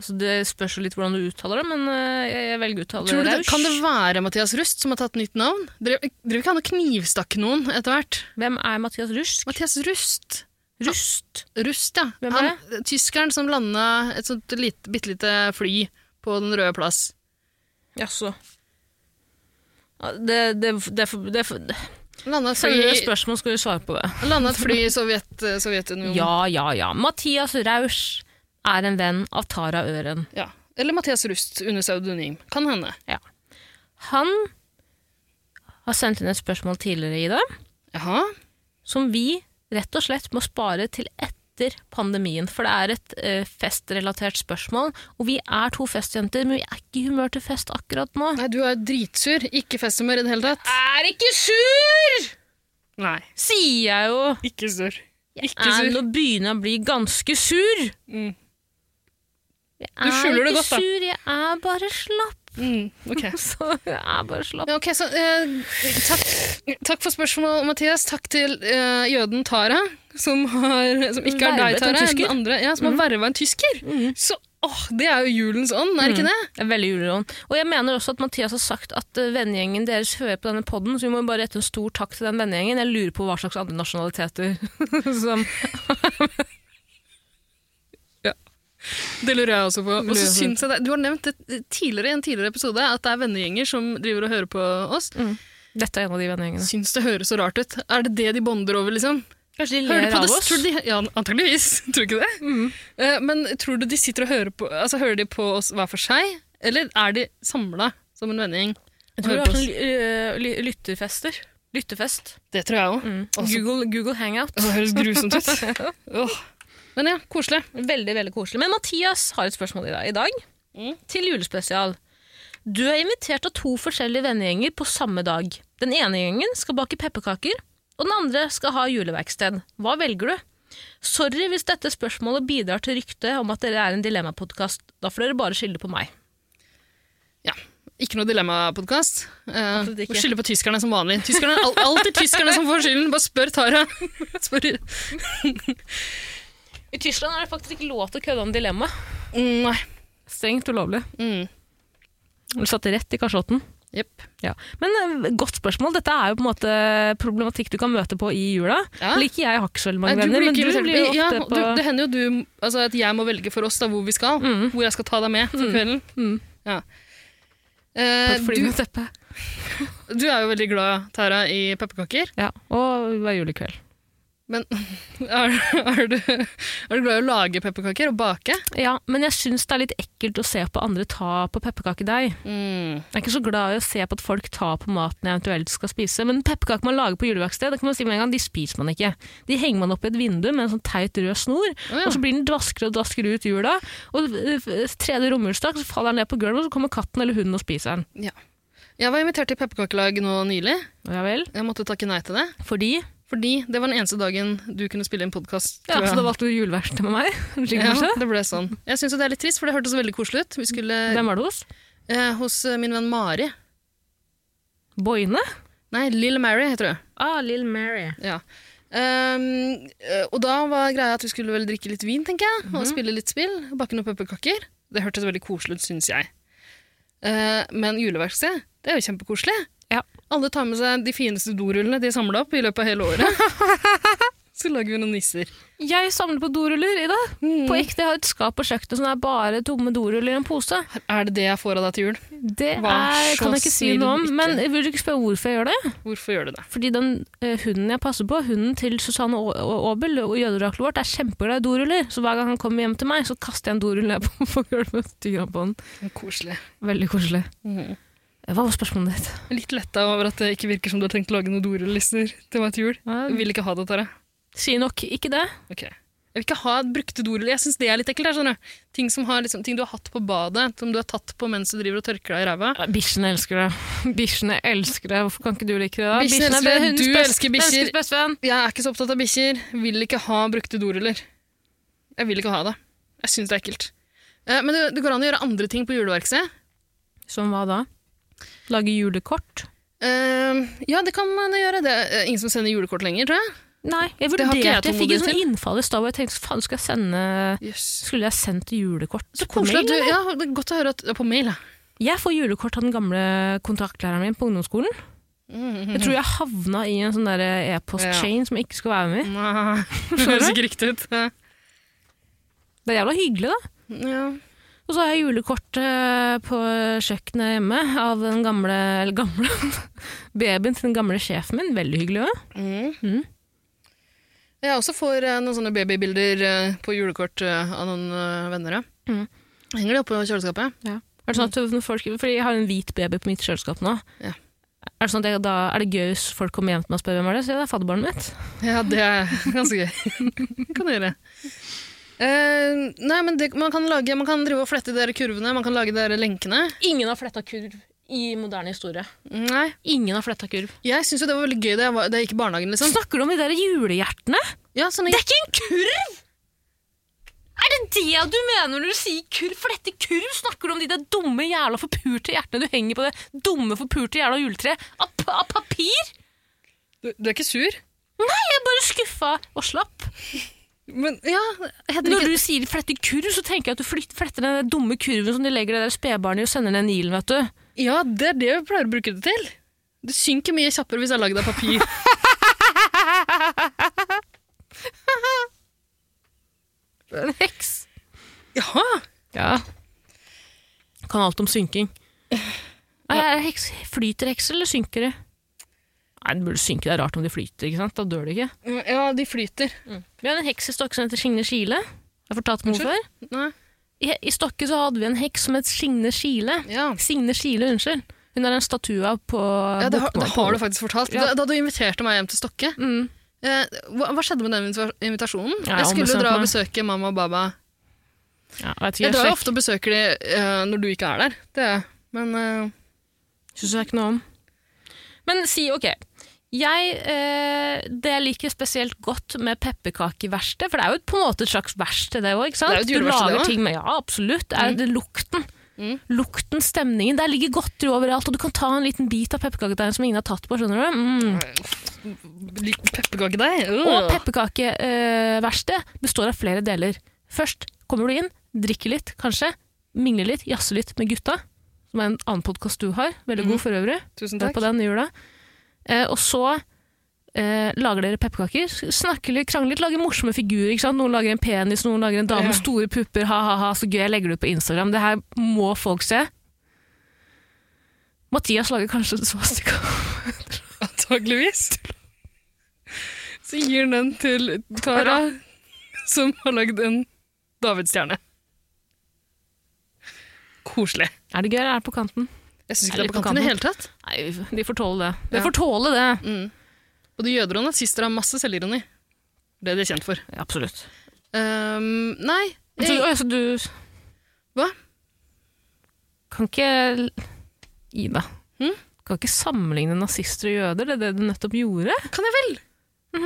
[SPEAKER 2] Altså, det spørs jo litt hvordan du uttaler det, men eh, jeg, jeg velger å uttale
[SPEAKER 3] Tror du det,
[SPEAKER 2] Rausch.
[SPEAKER 3] kan det være Mathias Rust som har tatt nytt navn? Drev drev ikke han og knivstakk noen etter hvert?
[SPEAKER 2] Hvem er Mathias Rusk?
[SPEAKER 3] Mathias Rust.
[SPEAKER 2] Rust.
[SPEAKER 3] Rust, ja.
[SPEAKER 2] Hvem er
[SPEAKER 3] han, Tyskeren som landa et sånt lit, bitte lite fly på Den røde plass.
[SPEAKER 2] Jaså. Ja, Det, det, det, det, det.
[SPEAKER 3] Landa et
[SPEAKER 2] Sender du et
[SPEAKER 3] fly,
[SPEAKER 2] spørsmål, skal du svare på det.
[SPEAKER 3] landa et fly i Sovjet, eh, Sovjetunionen.
[SPEAKER 2] Ja, ja, ja. Mathias Rausch er en venn av Tara Øren.
[SPEAKER 3] Ja. Eller Mathias Rust under pseudonym. Kan hende.
[SPEAKER 2] Han har sendt inn et spørsmål tidligere i dag,
[SPEAKER 3] Jaha.
[SPEAKER 2] som vi rett og slett må spare til etter pandemien. For det er et eh, festrelatert spørsmål, og vi er to festjenter, men vi er ikke i humør til fest akkurat nå.
[SPEAKER 3] Nei, du er dritsur. Ikke festhumør i det hele tatt.
[SPEAKER 2] Er ikke sur!
[SPEAKER 3] Nei.
[SPEAKER 2] Sier jeg jo.
[SPEAKER 3] Ikke sur. Ikke
[SPEAKER 2] Er,
[SPEAKER 3] sur.
[SPEAKER 2] nå begynner jeg å bli ganske sur.
[SPEAKER 3] Mm.
[SPEAKER 2] Jeg
[SPEAKER 3] Du skjuler det
[SPEAKER 2] er ikke
[SPEAKER 3] godt, da.
[SPEAKER 2] sur, jeg er bare slapp.
[SPEAKER 3] Mm, ok.
[SPEAKER 2] Så jeg er bare slapp.
[SPEAKER 3] Ja, ok, så eh, takk, takk for spørsmålet, Mathias. Takk til eh, jøden Tara, som, har, som ikke er
[SPEAKER 2] Vervet
[SPEAKER 3] deg,
[SPEAKER 2] en
[SPEAKER 3] Tara.
[SPEAKER 2] tysker.
[SPEAKER 3] Mhm. Den andre, ja, som har verva en tysker. Så Åh, det er jo julens ånd, er det ikke det?
[SPEAKER 2] Det er veldig julerånd. Og jeg mener også at Mathias har sagt at eh, vennegjengen deres hører på denne podden, så vi må bare rette en stor takk til den vennegjengen. Jeg lurer på hva slags andre nasjonaliteter som
[SPEAKER 3] Det lurer jeg også på. Og så
[SPEAKER 2] jeg på.
[SPEAKER 3] syns jeg det, Du har nevnt det tidligere i en tidligere episode, at det er vennegjenger som driver og hører på oss.
[SPEAKER 2] Dette er en av de vennegjengene.
[SPEAKER 3] Syns det høres så rart ut. Er det det de bonder over, liksom?
[SPEAKER 2] Kanskje de
[SPEAKER 3] Hører
[SPEAKER 2] ler
[SPEAKER 3] du på
[SPEAKER 2] av
[SPEAKER 3] det?
[SPEAKER 2] oss? Mm.
[SPEAKER 3] Tror du de, ja, antageligvis. Tror du ikke det? Eh, men tror du de sitter og hører på Altså, hører de på oss hver for seg, eller er de samla som en vennegjeng?
[SPEAKER 2] Jeg
[SPEAKER 3] og
[SPEAKER 2] tror
[SPEAKER 3] hører
[SPEAKER 2] det er
[SPEAKER 3] på
[SPEAKER 2] sånn
[SPEAKER 3] oss?
[SPEAKER 2] eh, ly- lytterfester. Lyttefest.
[SPEAKER 3] Det tror jeg òg.
[SPEAKER 2] Mm. Google, Google Hangout.
[SPEAKER 3] Det høres grusomt ut. Åh. Men ja, koselig.
[SPEAKER 2] Veldig, veldig koselig. Men Mathias har et spørsmål i dag. I dag
[SPEAKER 3] Mm.
[SPEAKER 2] Til julespesial. Du er invitert av to forskjellige vennegjenger på samme dag. Den ene gjengen skal bake pepperkaker, og den andre skal ha juleverksted. Hva velger du? Sorry hvis dette spørsmålet bidrar til ryktet om at dere er en dilemmapodkast. Da får dere bare skylde på meg.
[SPEAKER 3] Ikke noe dilemmapodkast. Uh,
[SPEAKER 2] Absolutt ikke.
[SPEAKER 3] skylder på tyskerne som vanlig. Tyskerne, al alltid tyskerne som får skylden. Bare spør Tara. spør.
[SPEAKER 2] I Tyskland er det faktisk ikke lov til å kødde om dilemma.
[SPEAKER 3] Mm, Nei.
[SPEAKER 2] Strengt ulovlig.
[SPEAKER 3] Mm.
[SPEAKER 2] Du satt rett i kasjotten.
[SPEAKER 3] Jepp.
[SPEAKER 2] Ja. Men eh, godt spørsmål. Dette er jo på en måte problematikk du kan møte på i jula.
[SPEAKER 3] Ja.
[SPEAKER 2] Like jeg har ikke så veldig
[SPEAKER 3] Nei,
[SPEAKER 2] mange venner, men du
[SPEAKER 3] irritert.
[SPEAKER 2] blir jo ofte
[SPEAKER 3] ja,
[SPEAKER 2] på
[SPEAKER 3] du, Det hender jo du, altså at jeg må velge for oss da, hvor vi skal,
[SPEAKER 2] Mm.
[SPEAKER 3] hvor jeg skal ta deg med for kvelden.
[SPEAKER 2] Mm.
[SPEAKER 3] Ja. Eh,
[SPEAKER 2] på et fly
[SPEAKER 3] du,
[SPEAKER 2] med teppe.
[SPEAKER 3] du er jo veldig glad, Tara, i pepperkaker.
[SPEAKER 2] Ja, og hver julekveld.
[SPEAKER 3] Er, er, du, er du glad i å lage pepperkaker og bake?
[SPEAKER 2] Ja, men jeg syns det er litt ekkelt å se på andre ta på pepperkakedeig. Jeg er ikke så glad i å se på at folk tar på maten jeg eventuelt skal spise, men pepperkaker man lager på juleverksted, det kan man si med en gang, de spiser man ikke. De henger man opp i et vindu med en sånn teit rød snor,
[SPEAKER 3] Å ja.
[SPEAKER 2] og så blir den dvaskere og dvaskere ut i jula, og øh, tredje romjulsdag så faller den ned på gulvet, og så kommer katten eller hunden og spiser den.
[SPEAKER 3] Jeg var invitert til pepperkakelag nå nylig.
[SPEAKER 2] Ja vel,
[SPEAKER 3] Jeg måtte takke nei til det.
[SPEAKER 2] fordi
[SPEAKER 3] Fordi det var den eneste dagen du kunne spille inn podkast.
[SPEAKER 2] ja, Så da valgte du juleverksted med meg?
[SPEAKER 3] ja,
[SPEAKER 2] Ja.
[SPEAKER 3] det ble sånn. Jeg syns det er litt trist, for det hørtes veldig koselig ut. Vi skulle
[SPEAKER 2] Hvem var det hos?
[SPEAKER 3] eh, hos eh, min venn Mari.
[SPEAKER 2] Boine?
[SPEAKER 3] Nei, Lille Mary heter hun.
[SPEAKER 2] Ah, Lill Mary.
[SPEAKER 3] Ja. Ehm, eh, og da var greia at vi skulle vel drikke litt vin, tenker jeg, og spille litt spill. Bakke noen pepperkaker. Det hørtes veldig koselig ut, syns jeg. Eh, men juleverksted, det er jo kjempekoselig.
[SPEAKER 2] Ja.
[SPEAKER 3] Alle tar med seg de fineste dorullene de samla opp i løpet av hele året. Så lager vi noen nisser.
[SPEAKER 2] Jeg samler på doruller, Ida.
[SPEAKER 3] Mm.
[SPEAKER 2] På ekte, jeg har et skap på kjøkkenet som er bare tomme doruller i en pose.
[SPEAKER 3] Er det det jeg får av deg til jul?
[SPEAKER 2] Det
[SPEAKER 3] Vær
[SPEAKER 2] er,
[SPEAKER 3] så
[SPEAKER 2] kan jeg ikke si
[SPEAKER 3] snill,
[SPEAKER 2] noe om,
[SPEAKER 3] ikke.
[SPEAKER 2] men jeg vil du ikke spørre hvorfor jeg gjør det?
[SPEAKER 3] Hvorfor gjør du det?
[SPEAKER 2] Fordi den eh, hunden jeg passer på, hunden til Susanne Å- Å- Aabel, og jøderaklet vårt, er kjempeglad i doruller. Så hver gang han kommer hjem til meg, så kaster jeg en dorull ned på, på gulvet og tygger han på den.
[SPEAKER 3] Koselig.
[SPEAKER 2] Veldig koselig.
[SPEAKER 3] Mm.
[SPEAKER 2] Eh, Hva var spørsmålet ditt?
[SPEAKER 3] Litt letta over at det ikke virker som du har tenkt å lage noen dorulllister til meg til jul. Jeg vil ikke ha det, Tara.
[SPEAKER 2] Si nok ikke det.
[SPEAKER 3] Ok. Jeg vil ikke ha brukte doruller. Jeg syns det er litt ekkelt. her, skjønner du. Ting, som har, liksom, ting du har hatt på badet, som du har tatt på mens du driver og tørker deg i ræva.
[SPEAKER 2] Ja, Bikkjene elsker det. Bikkjene elsker det. Hvorfor kan ikke du like det? da?
[SPEAKER 3] Bikkjene
[SPEAKER 2] Bikkjene
[SPEAKER 3] elsker
[SPEAKER 2] er
[SPEAKER 3] det.
[SPEAKER 2] hundens
[SPEAKER 3] Du
[SPEAKER 2] best-
[SPEAKER 3] elsker bikkjer.
[SPEAKER 2] menneskets beste venn.
[SPEAKER 3] Jeg er ikke så opptatt av bikkjer. Vil ikke ha brukte doruller. Jeg vil ikke ha det. Jeg syns det er ekkelt. Eh, Men det, det går an å gjøre andre ting på juleverkstedet.
[SPEAKER 2] Som hva da? Lage julekort?
[SPEAKER 3] Eh, ja, det kan man gjøre. Det er eh, ingen som sender julekort lenger, tror jeg.
[SPEAKER 2] Nei, jeg
[SPEAKER 3] Det har
[SPEAKER 2] vurderte
[SPEAKER 3] ikke jeg
[SPEAKER 2] jeg, fikk et
[SPEAKER 3] tålmodighet
[SPEAKER 2] sånt innfall i stad hvor jeg tenkte faen, skal jeg sende Skulle jeg sendt julekort
[SPEAKER 3] Så
[SPEAKER 2] på
[SPEAKER 3] koselig
[SPEAKER 2] mail?
[SPEAKER 3] at du Ja, det er godt å høre at ja, På mail, ja.
[SPEAKER 2] Jeg får julekort av den gamle kontaktlæreren min på ungdomsskolen. Jeg tror jeg havna i en sånn der e-post-chain som jeg ikke skulle være med i.
[SPEAKER 3] Nei, Det høres ikke riktig ut. Ja.
[SPEAKER 2] Det er jævla hyggelig, da.
[SPEAKER 3] Ja.
[SPEAKER 2] Og så har jeg julekort eh, på kjøkkenet hjemme av den gamle, eller gamle babyen til den gamle sjefen min. Veldig hyggelig òg. Mm.
[SPEAKER 3] Jeg også får eh, noen sånne babybilder eh, på julekort eh, av noen eh, venner. ja.
[SPEAKER 2] Mm.
[SPEAKER 3] Henger de oppe i kjøleskapet?
[SPEAKER 2] Er det sånn at når folk, fordi jeg har en hvit baby på mitt kjøleskap nå.
[SPEAKER 3] Ja.
[SPEAKER 2] Er det sånn at jeg, da er det gøy hvis folk kommer hjem til meg og spør hvem er det? Så ja, det er fadderbarnet mitt.
[SPEAKER 3] Ja, det er ganske gøy. kan du gjøre. Eh, nei, men det, man, kan lage, man kan drive og flette de der kurvene, man kan lage de der lenkene.
[SPEAKER 2] Ingen har fletta kurv i moderne historie.
[SPEAKER 3] Nei.
[SPEAKER 2] Ingen har fletta kurv.
[SPEAKER 3] Jeg syns jo det var veldig gøy da jeg, var, da jeg gikk i barnehagen.
[SPEAKER 2] Så
[SPEAKER 3] liksom.
[SPEAKER 2] snakker du om de der julehjertene?
[SPEAKER 3] Ja, sånne,
[SPEAKER 2] Det er ikke en kurv! Er det det du mener når du sier kurv? For dette kurv snakker du om de der dumme jævla forpurte hjertene du henger på det dumme forpurte jævla juletreet av, p- av papir!
[SPEAKER 3] du, du er ikke sur?
[SPEAKER 2] Jeg er bare skuffa og slapp.
[SPEAKER 3] Men ja, heter det
[SPEAKER 2] Når
[SPEAKER 3] ikke
[SPEAKER 2] du sier flette kurv, så tenker jeg at du flyt- fletter den der dumme kurven som de legger det der spedbarnet i og sender ned Nilen, vet du.
[SPEAKER 3] Ja, det er det vi pleier å bruke det til. Det synker mye kjappere hvis det er lagd av papir.
[SPEAKER 2] En heks.
[SPEAKER 3] Jaha!
[SPEAKER 2] Ja. Kan alt om synking. Nei, er heks, flyter hekser, eller synker de? Nei, det burde synke. Det er rart om de flyter, ikke sant? Da dør de ikke.
[SPEAKER 3] Ja, de flyter.
[SPEAKER 2] Vi hadde en heks i Stokke som heter Skigne Skile. Har jeg fortalt om henne før?
[SPEAKER 3] Nei.
[SPEAKER 2] I, I Stokke så hadde vi en heks som het Skigne Skile.
[SPEAKER 3] Ja,
[SPEAKER 2] Signe Skile, unnskyld. Hun er en statue av på
[SPEAKER 3] ja det, har, det
[SPEAKER 2] bokmål.
[SPEAKER 3] har du faktisk fortalt.
[SPEAKER 2] Ja.
[SPEAKER 3] Da, da du inviterte meg hjem til Stokke,
[SPEAKER 2] Mm.
[SPEAKER 3] eh, hva, hva skjedde med den invita- invitasjonen?
[SPEAKER 2] Ja,
[SPEAKER 3] jeg skulle jo
[SPEAKER 2] ombestemte
[SPEAKER 3] dra og
[SPEAKER 2] meg.
[SPEAKER 3] besøke mamma og baba.
[SPEAKER 2] Ja, vet ikke,
[SPEAKER 3] Jeg
[SPEAKER 2] jeg
[SPEAKER 3] drar jo
[SPEAKER 2] sjekk.
[SPEAKER 3] ofte og besøker de eh, når du ikke er der. Det er jeg. Men eh,
[SPEAKER 2] Syns jeg ikke noe om. Men si ok. Jeg, eh, det jeg liker spesielt godt med pepperkakeverksted, for det er jo på en måte et slags verksted, det òg.
[SPEAKER 3] Det er jo et
[SPEAKER 2] Du
[SPEAKER 3] juleverksted, det
[SPEAKER 2] lager
[SPEAKER 3] også.
[SPEAKER 2] ting med Ja, absolutt. Det er det lukten.
[SPEAKER 3] Mm.
[SPEAKER 2] Lukten, stemningen. Der ligger godteri overalt, og du kan ta en liten bit av pepperkaketeigen som ingen har tatt på. skjønner du? Mm.
[SPEAKER 3] litt pepperkakedeig. øh.
[SPEAKER 2] Og pepperkakeverkstedet består av flere deler. Først kommer du inn, drikker litt, kanskje. Mingler litt, jazzer litt med gutta. Som er en annen podkast du har. Veldig
[SPEAKER 3] Mm.
[SPEAKER 2] god for øvrig.
[SPEAKER 3] Tusen
[SPEAKER 2] Hør
[SPEAKER 3] takk.
[SPEAKER 2] på den i jula. Eh, og så eh, lager dere pepperkaker, s- snakker litt, krangler litt, lager morsomme figurer. ikke sant? Noen lager en penis, noen lager en dame
[SPEAKER 3] Ja.
[SPEAKER 2] med store pupper. Ha-ha-ha, så gøy. Jeg legger det ut på Instagram. Det her må folk se. Mathias lager kanskje en svastika.
[SPEAKER 3] Antageligvis. Så gir han den til Tara, som har lagd en davidsstjerne. Koselig.
[SPEAKER 2] Er det gøy, eller er det på kanten?
[SPEAKER 3] Jeg
[SPEAKER 2] Er
[SPEAKER 3] syns ikke det er
[SPEAKER 2] litt
[SPEAKER 3] på
[SPEAKER 2] på
[SPEAKER 3] kanten i
[SPEAKER 2] kanten.
[SPEAKER 3] det hele tatt.
[SPEAKER 2] Nei, de får tåle det. De
[SPEAKER 3] Ja.
[SPEAKER 2] får tåle det.
[SPEAKER 3] Og de jøderne sister har masse selvironi. Det er de kjent for.
[SPEAKER 2] Mm. Absolutt.
[SPEAKER 3] Ehm, nei
[SPEAKER 2] Så,
[SPEAKER 3] jeg,
[SPEAKER 2] oi, så du
[SPEAKER 3] Hva?
[SPEAKER 2] Kan ikke Ida.
[SPEAKER 3] Hm?
[SPEAKER 2] Kan ikke sammenligne nazister og jøder, det er det du nettopp gjorde?
[SPEAKER 3] Kan jeg vel?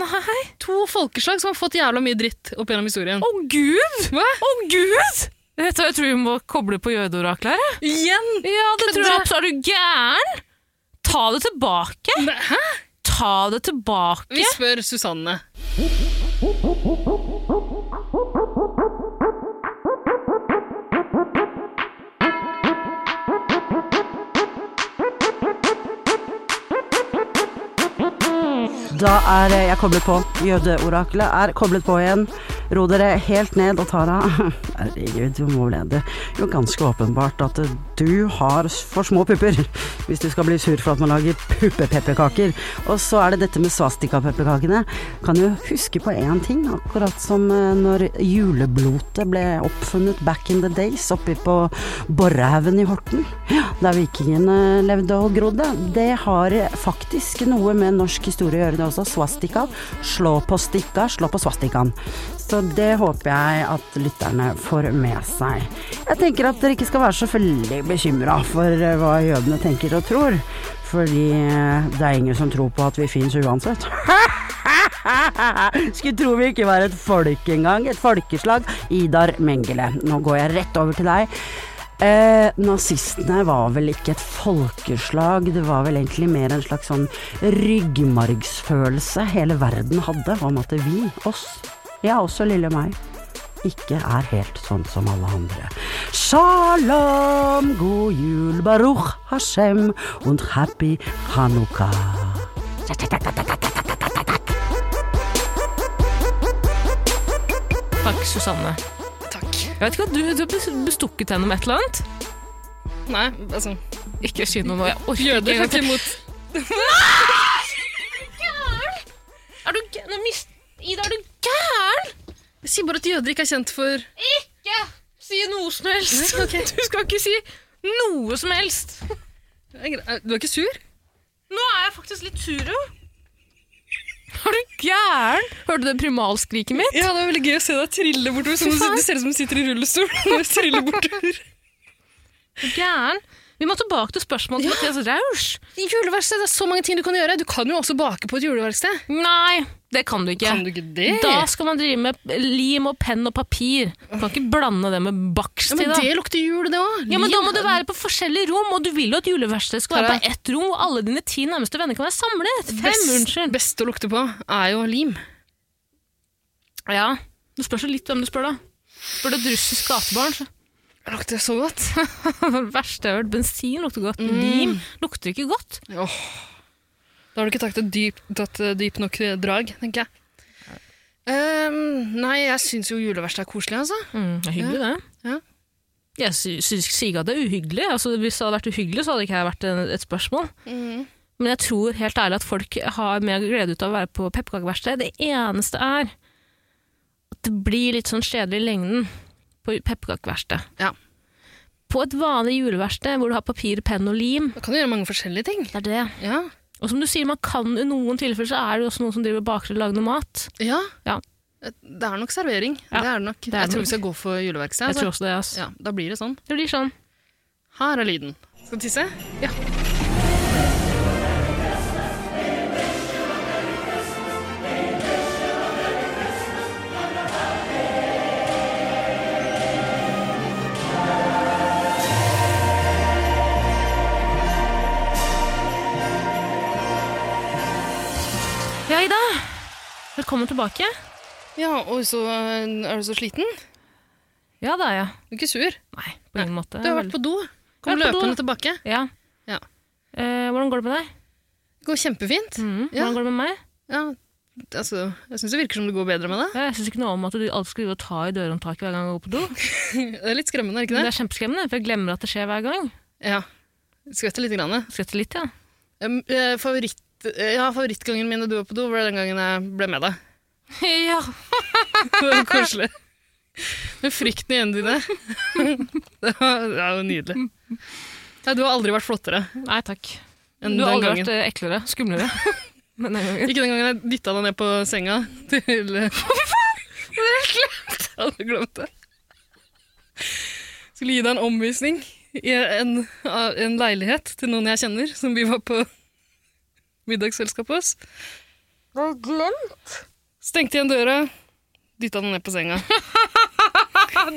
[SPEAKER 2] Nei!
[SPEAKER 3] To folkeslag som har fått jævla mye dritt opp gjennom historien.
[SPEAKER 2] Å gud!
[SPEAKER 3] Hva?
[SPEAKER 2] Å gud! Dette, jeg tror vi må koble på jødeoraklet her. jeg.
[SPEAKER 3] Igjen!
[SPEAKER 2] Ja, det tror
[SPEAKER 3] Kødder.
[SPEAKER 2] jeg. Er du gæren? Ta det tilbake.
[SPEAKER 3] Nei, Hæ?
[SPEAKER 2] Ta det tilbake.
[SPEAKER 3] Vi spør Susanne.
[SPEAKER 5] Da er eh, jeg koblet på. Jødeoraklet er koblet på igjen. Ro dere helt ned, og Tara Herregud, du må vel det. er Jo, ganske åpenbart at eh, du har s- for små pupper. Hvis du skal bli sur for at man lager puppepepperkaker. Og så er det dette med svastikapepperkakene. Kan jo huske på én ting, akkurat som eh, når juleblotet ble oppfunnet back in the days oppe på Borrehaugen i Horten. Der vikingene levde og grodde. Det har faktisk noe med norsk historie å gjøre, det også. Swastika. Slå på stikka, slå på swastikaen. Så det håper jeg at lytterne får med seg. Jeg tenker at dere ikke skal være så veldig bekymra for eh, hva jødene tenker og tror. Fordi eh, det er ingen som tror på at vi fins uansett. Skulle tro vi ikke var et folk engang. Et folkeslag. Idar Mengele. Nå går jeg rett over til deg. Eh, nazistene var vel ikke et folkeslag, det var vel egentlig mer en slags sånn ryggmargsfølelse hele verden hadde om at vi, oss, ja også lille meg, ikke er helt sånn som alle andre. Shalom, god jul, baruch Hashem und happy Hanukka.
[SPEAKER 2] Takk, Susanne.
[SPEAKER 3] Takk.
[SPEAKER 2] Jeg vet ikke hva, du, du har bes- bestukket henne med et eller annet.
[SPEAKER 3] Nei, altså
[SPEAKER 2] Ikke si noe nå. Jeg orker ikke
[SPEAKER 3] Jøder
[SPEAKER 2] engang.
[SPEAKER 3] tar ikke imot
[SPEAKER 2] Er du gæren? Nå mist- Ida, er du gæren?
[SPEAKER 3] Jeg sier bare at jøder ikke er kjent for
[SPEAKER 2] Ikke si noe som helst.
[SPEAKER 3] Nei, ok.
[SPEAKER 2] Du skal ikke si noe som helst.
[SPEAKER 3] Du er ikke sur?
[SPEAKER 2] Nå er jeg faktisk litt sur, jo. Er du gæren? Hørte du det primalskriket mitt?
[SPEAKER 3] Ja, det var veldig gøy å se deg trille bortover. Sånn,
[SPEAKER 2] Fy faen.
[SPEAKER 3] du ser ut som du sitter i rullestol når du triller bortover.
[SPEAKER 2] Gæren. Vi må tilbake til spørsmålet til Mathias Rausch.
[SPEAKER 3] Juleverksted, det er så mange ting du kan gjøre. Du kan jo også bake på et juleverksted.
[SPEAKER 2] Nei, det kan du ikke.
[SPEAKER 3] Kan du ikke det?
[SPEAKER 2] Da skal man drive med lim og penn og papir. Du kan ikke blande det med bakst
[SPEAKER 3] ja,
[SPEAKER 2] i
[SPEAKER 3] men
[SPEAKER 2] det.
[SPEAKER 3] det lukter jul, det òg.
[SPEAKER 2] Ja, men Da må det være på forskjellige rom, og du vil jo at juleverkstedet skal være
[SPEAKER 3] Tara.
[SPEAKER 2] på ett rom, og alle dine ti nærmeste venner kan være samlet. Fem,
[SPEAKER 3] Best,
[SPEAKER 2] unnskyld.
[SPEAKER 3] beste å lukte på er jo lim.
[SPEAKER 2] Ja. Det spørs jo litt hvem du spør, da. Spør du et russisk gatebarn, så
[SPEAKER 3] Det lukter så godt.
[SPEAKER 2] Det var det verste jeg har hørt. Bensin lukter godt. Lim lukter ikke godt.
[SPEAKER 3] Åh. Da har du ikke tatt et dypt, tatt et dypt nok drag, tenker jeg. Ehm, nei, jeg syns jo juleverksted er koselig, altså.
[SPEAKER 2] Mm, det er hyggelig, det.
[SPEAKER 3] Ja.
[SPEAKER 2] Jeg sy- sy- sier ikke at det er uhyggelig. Altså, hvis det hadde vært uhyggelig, så hadde ikke jeg vært en- et spørsmål. Men jeg tror helt ærlig at folk har mer glede ut av å være på pepperkakeverksted. Det eneste er at det blir litt sånn kjedelig i lengden på pepperkakeverksted.
[SPEAKER 3] Ja.
[SPEAKER 2] På et vanlig juleverksted hvor du har papir, penn og lim,
[SPEAKER 3] Da kan du gjøre mange forskjellige ting.
[SPEAKER 2] det er det.
[SPEAKER 3] Ja.
[SPEAKER 2] Og som du sier, man kan i noen tilfeller så er det jo også noen som driver og baker og lager noe mat.
[SPEAKER 3] ja.
[SPEAKER 2] Ja.
[SPEAKER 3] Det er nok servering.
[SPEAKER 2] Ja,
[SPEAKER 3] Det er det nok.
[SPEAKER 2] er
[SPEAKER 3] jeg tror
[SPEAKER 2] nok.
[SPEAKER 3] vi skal gå for juleverksted.
[SPEAKER 2] Jeg
[SPEAKER 3] Altså.
[SPEAKER 2] tror også det, ass.
[SPEAKER 3] Ja, da blir det sånn.
[SPEAKER 2] Det blir sånn.
[SPEAKER 3] Her er lyden. Skal du tisse? Ja.
[SPEAKER 2] Ja, Ida. Velkommen tilbake.
[SPEAKER 3] ja, og så eh, er du så sliten.
[SPEAKER 2] Ja, det er jeg.
[SPEAKER 3] Du er ikke sur.
[SPEAKER 2] Nei, på ingen måte.
[SPEAKER 3] Du har vært på do. Kom
[SPEAKER 2] Jeg har vært på
[SPEAKER 3] løpende
[SPEAKER 2] do.
[SPEAKER 3] tilbake.
[SPEAKER 2] Ja.
[SPEAKER 3] Ja.
[SPEAKER 2] Eh, hvordan går det med deg?
[SPEAKER 3] Det går kjempefint.
[SPEAKER 2] Mhm.
[SPEAKER 3] Ja.
[SPEAKER 2] Hvordan går det med meg?
[SPEAKER 3] Ja, altså, jeg syns det virker som det går bedre med deg.
[SPEAKER 2] Ja, Jeg syns ikke noe om at du alltid skal drive og ta i dørhåndtaket hver gang jeg går på do.
[SPEAKER 3] Det er litt skremmende, er det
[SPEAKER 2] Det
[SPEAKER 3] ikke det?
[SPEAKER 2] er kjempeskremmende, for jeg glemmer at det skjer hver gang.
[SPEAKER 3] Ja. Skvetter lite grann. ja.
[SPEAKER 2] Skvetter litt, ja.
[SPEAKER 3] Um, eh, Favoritt, eh, ja, favorittgangen min da du var på do, var den gangen jeg ble med deg.
[SPEAKER 2] ja.
[SPEAKER 3] Det var Koselig. Med frykten i øynene dine. Det var, det var jo nydelig. Nei, du har aldri vært flottere
[SPEAKER 2] Nei takk.
[SPEAKER 3] enn
[SPEAKER 2] du har
[SPEAKER 3] den
[SPEAKER 2] aldri vært
[SPEAKER 3] gangen.
[SPEAKER 2] eh, eklere. Skumlere. Men den gangen.
[SPEAKER 3] Ikke den gangen jeg dytta deg ned på senga til Hvorfor faen? Jeg hadde glemt det. Skulle gi deg en omvisning i en, av en leilighet til noen jeg kjenner, som vi var på middagsselskap hos.
[SPEAKER 2] Glemt?
[SPEAKER 3] Stengte igjen døra, dytta den ned på senga.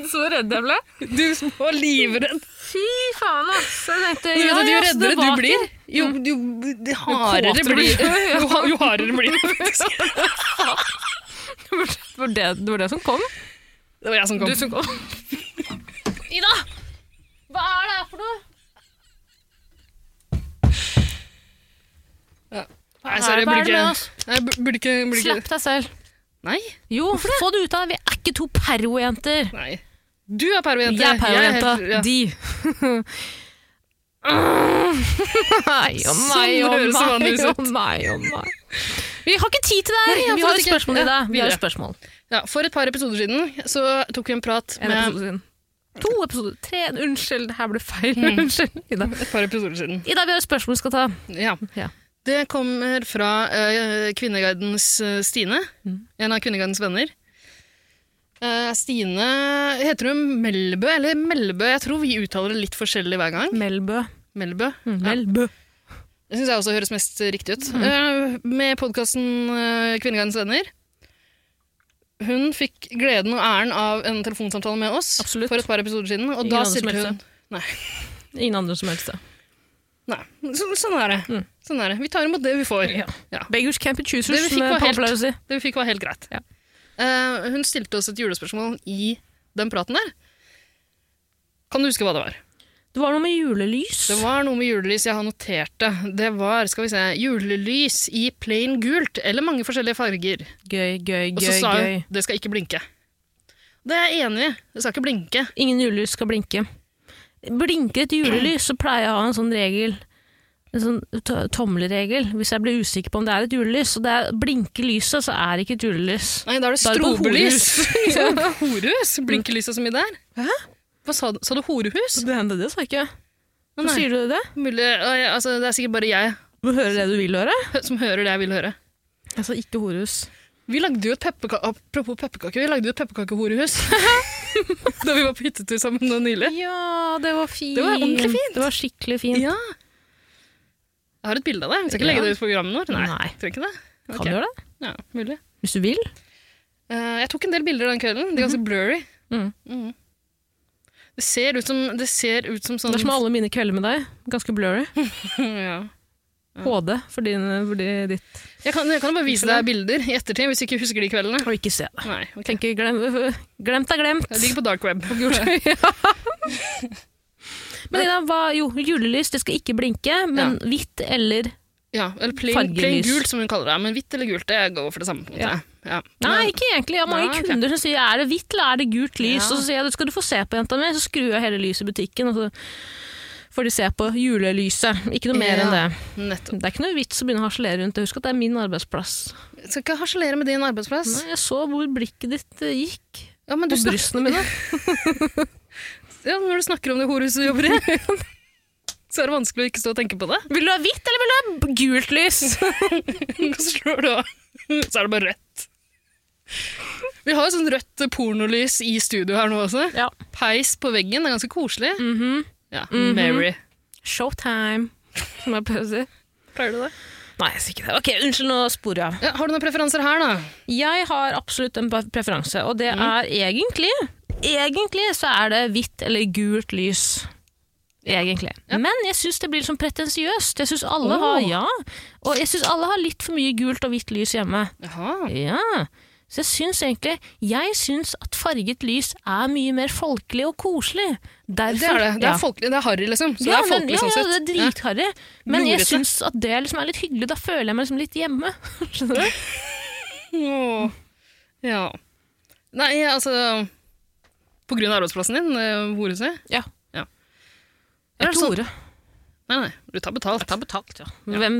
[SPEAKER 2] Så redd jeg ble.
[SPEAKER 3] Du som var livredd.
[SPEAKER 2] Fy faen, ass. Jeg tenkte,
[SPEAKER 3] Du vet at jo
[SPEAKER 2] ja, så det
[SPEAKER 3] reddere du
[SPEAKER 2] var
[SPEAKER 3] blir,
[SPEAKER 2] ikke-
[SPEAKER 3] jo, jo, jo hardere
[SPEAKER 2] kåtere
[SPEAKER 3] blir
[SPEAKER 2] blir du, ja.
[SPEAKER 3] jo, ha- jo hardere blir du. faktisk.
[SPEAKER 2] Det var det, det var det som kom.
[SPEAKER 3] Det var jeg som kom.
[SPEAKER 2] Du som kom. Ida! Hva er det her for noe?
[SPEAKER 3] Nei, sorry, jeg
[SPEAKER 2] Hva
[SPEAKER 3] burde
[SPEAKER 2] er det med
[SPEAKER 3] ikke,
[SPEAKER 2] oss?
[SPEAKER 3] nei, jeg burde ikke, burde ikke.
[SPEAKER 2] Slapp deg selv.
[SPEAKER 3] Nei,
[SPEAKER 2] Jo, få det ut av deg. Vi er ikke to perro-jenter.
[SPEAKER 3] nei. Du er pervojente.
[SPEAKER 2] Jeg er perro-jenta.
[SPEAKER 3] helt- ja.
[SPEAKER 2] De. Nei å nei
[SPEAKER 3] Sånn
[SPEAKER 2] å
[SPEAKER 3] høres det
[SPEAKER 2] nei
[SPEAKER 3] vanligvis
[SPEAKER 2] å
[SPEAKER 3] ut.
[SPEAKER 2] nei å nei. Vi har ikke tid til det
[SPEAKER 3] Nei,
[SPEAKER 2] her. Vi har
[SPEAKER 3] absolutt
[SPEAKER 2] et
[SPEAKER 3] ikke.
[SPEAKER 2] spørsmål,
[SPEAKER 3] Ja,
[SPEAKER 2] Ida. Vi har
[SPEAKER 3] videre.
[SPEAKER 2] et spørsmål.
[SPEAKER 3] Ja, for et par episoder siden så tok vi en prat
[SPEAKER 2] En
[SPEAKER 3] med
[SPEAKER 2] episode siden. To episoder. Tre. Unnskyld, det her ble feil. Unnskyld, Ida.
[SPEAKER 3] Et par episoder siden.
[SPEAKER 2] Ida, vi har et spørsmål vi skal ta.
[SPEAKER 3] Ja.
[SPEAKER 2] Ja.
[SPEAKER 3] Det kommer fra eh, Kvinneguidens eh, Stine, en av Kvinneguidens venner. Eh, Stine Heter hun Melbø eller Melbø? Jeg tror vi uttaler det litt forskjellig hver gang.
[SPEAKER 2] Melbø.
[SPEAKER 3] Melbø. Ja.
[SPEAKER 2] Melbø.
[SPEAKER 3] Det syns jeg også høres mest riktig ut.
[SPEAKER 2] Mm.
[SPEAKER 3] Eh, Med podkasten Kvinneguidens venner. Hun fikk gleden og æren av en telefonsamtale med oss
[SPEAKER 2] Absolutt.
[SPEAKER 3] for et par episoder siden. Og
[SPEAKER 2] Ingen
[SPEAKER 3] da
[SPEAKER 2] andre som
[SPEAKER 3] stilte hun
[SPEAKER 2] meldte. Ingen andre som helst. da.
[SPEAKER 3] Nei, så, sånn er det. Sånn er det. Vi tar imot det vi får.
[SPEAKER 2] Mm. Ja.
[SPEAKER 3] Ja.
[SPEAKER 2] Beggars can't be choosers,
[SPEAKER 3] Det vi fikk
[SPEAKER 2] som
[SPEAKER 3] var helt-
[SPEAKER 2] Pamela sier.
[SPEAKER 3] Det vi fikk, var helt greit.
[SPEAKER 2] Ja.
[SPEAKER 3] Eh, hun stilte oss et julespørsmål i den praten der. Kan du huske hva det var?
[SPEAKER 2] Det var noe med julelys.
[SPEAKER 3] Det var noe med julelys jeg har notert det. Det var skal vi se, julelys i plain gult eller mange forskjellige farger.
[SPEAKER 2] Gøy, gøy,
[SPEAKER 3] Og så
[SPEAKER 2] gøy.
[SPEAKER 3] sa
[SPEAKER 2] gøy.
[SPEAKER 3] hun det skal ikke blinke. Det er jeg enig i. Det skal ikke blinke.
[SPEAKER 2] Ingen julelys skal blinke. Blinker et julelys, så pleier jeg å ha en sånn regel. En sånn to- tommelregel. Hvis jeg blir usikker på om det er et julelys, og det er blinker lyset, så er det ikke et julelys.
[SPEAKER 3] Nei, da er det
[SPEAKER 2] Da er det på
[SPEAKER 3] strobelys. Horehus? Blinker lyset så mye der? Hva sa du? Sa du horehus?
[SPEAKER 2] Det hendte det, sa ikke jeg.
[SPEAKER 3] Å, nei.
[SPEAKER 2] sier du det?
[SPEAKER 3] Mulig, Oi, altså, det er sikkert bare jeg
[SPEAKER 2] Du hører det du vil høre?
[SPEAKER 3] som hører det jeg vil høre.
[SPEAKER 2] Jeg sa ikke horus.
[SPEAKER 3] Vi lagde jo et pepperka Apropos pepperkake, vi lagde jo et pepperkakehorehus da vi var på hyttetur sammen nå nylig.
[SPEAKER 2] Ja, det var fint.
[SPEAKER 3] Det var ordentlig fint.
[SPEAKER 2] Det var skikkelig fint.
[SPEAKER 3] Ja. Jeg har et bilde av det. Vi skal ikke legge det ut på programmet vårt. Nei,
[SPEAKER 2] Nei.
[SPEAKER 3] Tror ikke det.
[SPEAKER 2] Kan
[SPEAKER 3] Ok.
[SPEAKER 2] du gjøre det?
[SPEAKER 3] Ja, mulig.
[SPEAKER 2] Hvis du vil.
[SPEAKER 3] Eh, jeg tok en del bilder den kvelden. De er ganske blurry.
[SPEAKER 2] Mhm.
[SPEAKER 3] Mhm. Det ser ut som, det ser ut som sånn
[SPEAKER 2] Det er som alle mine kvelder med deg. Ganske blurry.
[SPEAKER 3] ja.
[SPEAKER 2] HD for, din, for di- ditt.
[SPEAKER 3] Jeg kan, jeg kan bare vise deg bilder i ettertid, hvis du ikke husker de kveldene.
[SPEAKER 2] Og ikke se det.
[SPEAKER 3] Nei, ok.
[SPEAKER 2] Tenker, glem, glemt er glemt.
[SPEAKER 3] Jeg ligger på dark web.
[SPEAKER 2] Men Ida, hva, jo, julelys, det skal ikke blinke, men hvitt eller
[SPEAKER 3] Ja, eller plain,
[SPEAKER 2] Fargelys.
[SPEAKER 3] plain gult, som hun kaller det. Men hvitt eller gult, det går for det samme. på en måte. Ja.
[SPEAKER 2] Nei, ikke egentlig. Jeg har mange
[SPEAKER 3] Nei, ok.
[SPEAKER 2] kunder som sier er det hvitt eller er det gult lys?
[SPEAKER 3] Ja.
[SPEAKER 2] Og så sier jeg det skal du få se på, jenta mi. Så skrur jeg hele lyset i butikken, og så får de se på julelyset. Ikke noe mer
[SPEAKER 3] Ja.
[SPEAKER 2] enn det.
[SPEAKER 3] Men Nettopp.
[SPEAKER 2] Det er ikke noe vits å begynne å harselere rundt det. Husk at det er min arbeidsplass.
[SPEAKER 3] Jeg Skal ikke harselere med din arbeidsplass.
[SPEAKER 2] Nei, jeg så hvor blikket ditt eh, gikk.
[SPEAKER 3] Ja, men du
[SPEAKER 2] På
[SPEAKER 3] snakker-
[SPEAKER 2] brystene mine.
[SPEAKER 3] Ja, når du snakker om det horehuset du jobber i, så er det vanskelig å ikke stå og tenke på det.
[SPEAKER 2] Vil du ha hvitt eller vil du ha b- gult lys?
[SPEAKER 3] Og så slår du av. Så er det bare rødt. Vi har jo sånn rødt pornolys i studio her nå også.
[SPEAKER 2] ja.
[SPEAKER 3] Peis på veggen, det er ganske koselig.
[SPEAKER 2] Mm-hmm.
[SPEAKER 3] Ja, Mary.
[SPEAKER 2] Showtime, som jeg pleier å si.
[SPEAKER 3] Pleier du det?
[SPEAKER 2] Nei, jeg sier ikke det. Ok, Unnskyld, nå sporer jeg av.
[SPEAKER 3] Ja, har du noen preferanser her, da?
[SPEAKER 2] Jeg har absolutt en pre- preferanse, og det
[SPEAKER 3] Mm.
[SPEAKER 2] er egentlig Egentlig så er det hvitt eller gult lys. Egentlig. Men jeg syns det blir litt sånn pretensiøst. Jeg syns alle,
[SPEAKER 3] Åh.
[SPEAKER 2] har- ja. Og jeg synes alle har litt for mye gult og hvitt lys hjemme.
[SPEAKER 3] Jaha.
[SPEAKER 2] Ja. Så jeg syns egentlig Jeg syns at farget lys er mye mer folkelig og koselig. Derfor,
[SPEAKER 3] Det er det. Det
[SPEAKER 2] ja.
[SPEAKER 3] er folkelig, det er harry, liksom. Så
[SPEAKER 2] ja,
[SPEAKER 3] det er
[SPEAKER 2] men,
[SPEAKER 3] folkelig
[SPEAKER 2] ja,
[SPEAKER 3] sånn
[SPEAKER 2] ja,
[SPEAKER 3] sett.
[SPEAKER 2] det er dritharry. Men jeg
[SPEAKER 3] Glorete.
[SPEAKER 2] syns at det liksom er litt hyggelig. Da føler jeg meg liksom litt hjemme. Skjønner du?
[SPEAKER 3] Ja. Åh. ja. Nei, altså På grunn av arbeidsplassen din, eh, horehuset?
[SPEAKER 2] Ja.
[SPEAKER 3] Ja.
[SPEAKER 2] Jeg
[SPEAKER 3] Er det sånn-
[SPEAKER 2] tror det.
[SPEAKER 3] Nei, nei, du tar betalt.
[SPEAKER 2] Ta betalt, ja. Hvem,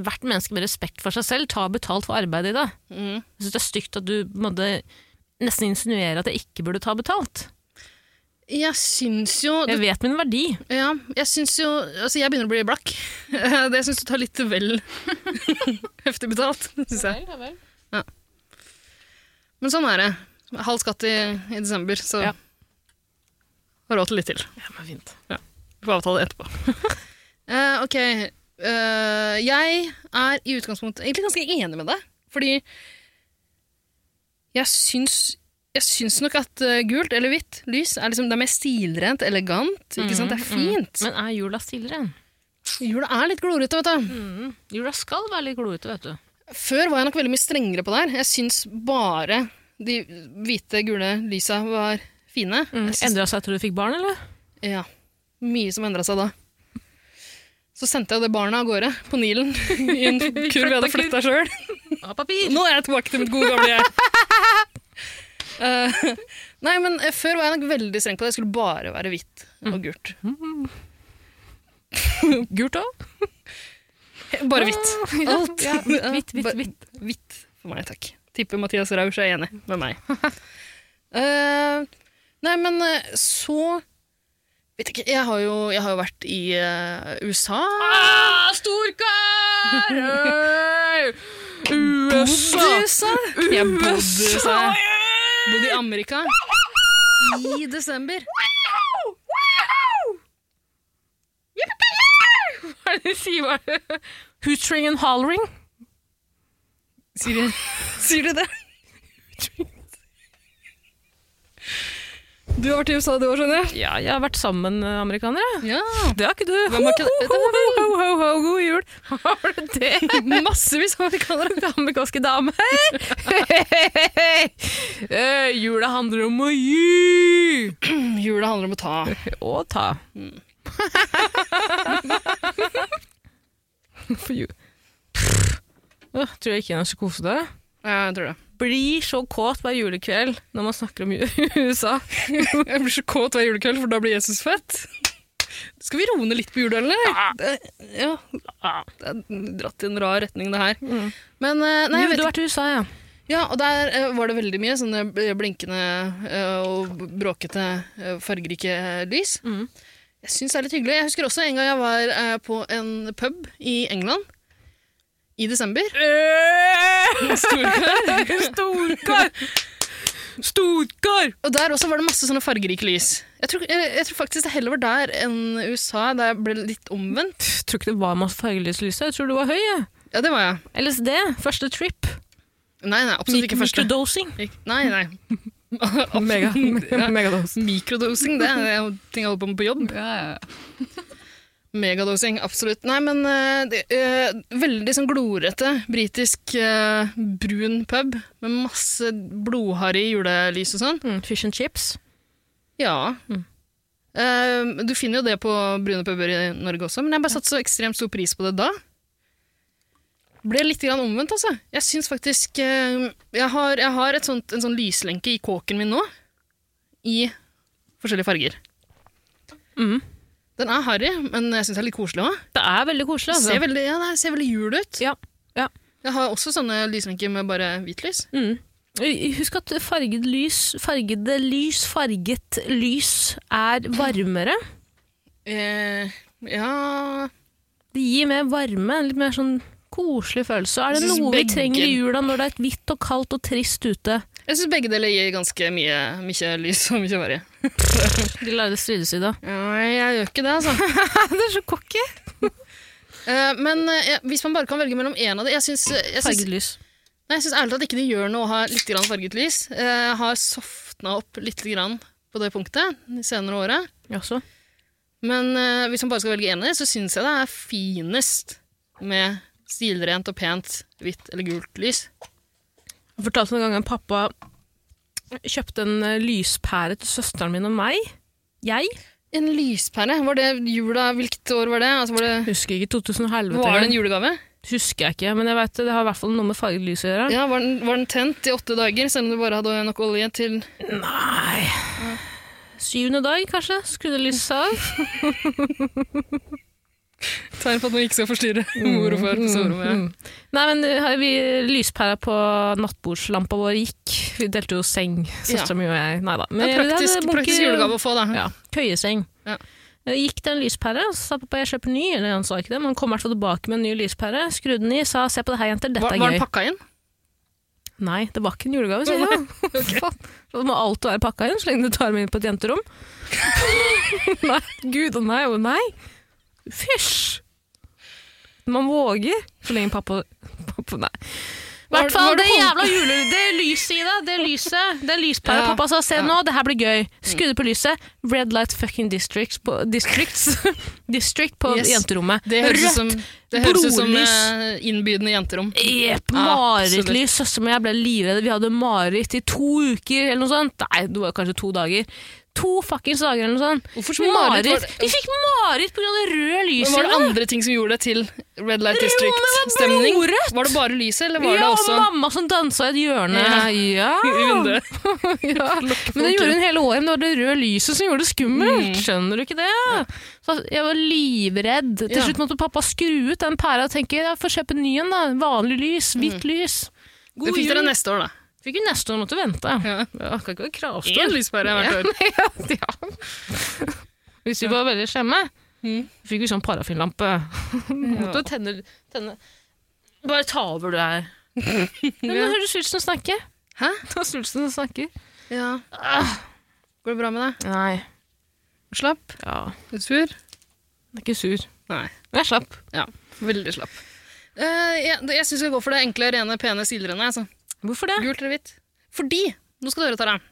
[SPEAKER 2] hvert menneske med respekt for seg selv tar betalt for arbeidet i dag.
[SPEAKER 3] Mm.
[SPEAKER 2] Jeg syns det er stygt at du på en måte, nesten insinuerer at jeg ikke burde ta betalt.
[SPEAKER 3] Jeg syns jo
[SPEAKER 2] Jeg vet min verdi.
[SPEAKER 3] Ja, jeg syns jo Altså, jeg begynner å bli blakk. Det syns du tar litt vel heftig betalt, syns jeg. Ja. Men sånn er det. Halv skatt i, i desember, så
[SPEAKER 2] Ja.
[SPEAKER 3] har råd til litt til.
[SPEAKER 2] Ja, men fint.
[SPEAKER 3] Vi får avtale etterpå. Eh, ok. Eh, jeg er i utgangspunktet egentlig ganske enig med deg, fordi jeg syns jeg syns nok at eh, gult eller hvitt lys er, liksom, det er mer stilrent, elegant. ikke sant? Det er fint.
[SPEAKER 2] Mm, Men er jula stillere?
[SPEAKER 3] Jula er litt glorete, vet du.
[SPEAKER 2] Jula skal være litt glorete, vet du.
[SPEAKER 3] Før var jeg nok veldig mye strengere på det her. Jeg syns bare de hvite, gule lysa var fine. Jeg syns,
[SPEAKER 2] Endra Mm. seg etter du fikk barn, eller?
[SPEAKER 3] ja, mye som endra seg da. Så sendte jeg det barnet av gårde på Nilen i en kurv jeg hadde flytta sjøl.
[SPEAKER 2] Av papir!
[SPEAKER 3] Nå er jeg tilbake til mitt gode gamle jeg. Eh, nei, men eh, før var jeg nok veldig streng på det. Jeg skulle bare være hvitt og gult.
[SPEAKER 2] Mm, Gult òg?
[SPEAKER 3] Bare hvitt. Alt.
[SPEAKER 2] Ja, hvitt, hvitt,
[SPEAKER 3] Bare-
[SPEAKER 2] hvitt.
[SPEAKER 3] Hvitt for meg, takk. Tipper Mathias Rausch er enig med meg. Eh, nei, men eh, så Vet ikke, jeg har jo, jeg har jo vært i eh, USA.
[SPEAKER 2] Ah, storkar! Hey! USA!
[SPEAKER 3] Bodde i USA! Jeg bodde i
[SPEAKER 2] USA!
[SPEAKER 3] USA. Bodde i Amerika. I desember.
[SPEAKER 2] Hva er det de sier? Hva er det? Hootering and hollering?
[SPEAKER 3] Sier de, sier de det? Du har vært i USA du òg, skjønner jeg.
[SPEAKER 2] Ja, jeg har vært sammen med amerikanere.
[SPEAKER 3] Ja.
[SPEAKER 2] Det har ikke du.
[SPEAKER 3] Hvem har ikke det?
[SPEAKER 2] Ho, ho, ho, ho, ho, ho, god jul. Har du det?
[SPEAKER 3] Massevis av amerikanere.
[SPEAKER 2] Amerikanske damer. Eh, Jula handler om å gi
[SPEAKER 3] Jula handler om å ta.
[SPEAKER 2] og ta. For jul. Åh, tror jeg ikke jeg er psykose der.
[SPEAKER 3] Ja, jeg tror det.
[SPEAKER 2] blir så kåt hver julekveld når man snakker om ju- USA.
[SPEAKER 3] Jeg blir så kåt hver julekveld, for da blir Jesus født. Skal vi roe ned litt på jula, eller? Ja. Det, ja. det er dratt i en rar retning, det her. Men eh, nei, jeg
[SPEAKER 2] jo, du
[SPEAKER 3] vet
[SPEAKER 2] har
[SPEAKER 3] ikke.
[SPEAKER 2] vært i USA, ja.
[SPEAKER 3] Ja, og der eh, var det veldig mye sånne bl- blinkende eh, og bråkete, eh, fargerike eh, lys.
[SPEAKER 2] Mhm.
[SPEAKER 3] Jeg syns det er litt hyggelig. Jeg husker også en gang jeg var eh, på en pub i England i desember. Storkar.
[SPEAKER 2] Eh! Storkar! Storkar!
[SPEAKER 3] Og der også var det masse sånne fargerike lys. Jeg tror, jeg, jeg tror faktisk det heller var der enn USA, der jeg ble litt omvendt.
[SPEAKER 2] Jeg tror ikke det var masse fargelyslys. Jeg tror du var høy. jeg.
[SPEAKER 3] Ja, det var jeg.
[SPEAKER 2] LSD, første trip.
[SPEAKER 3] Nei, nei, absolutt ikke første.
[SPEAKER 2] Microdosing.
[SPEAKER 3] Ik- Nei, nei.
[SPEAKER 2] Mega,
[SPEAKER 3] Ja.
[SPEAKER 2] megadosing.
[SPEAKER 3] Mikrodosing, det er jo ting jeg holder på med på jobb. Megadosing, absolutt. Nei, men eh, det, eh, veldig sånn glorete britisk eh, brun pub med masse blodharry julelys og sånn.
[SPEAKER 2] Mm, fish and chips.
[SPEAKER 3] Ja.
[SPEAKER 2] Mm.
[SPEAKER 3] Eh, du finner jo det på brune puber i Norge også, men jeg bare satte så ekstremt stor pris på det da. Ble litt grann omvendt, altså. Jeg syns faktisk eh, Jeg har, jeg har et sånt, en sånn lyslenke i kåken min nå, i forskjellige farger.
[SPEAKER 2] Mhm.
[SPEAKER 3] Den er harry, men jeg syns det er litt koselig òg.
[SPEAKER 2] Det er veldig koselig. Altså.
[SPEAKER 3] Ser veldig, ja, det ser veldig jul ut.
[SPEAKER 2] Ja, ja.
[SPEAKER 3] Jeg har også sånne lyslenker med bare hvitlys.
[SPEAKER 2] Mm. Husk at farget lys, fargede lys, farget lys er varmere.
[SPEAKER 3] Eh, ja
[SPEAKER 2] Det gir mer varme, en litt mer sånn koselig følelse. Er det
[SPEAKER 3] Jeg synes
[SPEAKER 2] noe vi
[SPEAKER 3] begge-
[SPEAKER 2] trenger i jula når det er hvitt og kaldt og trist ute?
[SPEAKER 3] Jeg syns begge deler gir ganske mye, mye lys og mye harry.
[SPEAKER 2] De lærde strides i dag.
[SPEAKER 3] Ja, jeg gjør ikke det, altså.
[SPEAKER 2] Det er så cocky!
[SPEAKER 3] Eh, men eh, hvis man bare kan velge mellom én av det Jeg syns eh, jeg syns-
[SPEAKER 2] Farget lys.
[SPEAKER 3] nei, jeg syns ærlig talt ikke det gjør noe å ha litt grann farget lys. Eh, Jeg har softna opp litt grann på det punktet de senere åra.
[SPEAKER 2] Jaså.
[SPEAKER 3] Men eh, hvis man bare skal velge én av de, så syns jeg det er finest med stilrent og pent hvitt eller gult lys.
[SPEAKER 2] Jeg fortalte noen ganger at pappa kjøpte en eh, lyspære til søsteren min og meg. Jeg
[SPEAKER 3] En lyspære, var det jula? Hvilket år var det? Altså, var, det
[SPEAKER 2] husker ikke 2000 og helvete.
[SPEAKER 3] var det en
[SPEAKER 2] engang.
[SPEAKER 3] julegave?
[SPEAKER 2] Husker jeg ikke, men jeg vet, det, det har i hvert fall noe med farget lys å gjøre.
[SPEAKER 3] Ja, var den, var den tent i åtte dager, selv om du bare hadde nok olje til
[SPEAKER 2] Nei Syvende dag, kanskje? Skrudde lyset av?
[SPEAKER 3] Tegn på at man ikke skal forstyrre mor og far på soverommet.
[SPEAKER 2] Mm. Nei, men eh, vi, lyspæra på nattbordslampa vår gikk. Vi delte jo seng, søstera mi og jeg. Nei da.
[SPEAKER 3] Det er en praktisk, praktisk julegave å få, da.
[SPEAKER 2] Ja, køyeseng.
[SPEAKER 3] Ja.
[SPEAKER 2] Jeg Gikk til en lyspære, så sa pappa jeg kjøper ny. Eller han sa ikke det, men han kom i hvert fall tilbake med en ny lyspære. Skrudde den i, sa se på det her, jenter, dette
[SPEAKER 3] Var,
[SPEAKER 2] er
[SPEAKER 3] var den
[SPEAKER 2] gøy.
[SPEAKER 3] pakka inn?
[SPEAKER 2] Nei, det var ikke en julegave, sier jeg. Faen. Så må alt være pakka inn, så lenge du tar meg inn på et jenterom. nei, gud og nei og nei. Fysj! Man våger, så lenge pappa, pappa Nei. I
[SPEAKER 3] Var-
[SPEAKER 2] hvert fall
[SPEAKER 3] var det
[SPEAKER 2] det
[SPEAKER 3] hånd-
[SPEAKER 2] jævla jule... Det lyset i det, det lyset. Det lyspæra
[SPEAKER 3] Ja,
[SPEAKER 2] pappa sa se
[SPEAKER 3] ja.
[SPEAKER 2] nå, det her blir gøy. Skrudde på lyset. Red light fucking districts på, districts, district på
[SPEAKER 3] Yes.
[SPEAKER 2] jenterommet.
[SPEAKER 3] Det høres ut som, det høres ut som
[SPEAKER 2] brolys.
[SPEAKER 3] eh, innbydende jenterom.
[SPEAKER 2] Jepp,
[SPEAKER 3] Absolutt.
[SPEAKER 2] marerittlys. Søsteren min og jeg ble livredde. Vi hadde mareritt i to uker eller noe sånt. Nei, det var kanskje to dager. To fuckings dager eller noe sånt.
[SPEAKER 3] Hvorfor som Marit?
[SPEAKER 2] Mareritt.
[SPEAKER 3] Var, det-
[SPEAKER 2] Vi fikk mareritt pga. det røde
[SPEAKER 3] men
[SPEAKER 2] lyset.
[SPEAKER 3] var det andre ting som gjorde det til Red Light District-stemning?
[SPEAKER 2] Rommet var blodrødt!
[SPEAKER 3] Var det bare lyset, eller var
[SPEAKER 2] ja,
[SPEAKER 3] det
[SPEAKER 2] og
[SPEAKER 3] også
[SPEAKER 2] mamma som dansa i et hjørne. Ja.
[SPEAKER 3] i vinduet?
[SPEAKER 2] ja. Men det gjorde hun hele året. Men det var det røde lyset som gjorde det skummelt.
[SPEAKER 3] Mm.
[SPEAKER 2] Skjønner du ikke det? Så jeg var livredd. Til
[SPEAKER 3] Ja.
[SPEAKER 2] slutt måtte pappa skru ut den pæra og tenke jeg får kjøpe en ny en. da. Vanlig lys. Hvitt lys.
[SPEAKER 3] Mm. Det
[SPEAKER 2] God
[SPEAKER 3] fikk dere
[SPEAKER 2] jul.
[SPEAKER 3] neste år, da.
[SPEAKER 2] Fikk jo neste år måtte vente.
[SPEAKER 3] Ja.
[SPEAKER 2] Ja, kan ikke være kravstor.
[SPEAKER 3] Én lyspære hvert år.
[SPEAKER 2] ja. Hvis vi var veldig slemme,
[SPEAKER 3] Mm.
[SPEAKER 2] fikk vi sånn parafinlampe. Måtte tenne, tenne. Bare ta over du her. Men nå hører du svulsten snakke.
[SPEAKER 3] Hæ?
[SPEAKER 2] Nå er svulsten som snakker.
[SPEAKER 3] Ja.
[SPEAKER 2] Ah,
[SPEAKER 3] Går det bra med deg?
[SPEAKER 2] nei,
[SPEAKER 3] Slapp?
[SPEAKER 2] ja,
[SPEAKER 3] Er du sur?
[SPEAKER 2] jeg er ikke sur.
[SPEAKER 3] Nei.
[SPEAKER 2] Men jeg slapp.
[SPEAKER 3] Ja. Veldig slapp. Eh, jeg jeg syns vi går for det enkle, rene, pene stilrene. Altså.
[SPEAKER 2] Hvorfor det?
[SPEAKER 3] Gult eller hvitt? Fordi Nå skal dere ta det.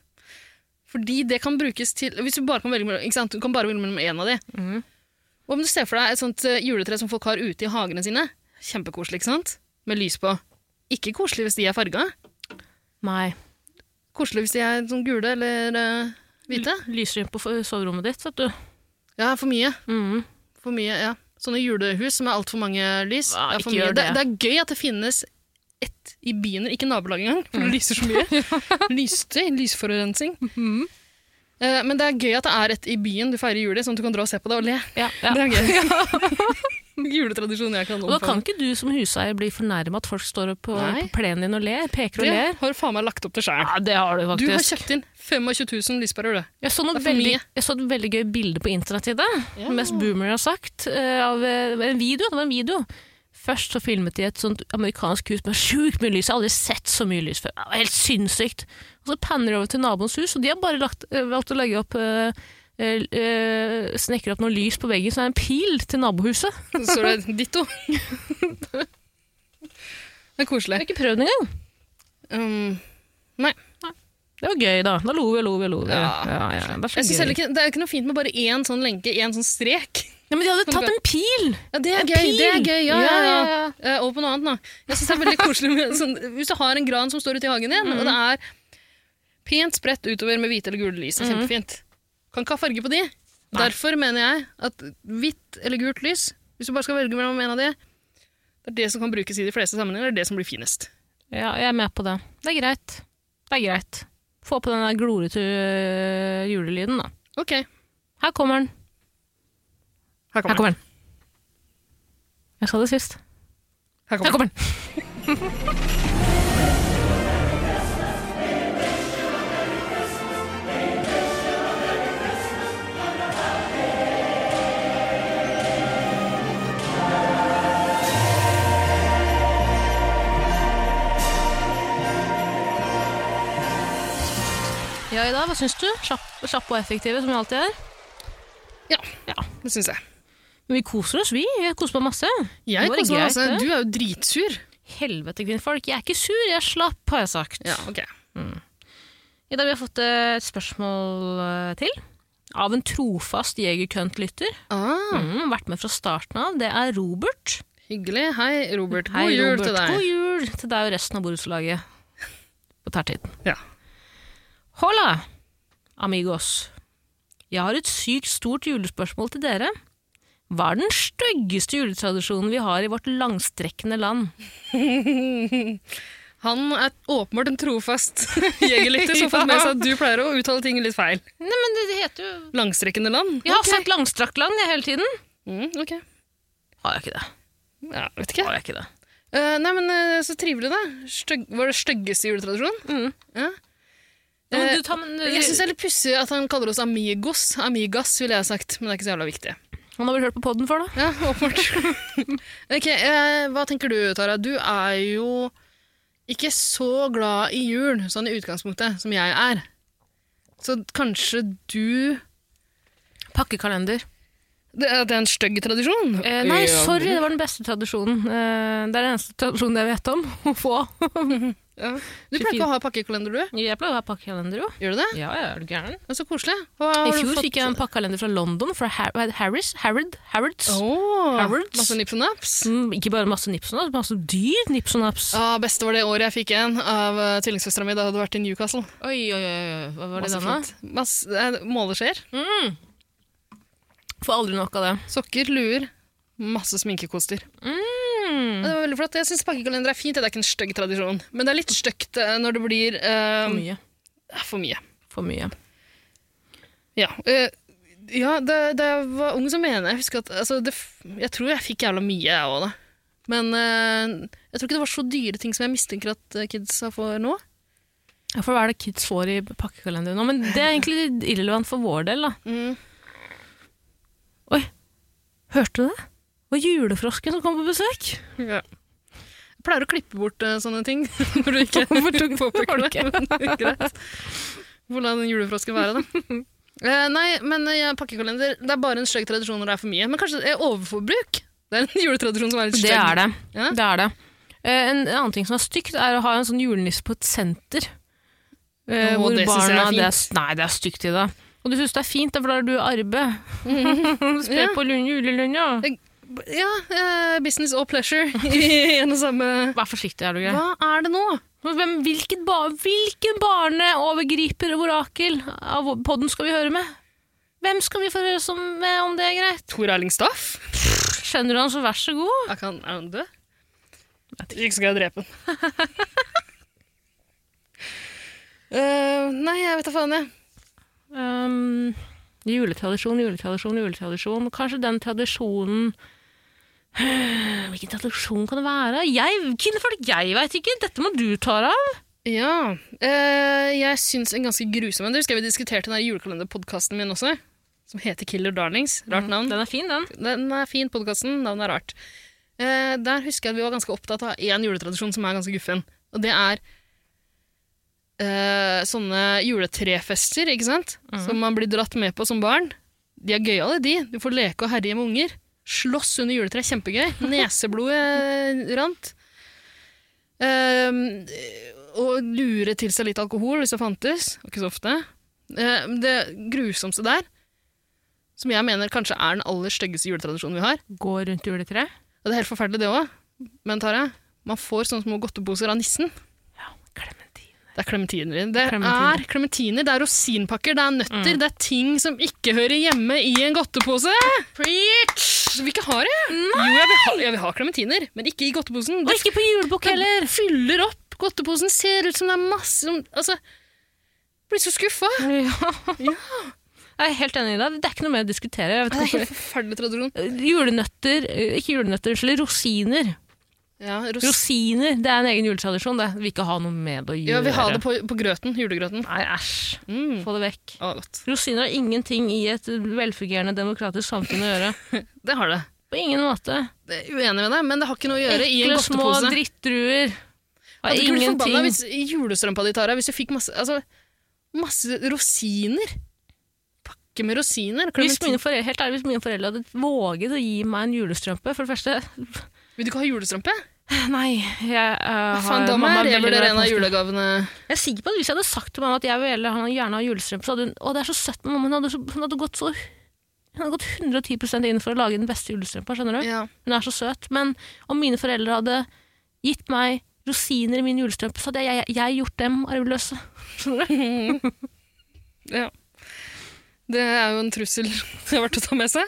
[SPEAKER 3] Fordi det kan brukes til Hvis du bare kan velge mellom, ikke sant? Du kan bare velge mellom én av de.
[SPEAKER 2] Mhm.
[SPEAKER 3] Hva om du ser for deg et sånt eh, juletre som folk har ute i hagene sine? Kjempekoselig, ikke sant? Med lys på. Ikke koselig hvis de er farga.
[SPEAKER 2] Nei,
[SPEAKER 3] Koselig hvis de er sånn gule eller eh, hvite.
[SPEAKER 2] lyser inn på f- soverommet ditt, vet du.
[SPEAKER 3] Ja, for mye.
[SPEAKER 2] Mhm.
[SPEAKER 3] For mye, ja. Sånne julehus med altfor mange lys.
[SPEAKER 2] Ja,
[SPEAKER 3] er for
[SPEAKER 2] ikke
[SPEAKER 3] mye.
[SPEAKER 2] gjør
[SPEAKER 3] det. Det, er gøy at det finnes ett i byen, ikke nabolaget engang,
[SPEAKER 2] Mm.
[SPEAKER 3] for det lyser så mye. Lyste, lysforurensning.
[SPEAKER 2] Mm-hmm.
[SPEAKER 3] Eh, Men det er gøy at det er ett i byen du feirer jul i, sånn at du kan dra og se på det og le.
[SPEAKER 2] Ja, ja.
[SPEAKER 3] Det er gøy. Juletradisjon jeg kan
[SPEAKER 2] Og da kan
[SPEAKER 3] omfavne.
[SPEAKER 2] ikke du som huseier bli fornærmet at folk står oppe på,
[SPEAKER 3] Nei.
[SPEAKER 2] på plenen din og ler, peker og
[SPEAKER 3] Det
[SPEAKER 2] ler.
[SPEAKER 3] har du faen meg lagt opp til sjæl.
[SPEAKER 2] Ja, det har du
[SPEAKER 3] Du
[SPEAKER 2] faktisk.
[SPEAKER 3] har kjøpt inn 25 000 lyspærer, du.
[SPEAKER 2] Jeg så, noe
[SPEAKER 3] Det er for
[SPEAKER 2] veldig,
[SPEAKER 3] mye.
[SPEAKER 2] jeg så et veldig gøy bilde på internett i det.
[SPEAKER 3] Ja.
[SPEAKER 2] Mest boomer har sagt. eh, Av eh, en video. Det var en video. Først så filmet de et sånt amerikansk hus med sjukt mye lys. Jeg har aldri sett så mye lys før. Det var helt sinnssykt. Og så panner de over til naboens hus, og de har bare lagt, eh, valgt å legge opp eh, eh, eh, Snekre opp noe lys på veggen, så det er en pil til nabohuset.
[SPEAKER 3] Så står det ditto. Det er
[SPEAKER 2] Jeg
[SPEAKER 3] koselig.
[SPEAKER 2] har ikke prøvd det engang.
[SPEAKER 3] Um,
[SPEAKER 2] Det var gøy, da. Da lo vi og lo vi og lo vi.
[SPEAKER 3] Ja.
[SPEAKER 2] Ja, ja, det er så
[SPEAKER 3] Jeg synes
[SPEAKER 2] gøy.
[SPEAKER 3] heller ikke, Det er jo ikke noe fint med bare én sånn lenke, én sånn strek.
[SPEAKER 2] Ja, men de hadde tatt en pil!
[SPEAKER 3] Ja, det er
[SPEAKER 2] En
[SPEAKER 3] gøy.
[SPEAKER 2] pil!
[SPEAKER 3] det er gøy, ja, ja, ja.
[SPEAKER 2] Ja, ja,
[SPEAKER 3] Eh, Over på noe annet, da. Jeg synes det er veldig koselig med, sånn, Hvis du har en gran som står ute i hagen din, og det er pent spredt utover med hvite eller gule lys, det er kjempefint. Kan ikke ha farge på de. Derfor mener jeg at hvitt eller gult lys, hvis du bare skal velge mellom en av de, det er det som kan brukes i de fleste sammenhenger, det er det som blir finest.
[SPEAKER 2] Ja, jeg er med på det. Det er greit. Det er greit. Få på den der glorete øh, julelyden, da.
[SPEAKER 3] Ok, her
[SPEAKER 2] Her kommer den. Her
[SPEAKER 3] kommer den.
[SPEAKER 2] kommer den. Jeg sa det sist.
[SPEAKER 3] Her kommer
[SPEAKER 2] Her
[SPEAKER 3] den.
[SPEAKER 2] kommer den. Ja, Ida, hva syns du? Kjapp, kjapp og effektive, som vi alltid er.
[SPEAKER 3] Ja,
[SPEAKER 2] Ja.
[SPEAKER 3] det syns jeg.
[SPEAKER 2] Men vi koser oss, vi. Jeg koser meg masse.
[SPEAKER 3] Jeg
[SPEAKER 2] Det var
[SPEAKER 3] koser meg
[SPEAKER 2] greit,
[SPEAKER 3] masse.
[SPEAKER 2] det.
[SPEAKER 3] Du er jo dritsur.
[SPEAKER 2] Helvete, kvinnfolk. Jeg er ikke sur, jeg er slapp, har jeg sagt.
[SPEAKER 3] Ja, ok.
[SPEAKER 2] I dag har vi fått eh, et spørsmål eh, til. Av en trofast jegerkønt-lytter.
[SPEAKER 3] Ah,
[SPEAKER 2] Mm, vært med fra starten av. Det er Robert.
[SPEAKER 3] hyggelig. Hei, Robert. God
[SPEAKER 2] Hei,
[SPEAKER 3] jul
[SPEAKER 2] Robert.
[SPEAKER 3] til deg.
[SPEAKER 2] God jul til deg og resten av borettslaget på tertiden.
[SPEAKER 3] Ja.
[SPEAKER 2] Hola, amigos. Jeg har et sykt stort julespørsmål til dere. Hva er den styggeste juletradisjonen vi har i vårt langstrekkende land?
[SPEAKER 3] Han er åpenbart en trofast jegerlytter som har fått med seg at du pleier å uttale ting litt feil.
[SPEAKER 2] Nei, men det heter jo
[SPEAKER 3] Langstrekkende land?
[SPEAKER 2] Jeg har sagt langstrakt land jeg, hele tiden.
[SPEAKER 3] Mm, ok.
[SPEAKER 2] Har jeg ikke det?
[SPEAKER 3] Ja, vet ikke.
[SPEAKER 2] Har jeg ikke det?
[SPEAKER 3] Eh, nei, men eh, så trivelig, da. Stygg, var det styggeste juletradisjon? Ja.
[SPEAKER 2] Mm.
[SPEAKER 3] Eh,
[SPEAKER 2] Ja, men du, ta, men,
[SPEAKER 3] Jeg syns det er litt pussig at han kaller oss amigos. Amigas, ville jeg ha sagt, men det er ikke så jævla viktig.
[SPEAKER 2] Han har vel hørt på podden før, da?
[SPEAKER 3] Ja, åpenbart. ok, eh, Hva tenker du, Tara? Du er jo ikke så glad i jul, sånn i utgangspunktet, som jeg er. Så kanskje du
[SPEAKER 2] Pakkekalender.
[SPEAKER 3] Det er, det er en stygg tradisjon.
[SPEAKER 2] Eh, nei,
[SPEAKER 3] Ja.
[SPEAKER 2] sorry, det var den beste tradisjonen. Eh, det er den eneste tradisjonen jeg vet om å få.
[SPEAKER 3] Ja. Du pleier ikke å ha pakkekalender, du?
[SPEAKER 2] Jeg pleier å ha pakkekalender, jo.
[SPEAKER 3] Gjør du det?
[SPEAKER 2] Ja, ja, er du gæren?
[SPEAKER 3] Det er så koselig. Hva har
[SPEAKER 2] I
[SPEAKER 3] du
[SPEAKER 2] fjor
[SPEAKER 3] fått-
[SPEAKER 2] fikk jeg en pakkekalender fra London, fra Har hva heter det? Harris, Harrod, Harrods.
[SPEAKER 3] Åh,
[SPEAKER 2] Harrods.
[SPEAKER 3] Masse nips og naps.
[SPEAKER 2] Mm, ikke bare masse nips og naps, masse dyr nips og naps.
[SPEAKER 3] Ah, beste var det året jeg fikk en av uh, tvillingsøstera mi da hun hadde vært i Newcastle.
[SPEAKER 2] Oi, oi, oi, oi, hva var det
[SPEAKER 3] Masse
[SPEAKER 2] denne? Mm.
[SPEAKER 3] fint. Masse, eh, Måleskjeer,
[SPEAKER 2] Får aldri nok av det.
[SPEAKER 3] sokker, luer, masse sminkekoster. Ja,
[SPEAKER 2] Mm.
[SPEAKER 3] Det var veldig flott. Jeg syns pakkekalender er fint. Det er ikke en stygg tradisjon. Men det er litt stygt eh, når det blir eh,
[SPEAKER 2] For mye.
[SPEAKER 3] ja, for mye.
[SPEAKER 2] For mye.
[SPEAKER 3] Ja, eh, ja da, da jeg var ung, så mener jeg jeg husker at altså, det, f- Jeg tror jeg fikk jævla mye, jeg òg, da. Men eh, jeg tror ikke det var så dyre ting som jeg mistenker at eh, kidsa får nå.
[SPEAKER 2] Ja, For hva er det kids får i pakkekalenderen nå? Men det er egentlig irrelevant for vår del, da. Oi, hørte du det? Det var julefrosken som kom på besøk.
[SPEAKER 3] Ja. Jeg pleier å klippe bort eh, sånne ting når du ikke påpeker det. men det er Greit. Hvor la den julefrosken være, da? Eh, nei, men eh, jeg- pakkekalender Det er bare en stygg tradisjon når det er for mye. Men kanskje eh, overforbruk? Det er en juletradisjon som er litt stygg.
[SPEAKER 2] Det er det.
[SPEAKER 3] Ja.
[SPEAKER 2] det, er det. Eh, en, en annen ting som er stygt, er å ha en sånn julenisse på et senter. Eh,
[SPEAKER 3] Å,
[SPEAKER 2] hvor
[SPEAKER 3] det synes jeg er
[SPEAKER 2] barna det er, Nei, det er stygt i det. Og du syns det er fint, da, for da har du arbeid. Spre
[SPEAKER 3] Mhm. Ja.
[SPEAKER 2] på lun- julelunja.
[SPEAKER 3] Ja, eh, business og pleasure i en og samme
[SPEAKER 2] Vær forsiktig, er du grei.
[SPEAKER 3] Hva er det nå?
[SPEAKER 2] Hvem, hvilken, ba hvilken barneovergriper og orakel av podden skal vi høre med? Hvem skal vi få høre som, med om det er greit?
[SPEAKER 3] Tor Erling Staff?
[SPEAKER 2] Skjønner du han, så vær så god.
[SPEAKER 3] Er han, er han død? Ikke skal jeg drepe han. Eh, nei, jeg vet da faen, jeg.
[SPEAKER 2] Um, juletradisjon, juletradisjon, juletradisjon. Kanskje den tradisjonen Hvilken tradisjon kan det være? Jeg, kvinnfolk, jeg veit ikke! Dette må du ta deg av.
[SPEAKER 3] Ja. eh, jeg syns en ganske grusom en. Det husker jeg vi diskuterte den her julekalenderpodkasten min også, som heter Killer Darlings. Rart navn.
[SPEAKER 2] Den er fin, den.
[SPEAKER 3] Den er fin, podkasten. Navnet er rart. Eh, der husker jeg at vi var ganske opptatt av én juletradisjon som er ganske guffen. Og det er eh, sånne juletrefester, ikke sant? Som man blir dratt med på som barn. De er gøyale, de. Du får leke og herje med unger. Slåss under juletreet, kjempegøy. Neseblodet rant. Ehm, og lure til seg litt Ehm, alkohol hvis det fantes. Ikke så ofte. Eh, det grusomste der som jeg mener kanskje er den aller styggeste juletradisjonen vi har.
[SPEAKER 2] Gå rundt juletreet.
[SPEAKER 3] Og det er helt forferdelig, det òg. Men Tara, man får sånne små godteposer av nissen.
[SPEAKER 2] Clementine.
[SPEAKER 3] Det er klementiner. Mm. i den. Det
[SPEAKER 2] Clementiner.
[SPEAKER 3] er klementiner, det er rosinpakker, det er nøtter, det er ting som ikke hører hjemme i en godtepose. Preach! Vil ikke ha det. Jo, jeg vil ha, jeg vil ha klementiner, men ikke i godteposen.
[SPEAKER 2] Og
[SPEAKER 3] Det
[SPEAKER 2] ikke på julebukk heller!
[SPEAKER 3] fyller opp godteposen, ser ut som det er masse som Altså, blir så skuffa.
[SPEAKER 2] Ja. Jeg er helt enig i deg. Det er ikke noe mer å diskutere. Jeg vet
[SPEAKER 3] Det er
[SPEAKER 2] ikke
[SPEAKER 3] helt forferdelig tradisjon.
[SPEAKER 2] hvorfor. Julenøtter eh, Ikke julenøtter, unnskyld. Rosiner.
[SPEAKER 3] Ja, ros
[SPEAKER 2] Rosiner det er en egen juletradisjon. det. Vi vil ikke ha noe med å gjøre.
[SPEAKER 3] ja, vi har det på, på grøten. Julegrøten.
[SPEAKER 2] Nei, æsj.
[SPEAKER 3] Mm.
[SPEAKER 2] Få det vekk.
[SPEAKER 3] Å, godt.
[SPEAKER 2] Rosiner har ingenting i et velfungerende demokratisk samfunn å gjøre.
[SPEAKER 3] Det har det.
[SPEAKER 2] På ingen måte.
[SPEAKER 3] det er uenig med deg, men det har ikke noe å gjøre i en
[SPEAKER 2] Ekle små
[SPEAKER 3] godtepose.
[SPEAKER 2] drittdruer. Har
[SPEAKER 3] At du kunne bli
[SPEAKER 2] ingenting
[SPEAKER 3] forbanna hvis i julestrømpa di, Tara, hvis du fikk masse, altså, masse rosiner. Pakke med rosiner.
[SPEAKER 2] hvis
[SPEAKER 3] klementin-
[SPEAKER 2] mine, foreldre, helt ærlig, hvis mine foreldre hadde våget å gi meg en julestrømpe For det første
[SPEAKER 3] Vil du ikke ha julestrømpe?
[SPEAKER 2] Nei. Jeg, eh,
[SPEAKER 3] Hva
[SPEAKER 2] har-
[SPEAKER 3] faen, da må
[SPEAKER 2] mamma er
[SPEAKER 3] jeg
[SPEAKER 2] veldig glad i
[SPEAKER 3] revurdere en av
[SPEAKER 2] påske.
[SPEAKER 3] julegavene.
[SPEAKER 2] Jeg er sikker på at Hvis jeg hadde sagt til mamma at jeg vil gjerne ha- gjerne ha julestrømpe, så hadde hun Å, det er så søtt, men hun hadde, så- hun hadde gått så hun hadde gått 110 inn for å lage den beste julestrømpa. skjønner du?
[SPEAKER 3] Ja.
[SPEAKER 2] Hun er så søt. Men om mine foreldre hadde gitt meg rosiner i min julestrømpe, så hadde jeg, jeg, jeg gjort dem arveløse. Skjønner du?
[SPEAKER 3] ja. Det er jo en trussel det er verdt å ta med seg.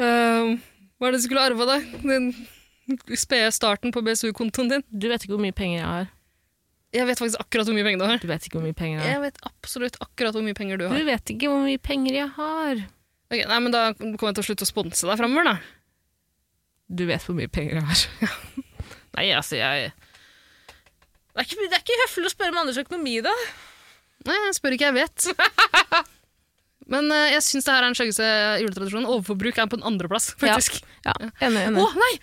[SPEAKER 3] um, hva er det du skulle arve, da? Den spede starten på BSU-kontoen din?
[SPEAKER 2] Du vet ikke hvor mye penger jeg har.
[SPEAKER 3] Jeg vet faktisk akkurat hvor mye penger du har.
[SPEAKER 2] Du vet ikke hvor mye penger jeg har.
[SPEAKER 3] Jeg vet absolutt akkurat hvor mye penger du har.
[SPEAKER 2] Du vet ikke hvor mye penger jeg har.
[SPEAKER 3] Ok, nei, men Da kommer jeg til å slutte å sponse deg framover, da.
[SPEAKER 2] Du vet hvor mye penger jeg har. Nei, altså, jeg Det er ikke, det er ikke høflig å spørre om andres økonomi, da.
[SPEAKER 3] Nei, jeg spør ikke, jeg vet. Men eh, jeg syns det her er den styggeste juletradisjonen. Overforbruk er på en andreplass, faktisk.
[SPEAKER 2] Ja, enig,
[SPEAKER 3] Å
[SPEAKER 2] enig.
[SPEAKER 3] nei!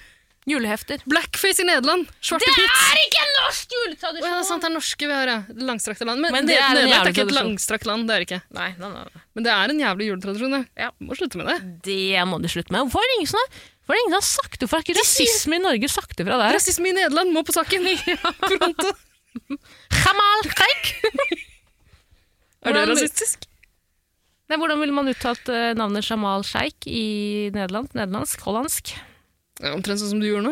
[SPEAKER 2] Julehefter.
[SPEAKER 3] Blackface i Nederland! Svart og hvitt!
[SPEAKER 2] er ikke en norsk
[SPEAKER 3] Å
[SPEAKER 2] juletradisjon!
[SPEAKER 3] ja, det er sant, det er norske vi har, ja. Det Langstrakte land. Men,
[SPEAKER 2] Men
[SPEAKER 3] det
[SPEAKER 2] det er en
[SPEAKER 3] Nederland er
[SPEAKER 2] jævlig
[SPEAKER 3] ikke et
[SPEAKER 2] tradisjon.
[SPEAKER 3] langstrakt land, det er det ikke.
[SPEAKER 2] Nei, nei, nei, nei.
[SPEAKER 3] Men det er en jævlig juletradisjon, ja.
[SPEAKER 2] Ja.
[SPEAKER 3] Må slutte med det.
[SPEAKER 2] Det må de slutte med. Hvorfor er det ingen som har, hvorfor er det ingen som har sagt det fra? Er ikke rasisme i Norge sakte fra der?
[SPEAKER 3] Rasisme i Nederland må på saken! Fronte.
[SPEAKER 2] Kamal Kreik!
[SPEAKER 3] Er det
[SPEAKER 2] Hvordan-
[SPEAKER 3] rasistisk?
[SPEAKER 2] Nei, hvordan ville man uttalt eh, navnet Jamal Sheikh i Nederland? Nederlandsk? Hollandsk?
[SPEAKER 3] Ja, Omtrent sånn som du gjorde nå.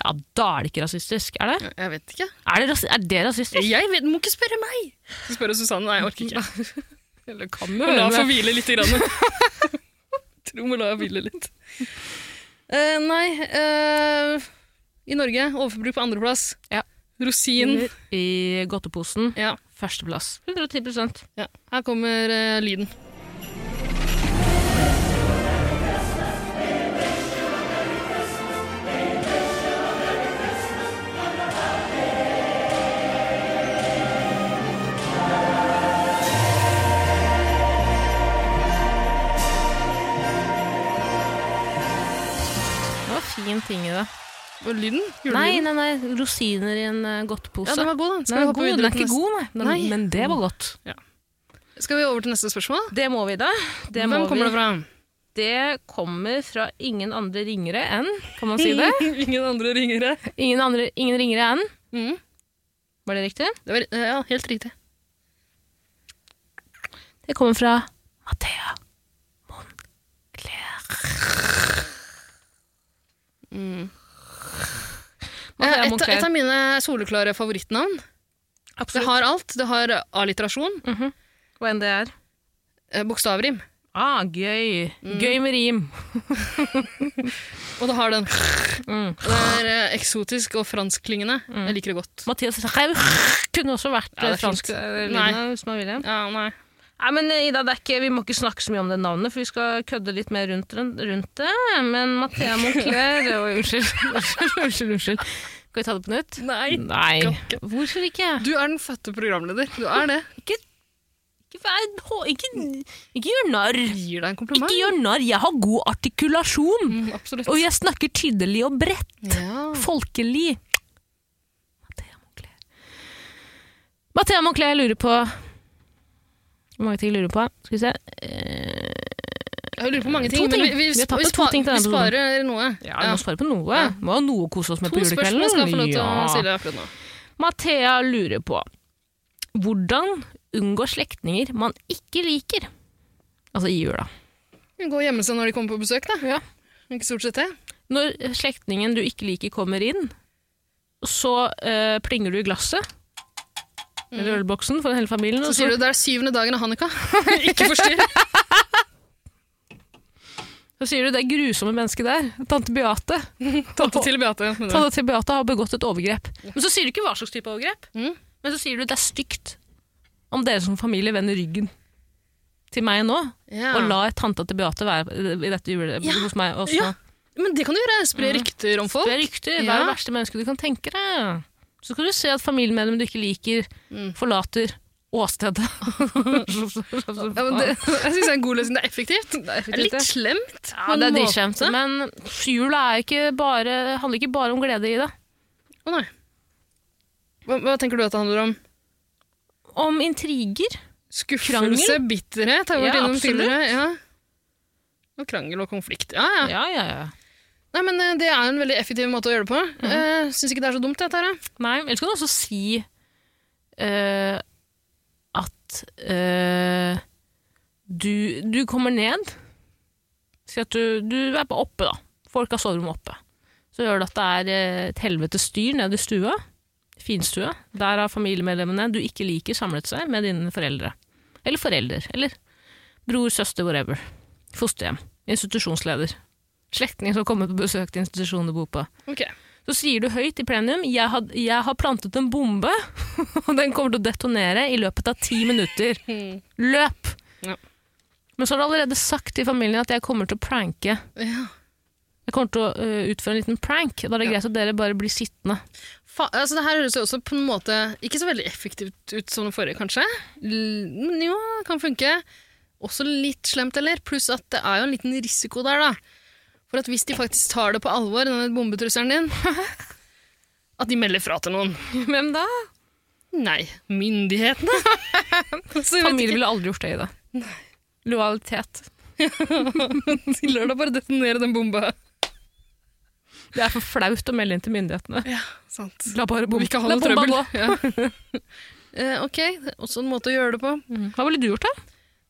[SPEAKER 2] Ja, da er det ikke rasistisk. Er det?
[SPEAKER 3] Ja, Jeg vet ikke.
[SPEAKER 2] Er det, rasi er det rasistisk?
[SPEAKER 3] Jeg vet, Må ikke spørre meg! Skal spørre Susanne. Nei, jeg orker ikke. Eller kan du?
[SPEAKER 2] høre
[SPEAKER 3] La
[SPEAKER 2] det.
[SPEAKER 3] få hvile litt. Grann. Tro må la hvile litt. Eh, nei eh, I Norge overforbruk på andreplass.
[SPEAKER 2] Ja. Mm.
[SPEAKER 3] Rosin.
[SPEAKER 2] I godteposen.
[SPEAKER 3] Ja.
[SPEAKER 2] Førsteplass. 110
[SPEAKER 3] ja. Her kommer eh, lyden.
[SPEAKER 2] Det var fin ting i det.
[SPEAKER 3] Var det Lyden?
[SPEAKER 2] Nei,
[SPEAKER 3] Julelyden?
[SPEAKER 2] nei, nei. Rosiner i en eh, godtepose.
[SPEAKER 3] Ja, den var god, da.
[SPEAKER 2] Den
[SPEAKER 3] Skal vi
[SPEAKER 2] er
[SPEAKER 3] hoppe
[SPEAKER 2] god,
[SPEAKER 3] videre
[SPEAKER 2] den er
[SPEAKER 3] til
[SPEAKER 2] ikke
[SPEAKER 3] neste-
[SPEAKER 2] god, nei. Den,
[SPEAKER 3] Nei.
[SPEAKER 2] Men det var godt.
[SPEAKER 3] Skal vi over til neste spørsmål?
[SPEAKER 2] Det må vi, da. Det
[SPEAKER 3] Hvem kommer det fra?
[SPEAKER 2] Det kommer fra ingen andre ringere enn Kan man si det?
[SPEAKER 3] Ingen andre ringere.
[SPEAKER 2] Ingen, andre, ingen ringere enn
[SPEAKER 3] Mm.
[SPEAKER 2] Var det riktig?
[SPEAKER 3] Det var, ja, helt riktig.
[SPEAKER 2] Det kommer fra Mathea Moncler.
[SPEAKER 3] Eh,
[SPEAKER 2] Mathea
[SPEAKER 3] Et,
[SPEAKER 2] Moncler.
[SPEAKER 3] et av mine soleklare favorittnavn. Det har alt. Det har alliterasjon,
[SPEAKER 2] Mm. Hva enn det er.
[SPEAKER 3] eh, bokstavrim,
[SPEAKER 2] Ah, gøy. Gøy med rim.
[SPEAKER 3] og det har den
[SPEAKER 2] Mm.
[SPEAKER 3] Det er eh, eksotisk og franskklingende. Jeg liker det godt.
[SPEAKER 2] Mathias Rau kunne også vært
[SPEAKER 3] Ja, det er
[SPEAKER 2] eh, fransk.
[SPEAKER 3] fint.
[SPEAKER 2] eh,
[SPEAKER 3] Nei.
[SPEAKER 2] lydende, Hvis man ville.
[SPEAKER 3] Ja, nei.
[SPEAKER 2] Nei, men eh, Ida, det er ikke, Vi må ikke snakke så mye om det navnet, for vi skal kødde litt mer rundt, den- rundt det. Men Mathea Moncler Oi, Unnskyld. Unnskyld, unnskyld, unnskyld. Skal vi ta det på nytt? Nei.
[SPEAKER 3] Klokke.
[SPEAKER 2] Hvorfor ikke?
[SPEAKER 3] Du er den fødte programleder. Du er det.
[SPEAKER 2] Ikke, vær- hå- ikke, ikke gjør narr.
[SPEAKER 3] Gir deg en kompliment.
[SPEAKER 2] Ikke gjør narr. Jeg har god artikulasjon.
[SPEAKER 3] Mm, absolutt.
[SPEAKER 2] Og jeg snakker tydelig og bredt.
[SPEAKER 3] Ja.
[SPEAKER 2] Folkelig. Mathea Moncler. Mathea Moncler, jeg lurer på Hvor mange ting lurer du på? Skal vi se. Eh,
[SPEAKER 3] Jeg lurer på mange ting,
[SPEAKER 2] To
[SPEAKER 3] men vi,
[SPEAKER 2] ting. Vi
[SPEAKER 3] vi,
[SPEAKER 2] har
[SPEAKER 3] spa,
[SPEAKER 2] tatt
[SPEAKER 3] vi,
[SPEAKER 2] opp to
[SPEAKER 3] spa,
[SPEAKER 2] ting til
[SPEAKER 3] vi
[SPEAKER 2] denne
[SPEAKER 3] sparer noe.
[SPEAKER 2] Ja, vi må svare på noe.
[SPEAKER 3] Ja.
[SPEAKER 2] Vi må ha noe å kose oss med
[SPEAKER 3] To
[SPEAKER 2] på julekvelden.
[SPEAKER 3] spørsmål skal jeg få lov til å
[SPEAKER 2] Ja.
[SPEAKER 3] stille akkurat nå.
[SPEAKER 2] Mathea lurer på hvordan unngå slektninger man ikke liker. Altså i jula.
[SPEAKER 3] Gå og gjemme seg når de kommer på besøk, da. Ikke stort sett det.
[SPEAKER 2] Når slektningen du ikke liker kommer inn, så eh, plinger du i glasset, eller ølboksen for hele familien,
[SPEAKER 3] Mm. Så
[SPEAKER 2] og
[SPEAKER 3] sier du det er syvende dagen av Hanukka. ikke forstyrr.
[SPEAKER 2] så sier du det grusomme mennesket der, tante Beate,
[SPEAKER 3] Tante til Beate.
[SPEAKER 2] tante til Beate har begått et overgrep. Men så sier du ikke hva slags type overgrep,
[SPEAKER 3] Mm.
[SPEAKER 2] men så sier du det er stygt om dere som familie vender ryggen til meg nå,
[SPEAKER 3] Ja.
[SPEAKER 2] og lar tanta til Beate være eh, i dette jule
[SPEAKER 3] Ja.
[SPEAKER 2] hos meg også.
[SPEAKER 3] Ja. Men det kan du gjøre. Spre
[SPEAKER 2] Mm.
[SPEAKER 3] rykter om folk.
[SPEAKER 2] Det er rykter.
[SPEAKER 3] Ja.
[SPEAKER 2] Vær det verste mennesket du kan tenke deg. Så kan du se at familiemedlemmer du ikke liker,
[SPEAKER 3] Mm.
[SPEAKER 2] forlater åstedet.
[SPEAKER 3] Ja, men det, jeg synes det er en god løsning. Det er effektivt. Det er
[SPEAKER 2] effektivt,
[SPEAKER 3] litt
[SPEAKER 2] det.
[SPEAKER 3] slemt.
[SPEAKER 2] Ja,
[SPEAKER 3] på en
[SPEAKER 2] det er
[SPEAKER 3] måte.
[SPEAKER 2] dritkjemt. Men jula er ikke bare, handler ikke bare om glede i det.
[SPEAKER 3] Å nei. Hva, hva tenker du at det handler om?
[SPEAKER 2] Om intriger.
[SPEAKER 3] Skuffelse,
[SPEAKER 2] Krangel?
[SPEAKER 3] bitterhet har vi vært
[SPEAKER 2] Ja,
[SPEAKER 3] innom
[SPEAKER 2] absolutt.
[SPEAKER 3] tidligere. Ja. Og krangel og konflikt. Ja, ja.
[SPEAKER 2] Ja, ja, ja.
[SPEAKER 3] Nei, men eh, Det er en veldig effektiv måte å gjøre det på. Mm Syns ikke det er så dumt, dette her. eh.
[SPEAKER 2] Nei, ellers kan du også si eh, at eh, du, du kommer ned Si at du, du er på oppe, da. Folk har soverom oppe. Så gjør det at det er eh, et helvetes styr nede i stua. Finstua. Der har familiemedlemmene du ikke liker, samlet seg med dine foreldre. Eller forelder. Eller bror, søster, whatever. Fosterhjem. Institusjonsleder. Slektninger som kommer på besøk til institusjonen du bor på.
[SPEAKER 3] Ok.
[SPEAKER 2] Så sier du høyt i plenum jeg har, 'Jeg har plantet en bombe, og den kommer til å detonere i løpet av ti minutter'. Løp!
[SPEAKER 3] Ja.
[SPEAKER 2] Men så har du allerede sagt til familien at jeg kommer til å pranke.
[SPEAKER 3] Ja.
[SPEAKER 2] Jeg kommer til å øh, utføre en liten prank. Da er det greit at dere bare blir sittende.
[SPEAKER 3] Fa altså, det her høres jo også på en måte ikke så veldig effektivt ut som det forrige, kanskje. L men jo, det kan funke. Også litt slemt, eller? Pluss at det er jo en liten risiko der, da. For at hvis de faktisk tar det på alvor, denne bombetrusselen din, at de melder fra til noen.
[SPEAKER 2] Hvem da?
[SPEAKER 3] Nei, myndighetene. altså, jeg vet
[SPEAKER 2] Familie ville aldri gjort det i det. Lojalitet.
[SPEAKER 3] ikke, de lar deg bare detonere den bomba.
[SPEAKER 2] Det er for flaut å melde inn til myndighetene.
[SPEAKER 3] Ja, sant.
[SPEAKER 2] La bare
[SPEAKER 3] Vi
[SPEAKER 2] bomba,
[SPEAKER 3] ikke
[SPEAKER 2] La
[SPEAKER 3] ha noe
[SPEAKER 2] bomba
[SPEAKER 3] trøbbel.
[SPEAKER 2] gå.
[SPEAKER 3] Ja. Eh, ok, også en måte å gjøre det på.
[SPEAKER 2] Hva ville du gjort, da?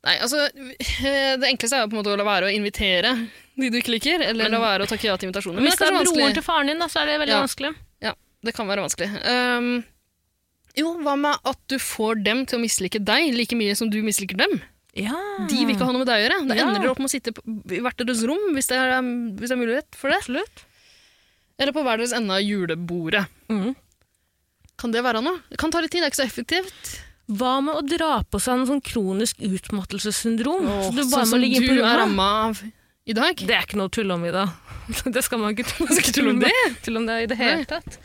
[SPEAKER 3] Nei, altså, eh, Det enkleste er jo på en måte å la være å invitere de du ikke liker, eller la være å takke ja til invitasjoner. Men
[SPEAKER 2] Hvis
[SPEAKER 3] det
[SPEAKER 2] det
[SPEAKER 3] er
[SPEAKER 2] er
[SPEAKER 3] kanskje
[SPEAKER 2] broren til
[SPEAKER 3] vanskelig.
[SPEAKER 2] faren din, da, så er det veldig
[SPEAKER 3] Ja.
[SPEAKER 2] vanskelig.
[SPEAKER 3] Ja, det kan være vanskelig. Ehm, jo, hva med at du får dem til å mislike deg like mye som du misliker dem?
[SPEAKER 2] Ja.
[SPEAKER 3] De vil ikke ha noe med deg å gjøre. Da
[SPEAKER 2] Ja.
[SPEAKER 3] ender dere opp med å sitte på, i hvert deres rom, hvis det, er, hvis det er mulighet for det.
[SPEAKER 2] Absolutt.
[SPEAKER 3] Eller på hver deres ende av julebordet.
[SPEAKER 2] Mm.
[SPEAKER 3] Kan det være noe? Det kan ta litt tid, det er ikke så effektivt.
[SPEAKER 2] Hva med å dra på seg en sånn kronisk utmattelsessyndrom? så du bare
[SPEAKER 3] sånn
[SPEAKER 2] må
[SPEAKER 3] som
[SPEAKER 2] ligge inn på
[SPEAKER 3] du er
[SPEAKER 2] rommet?
[SPEAKER 3] ramma av i dag.
[SPEAKER 2] Det er ikke noe å tulle om, Ida. Det skal man ikke tulle,
[SPEAKER 3] ikke tulle om det?
[SPEAKER 2] Tulle om det i det hele tatt.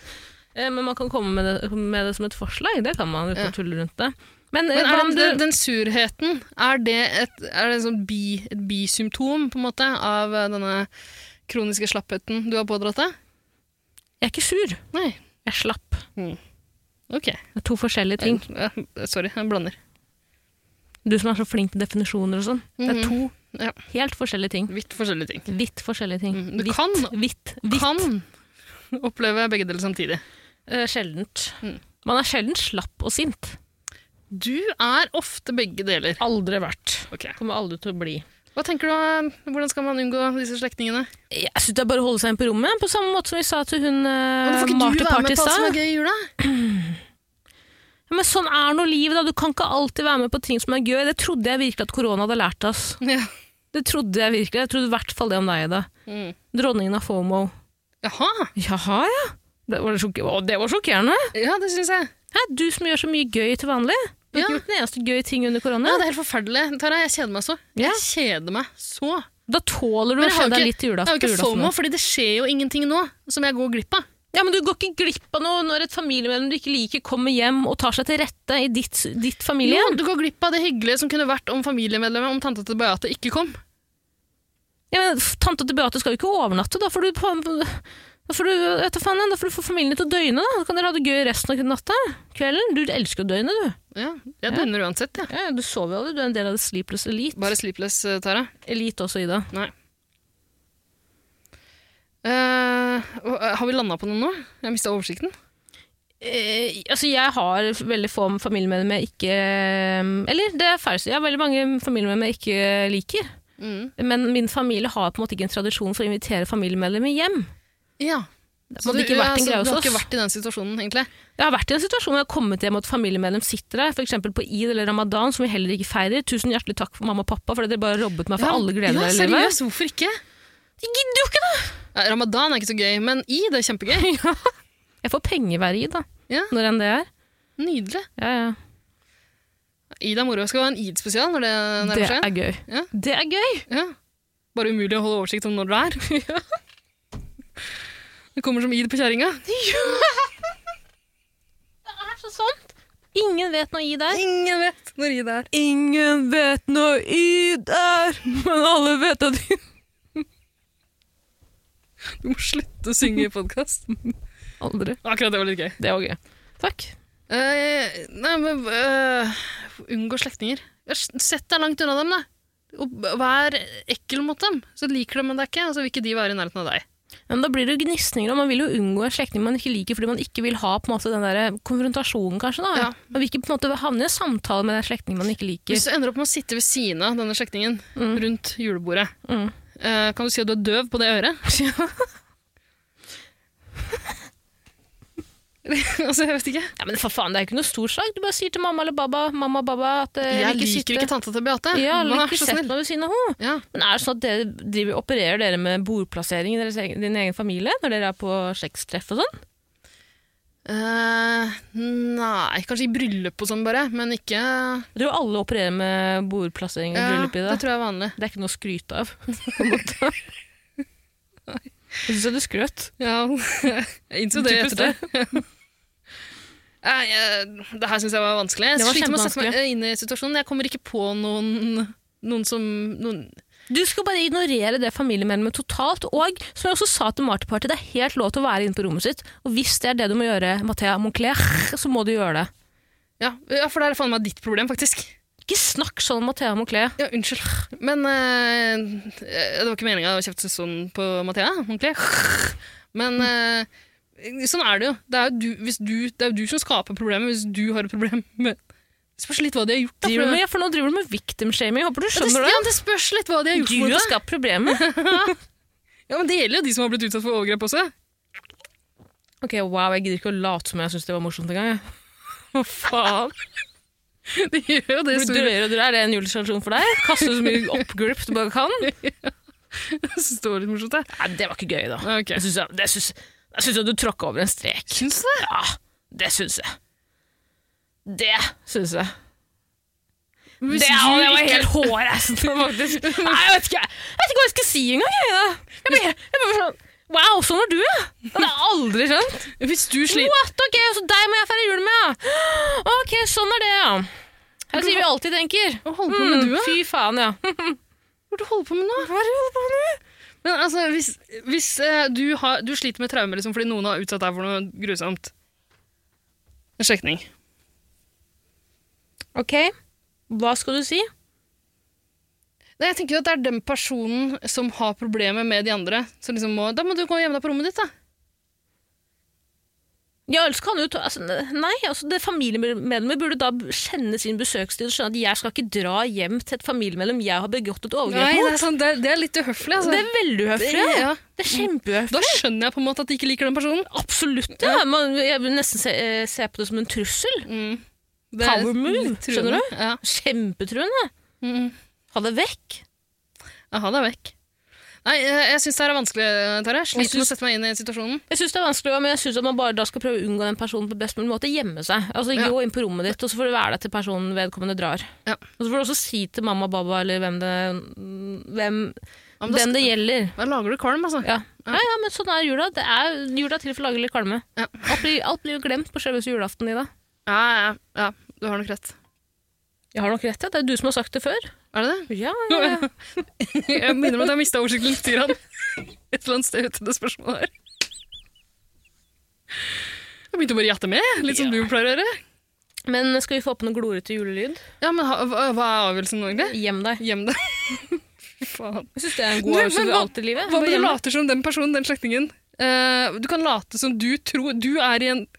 [SPEAKER 2] Eh, Men man kan komme med det, med det som et forslag. Det kan man uten
[SPEAKER 3] Ja.
[SPEAKER 2] å tulle rundt det. Men, eh,
[SPEAKER 3] Men
[SPEAKER 2] hva
[SPEAKER 3] er
[SPEAKER 2] om
[SPEAKER 3] det,
[SPEAKER 2] du,
[SPEAKER 3] den, den surheten, er det et, er det en sånn bi, et bisymptom på en måte, av eh, denne kroniske slappheten du har pådratt deg?
[SPEAKER 2] Jeg er ikke sur.
[SPEAKER 3] Nei.
[SPEAKER 2] Jeg er slapp.
[SPEAKER 3] Ok.
[SPEAKER 2] Det er to forskjellige ting.
[SPEAKER 3] Ja, eh, sorry, jeg blander.
[SPEAKER 2] Du som er så flink til definisjoner og sånn. Det er to
[SPEAKER 3] Mhm. Ja.
[SPEAKER 2] helt forskjellige ting.
[SPEAKER 3] Vidt forskjellige ting.
[SPEAKER 2] Vidt forskjellige ting.
[SPEAKER 3] Mm, du
[SPEAKER 2] Vidt,
[SPEAKER 3] kan-
[SPEAKER 2] vidt, vidt.
[SPEAKER 3] Kan oppleve begge deler samtidig.
[SPEAKER 2] Eh, sjeldent.
[SPEAKER 3] Mm.
[SPEAKER 2] Man er sjelden slapp og sint.
[SPEAKER 3] Du er ofte begge deler.
[SPEAKER 2] Aldri vært.
[SPEAKER 3] Ok.
[SPEAKER 2] Kommer aldri til å bli.
[SPEAKER 3] Hva tenker du, eh, hvordan skal man unngå disse slektningene?
[SPEAKER 2] Jeg synes det er bare å holde seg inn på rommet, på samme måte som vi sa til hun
[SPEAKER 3] Men
[SPEAKER 2] uh,
[SPEAKER 3] Hvorfor ikke du
[SPEAKER 2] Marte
[SPEAKER 3] være med på alt som
[SPEAKER 2] Partistad.
[SPEAKER 3] er gøy i jula?
[SPEAKER 2] Ja, men sånn er nå livet, da. Du kan ikke alltid være med på ting som er gøy. Det trodde jeg virkelig at korona hadde lært oss.
[SPEAKER 3] Ja.
[SPEAKER 2] Det trodde jeg virkelig. Jeg trodde i hvert fall det om deg, Ida.
[SPEAKER 3] Mm.
[SPEAKER 2] Dronningen av FOMO.
[SPEAKER 3] Jaha,
[SPEAKER 2] Jaha, ja. Det var, sjok å, det var sjokkerende.
[SPEAKER 3] ja, det synes jeg.
[SPEAKER 2] Hæ, du som gjør så mye gøy til vanlig. Du har ikke
[SPEAKER 3] Ja.
[SPEAKER 2] gjort en eneste gøy ting under
[SPEAKER 3] Ja,
[SPEAKER 2] korona.
[SPEAKER 3] det er helt forferdelig. Tara, jeg kjeder meg så.
[SPEAKER 2] Ja.
[SPEAKER 3] Jeg kjeder meg så.
[SPEAKER 2] Da tåler du å
[SPEAKER 3] Men jeg har
[SPEAKER 2] se
[SPEAKER 3] jo
[SPEAKER 2] deg
[SPEAKER 3] ikke-
[SPEAKER 2] litt til jula-
[SPEAKER 3] Jeg har jo ikke
[SPEAKER 2] julaften.
[SPEAKER 3] FOMO, fordi det skjer jo ingenting nå som jeg går glipp av.
[SPEAKER 2] Ja, men Du går ikke glipp av noe når et familiemedlem du ikke liker, kommer hjem og tar seg til rette i ditt, ditt
[SPEAKER 3] Jo,
[SPEAKER 2] familiehjem.
[SPEAKER 3] du går glipp av det hyggelige som kunne vært om familiemedlemmet om tante til Beate ikke kom.
[SPEAKER 2] Ja, men f- Tante til Beate skal jo ikke overnatte. Da får du, pa- da får du, vet du faen, da får du få familien din til å døgne. Da. da kan dere ha det gøy resten av natta. Kvelden. Du elsker å døgne, du.
[SPEAKER 3] Ja, jeg døgner uansett, jeg.
[SPEAKER 2] Ja, du sover jo aldri. Du er en del av det sleepless elite.
[SPEAKER 3] Bare sleepless, eh, Tara.
[SPEAKER 2] Elite også, Ida.
[SPEAKER 3] Nei. Eh, og, eh, har vi landa på noe nå? Jeg mista oversikten.
[SPEAKER 2] Eh, altså jeg har veldig få familiemedlemmer jeg ikke eh, Eller det er feil, å si. jeg har veldig mange familiemedlemmer jeg ikke liker.
[SPEAKER 3] Mm.
[SPEAKER 2] Men min familie har på en måte ikke en tradisjon for å invitere familiemedlemmer hjem.
[SPEAKER 3] Ja.
[SPEAKER 2] Det hadde ikke vært en greie
[SPEAKER 3] du
[SPEAKER 2] hos
[SPEAKER 3] har
[SPEAKER 2] oss.
[SPEAKER 3] ikke vært i den situasjonen, egentlig?
[SPEAKER 2] Jeg har vært i en situasjon hvor jeg har kommet hjem og et familiemedlem sitter der, f.eks. på id eller ramadan, som vi heller ikke feirer. Tusen hjertelig takk for mamma og pappa, fordi dere bare robbet meg for alle gleder i
[SPEAKER 3] ja,
[SPEAKER 2] livet.
[SPEAKER 3] seriøst, hvorfor ikke?
[SPEAKER 2] De gidder jo ikke det!
[SPEAKER 3] Ja, Ramadan er ikke så gøy, men id er kjempegøy.
[SPEAKER 2] Jeg får penger hver id, da.
[SPEAKER 3] Ja.
[SPEAKER 2] Når enn det er.
[SPEAKER 3] Nydelig.
[SPEAKER 2] Ja, ja.
[SPEAKER 3] Id er moro. Skal vi ha en id-spesial når det
[SPEAKER 2] Det
[SPEAKER 3] nærmer seg?
[SPEAKER 2] er gøy.
[SPEAKER 3] Ja.
[SPEAKER 2] Det er gøy!
[SPEAKER 3] Ja. Bare umulig å holde oversikt om når det er. Det kommer som id på kjerringa.
[SPEAKER 2] Det er så sant! Ingen vet når id er.
[SPEAKER 3] Ingen vet når id er.
[SPEAKER 2] Ingen vet når id er, men alle vet at
[SPEAKER 3] Du må slutte å synge i podkast.
[SPEAKER 2] Aldri.
[SPEAKER 3] Akkurat det var litt gøy.
[SPEAKER 2] Det var gøy. Takk.
[SPEAKER 3] Eh, nei, men eh, Unngå slektninger. Sett deg langt unna dem, da. Og b- vær ekkel mot dem. Så liker de deg ikke, og så vil ikke de være i nærheten av deg.
[SPEAKER 2] Men da blir det jo gnisninger, og man vil jo unngå en slektning man ikke liker, fordi man ikke vil ha på en måte den der eh, konfrontasjonen, kanskje. da.
[SPEAKER 3] Ja.
[SPEAKER 2] Man vil ikke på en måte havne i en samtale med den slektningen man ikke liker.
[SPEAKER 3] Hvis du ender opp med å sitte ved siden av denne slektningen rundt julebordet,
[SPEAKER 2] Mm.
[SPEAKER 3] eh, kan du si at du er døv på det øret? altså, jeg vet ikke.
[SPEAKER 2] Ja, men for faen, det er jo ikke noe stor sak. Du bare sier til mamma eller baba, mamma og baba at eh,
[SPEAKER 3] Jeg
[SPEAKER 2] vil
[SPEAKER 3] liker
[SPEAKER 2] sitte-
[SPEAKER 3] ikke tanta til Beate.
[SPEAKER 2] Ja,
[SPEAKER 3] men
[SPEAKER 2] eller
[SPEAKER 3] vær
[SPEAKER 2] ikke
[SPEAKER 3] så
[SPEAKER 2] sett
[SPEAKER 3] snill.
[SPEAKER 2] meg ved siden av henne.
[SPEAKER 3] Ja.
[SPEAKER 2] Men er det sånn at dere driver, opererer dere med bordplassering i deres egen, din egen familie når dere er på slektstreff og sånn?
[SPEAKER 3] Eh, nei, kanskje i bryllup og sånn bare, men ikke
[SPEAKER 2] Jeg tror alle opererer med bordplassering i
[SPEAKER 3] Ja,
[SPEAKER 2] bryllup i
[SPEAKER 3] det
[SPEAKER 2] det.
[SPEAKER 3] tror jeg er vanlig.
[SPEAKER 2] Det er ikke noe å skryte av. på en måte. Jeg syns du skrøt.
[SPEAKER 3] Ja, jeg innså det
[SPEAKER 2] Typisk
[SPEAKER 3] etter det. Nei, eh, Det her syns jeg var vanskelig. Jeg
[SPEAKER 2] Det var
[SPEAKER 3] sliter med å sette meg eh, inn i situasjonen. Jeg kommer ikke på noen, noen som noen,
[SPEAKER 2] Du skal bare ignorere det familiemedlemmet totalt. Og som jeg også sa til Marty Party, det er helt lov til å være inne på rommet sitt. Og hvis det er det du må gjøre, Mathea Moncler, så må du gjøre det.
[SPEAKER 3] ja, ja, for det er faen meg ditt problem, faktisk.
[SPEAKER 2] Ikke snakk sånn, Mathea Moncler.
[SPEAKER 3] Ja, unnskyld. Men eh, Det var ikke meninga å kjefte sånn på Mathea, ordentlig. Men eh, sånn er det jo. Det er jo, du, hvis du, det er jo du som skaper problemet hvis du har et problem med Det spørs litt hva de har gjort. Da,
[SPEAKER 2] Driver du
[SPEAKER 3] for-
[SPEAKER 2] med, ja, for nå driver du med victim shaming. Håper du
[SPEAKER 3] ja, det,
[SPEAKER 2] skjønner det.
[SPEAKER 3] ja, det spørs litt hva de har gjort.
[SPEAKER 2] Du
[SPEAKER 3] mot
[SPEAKER 2] har
[SPEAKER 3] deg.
[SPEAKER 2] skapt problemer.
[SPEAKER 3] Ja, men Det gjelder jo de som har blitt utsatt for overgrep også.
[SPEAKER 2] Ok, wow, jeg gidder ikke å late som jeg syns det var morsomt engang. jeg. Hva faen?
[SPEAKER 3] Det gjør jo det
[SPEAKER 2] Blir
[SPEAKER 3] store,
[SPEAKER 2] drøyere og drøyere. Er det en juletradisjon for deg? Kaste så mye oppgulp du bare kan?
[SPEAKER 3] står litt morsomt, det.
[SPEAKER 2] Nei, det var ikke gøy, da.
[SPEAKER 3] Ja, ok.
[SPEAKER 2] Jeg syns jeg, det syns- jeg syns at du tråkka over en strek.
[SPEAKER 3] Syns du det?
[SPEAKER 2] Ja, det syns jeg. Det syns jeg.
[SPEAKER 3] Hvis
[SPEAKER 2] Det, ja,
[SPEAKER 3] du
[SPEAKER 2] det var
[SPEAKER 3] ikke-
[SPEAKER 2] helt hårreisende, faktisk. Nei, jeg vet, ikke, jeg vet ikke hva jeg skal si engang. Jeg, da. jeg, blir- jeg blir sånn Wow, sånn var du, ja! Det har jeg aldri skjønt.
[SPEAKER 3] Hvis du sliter
[SPEAKER 2] What? Ok, Så deg må jeg feire jul med, ja! Ok, sånn er det, ja. Her sier vi alltid tenker. Mm,
[SPEAKER 3] Hva holder Sånn du på med, du, da?
[SPEAKER 2] Fy faen, ja.
[SPEAKER 3] Mm. Hva er det du holder på med nå? Men altså, hvis, hvis eh, du, har, du sliter med traumer liksom, fordi noen har utsatt deg for noe grusomt En slektning.
[SPEAKER 2] Ok, hva skal du si?
[SPEAKER 3] Nei, Jeg tenker jo at det er den personen som har problemer med de andre. Så liksom må, da må du gå og gjemme deg på rommet ditt, da.
[SPEAKER 2] Ja, ellers kan du ta, altså, nei, altså det familiemedlemmet burde da kjenne sin besøkstid og skjønne at jeg skal ikke dra hjem til et familiemedlem jeg har begått et overgrep
[SPEAKER 3] det
[SPEAKER 2] mot.
[SPEAKER 3] er, sant, det er, det er litt uhøflig, altså.
[SPEAKER 2] Det er veldig uhøflig.
[SPEAKER 3] Det-
[SPEAKER 2] Det,
[SPEAKER 3] ja.
[SPEAKER 2] er kjempehøflig.
[SPEAKER 3] Da skjønner jeg på en måte at de ikke liker den personen.
[SPEAKER 2] Absolutt. Ja. Man, jeg vil nesten se, eh, se på det som en trussel.
[SPEAKER 3] Mm. Det er
[SPEAKER 2] Power move,
[SPEAKER 3] litt truende.
[SPEAKER 2] skjønner
[SPEAKER 3] Ja.
[SPEAKER 2] Kjempetruende.
[SPEAKER 3] Mm.
[SPEAKER 2] Ha det vekk.
[SPEAKER 3] Ja, ha deg vekk. Nei, eh, jeg syns det her er vanskelig, Tarjei. Jeg
[SPEAKER 2] Jeg
[SPEAKER 3] Sliter med
[SPEAKER 2] syns-
[SPEAKER 3] å sette meg inn i situasjonen.
[SPEAKER 2] Jeg synes det er vanskelig, men jeg synes at man bare da skal prøve å unngå den personen på best mulig måte. Gjemme seg. Altså
[SPEAKER 3] Ja.
[SPEAKER 2] Gå inn på rommet ditt, og så får du være der til personen vedkommende drar.
[SPEAKER 3] Ja.
[SPEAKER 2] Og så får du også si til mamma og baba eller hvem det, mm, hvem,
[SPEAKER 3] Ja, men da
[SPEAKER 2] den
[SPEAKER 3] sk-
[SPEAKER 2] det gjelder.
[SPEAKER 3] Da lager du kvalm, altså.
[SPEAKER 2] Ja. Ja, ja, men sånn er jula. Det er jula er til for å lage litt kvalme.
[SPEAKER 3] Ja.
[SPEAKER 2] Alt, blir, alt blir jo glemt på selveste julaften, Ida.
[SPEAKER 3] Ja, ja, ja. Du har nok rett.
[SPEAKER 2] Jeg har nok rett, ja. Det er du som har sagt det før.
[SPEAKER 3] Er det det?
[SPEAKER 2] Ja, ja, ja.
[SPEAKER 3] Jeg minner om at jeg mista oversikten litt, Tyran. Et eller annet sted ute i det spørsmålet her. Jeg begynte å bare jatte med, litt som
[SPEAKER 2] Ja.
[SPEAKER 3] du pleier å gjøre.
[SPEAKER 2] Men skal vi få på noe glorete julelyd?
[SPEAKER 3] Ja, men ha, hva, hva er avgjørelsen nå, egentlig?
[SPEAKER 2] Gjem deg.
[SPEAKER 3] Gjem deg. Fy faen.
[SPEAKER 2] Jeg synes det er en
[SPEAKER 3] Du,
[SPEAKER 2] god
[SPEAKER 3] men
[SPEAKER 2] øvelse for
[SPEAKER 3] hva-
[SPEAKER 2] alt i livet.
[SPEAKER 3] Hva om
[SPEAKER 2] Bare
[SPEAKER 3] du
[SPEAKER 2] gjem deg.
[SPEAKER 3] later som den personen, den slektningen? Eh, du kan late som du tror Du er i en Du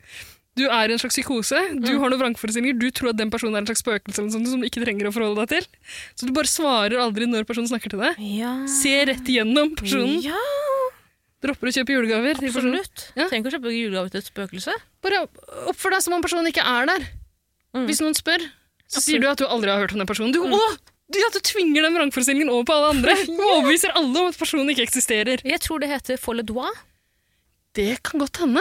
[SPEAKER 3] Du er i en slags psykose. Du har noen vrangforestillinger. Du tror at den personen er en slags spøkelse eller noe sånt, som du ikke trenger å forholde deg til. Så du bare svarer aldri når personen snakker til deg.
[SPEAKER 2] Ja.
[SPEAKER 3] Se rett igjennom personen.
[SPEAKER 2] Ja,
[SPEAKER 3] Dropper å kjøpe julegaver. til personen.
[SPEAKER 2] absolutt.
[SPEAKER 3] Ja.
[SPEAKER 2] Trenger ikke å kjøpe julegave til et spøkelse.
[SPEAKER 3] Bare oppfør deg som om personen ikke er der.
[SPEAKER 2] Mm.
[SPEAKER 3] Hvis noen spør, så sier du at du aldri har hørt om den personen. Du, Åh! Du, at du tvinger den vrangforestillingen over på alle andre. Du overbeviser alle om at personen ikke eksisterer.
[SPEAKER 2] Jeg tror det heter folle dois.
[SPEAKER 3] Det kan godt hende.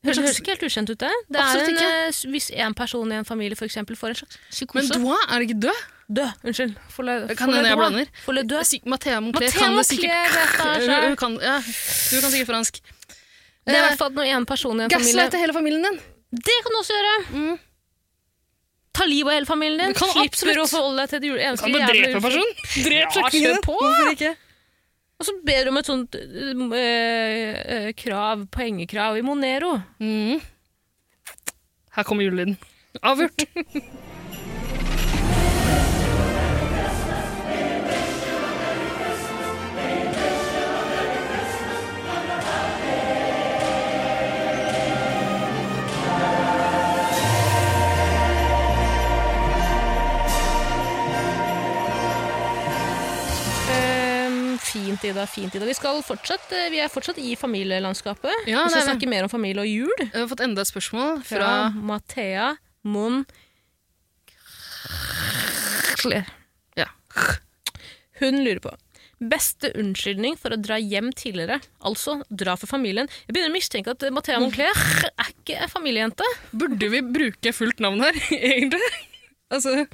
[SPEAKER 2] Det høres ikke helt ukjent ut, det. det er
[SPEAKER 3] Absolutt
[SPEAKER 2] en,
[SPEAKER 3] ikke.
[SPEAKER 2] eh, s- hvis en person i en familie for eksempel, får en slags
[SPEAKER 3] Men
[SPEAKER 2] psykose
[SPEAKER 3] Doa er ikke død.
[SPEAKER 2] Død! Unnskyld. Folle,
[SPEAKER 3] Kan hende jeg blander.
[SPEAKER 2] Folle død.
[SPEAKER 3] Si- Mathea Moncler
[SPEAKER 2] Mathea
[SPEAKER 3] kan det
[SPEAKER 2] Moncler
[SPEAKER 3] sikkert.
[SPEAKER 2] vet det, altså.
[SPEAKER 3] Hun- hun kan, ja, du kan sikkert fransk.
[SPEAKER 2] Det
[SPEAKER 3] Eh,
[SPEAKER 2] er i hvert fall når en person i en familie
[SPEAKER 3] Gaslighte hele familien din.
[SPEAKER 2] Det kan du også gjøre!
[SPEAKER 3] Mm.
[SPEAKER 2] Ta livet av hele familien din.
[SPEAKER 3] Du kan
[SPEAKER 2] Slipper å
[SPEAKER 3] absolutt.
[SPEAKER 2] forholde deg til det jule- eneste
[SPEAKER 3] Kan du
[SPEAKER 2] jævla
[SPEAKER 3] drepe
[SPEAKER 2] jule-
[SPEAKER 3] en person? Drep slektningen din.
[SPEAKER 2] kjør på.
[SPEAKER 3] Hvorfor ikke?
[SPEAKER 2] Og så ber du om et sånt eh, eh, krav, poengekrav i Monero.
[SPEAKER 3] Mm. Her kommer julelyden. Avgjort.
[SPEAKER 2] Ehm, fint, Ida. fint, Ida. Vi, skal fortsatt, eh, vi er fortsatt i familielandskapet. vi
[SPEAKER 3] Ja, det er
[SPEAKER 2] skal
[SPEAKER 3] vi.
[SPEAKER 2] snakke mer om familie og jul.
[SPEAKER 3] Jeg har fått enda et spørsmål fra
[SPEAKER 2] fra Mathea Mon Kler.
[SPEAKER 3] Ja.
[SPEAKER 2] Hun lurer på Beste unnskyldning for å dra hjem tidligere, altså dra for familien. Jeg begynner å mistenke at eh, Mathea Moncler er ikke en familiejente.
[SPEAKER 3] Burde vi bruke fullt navn her, egentlig? Altså,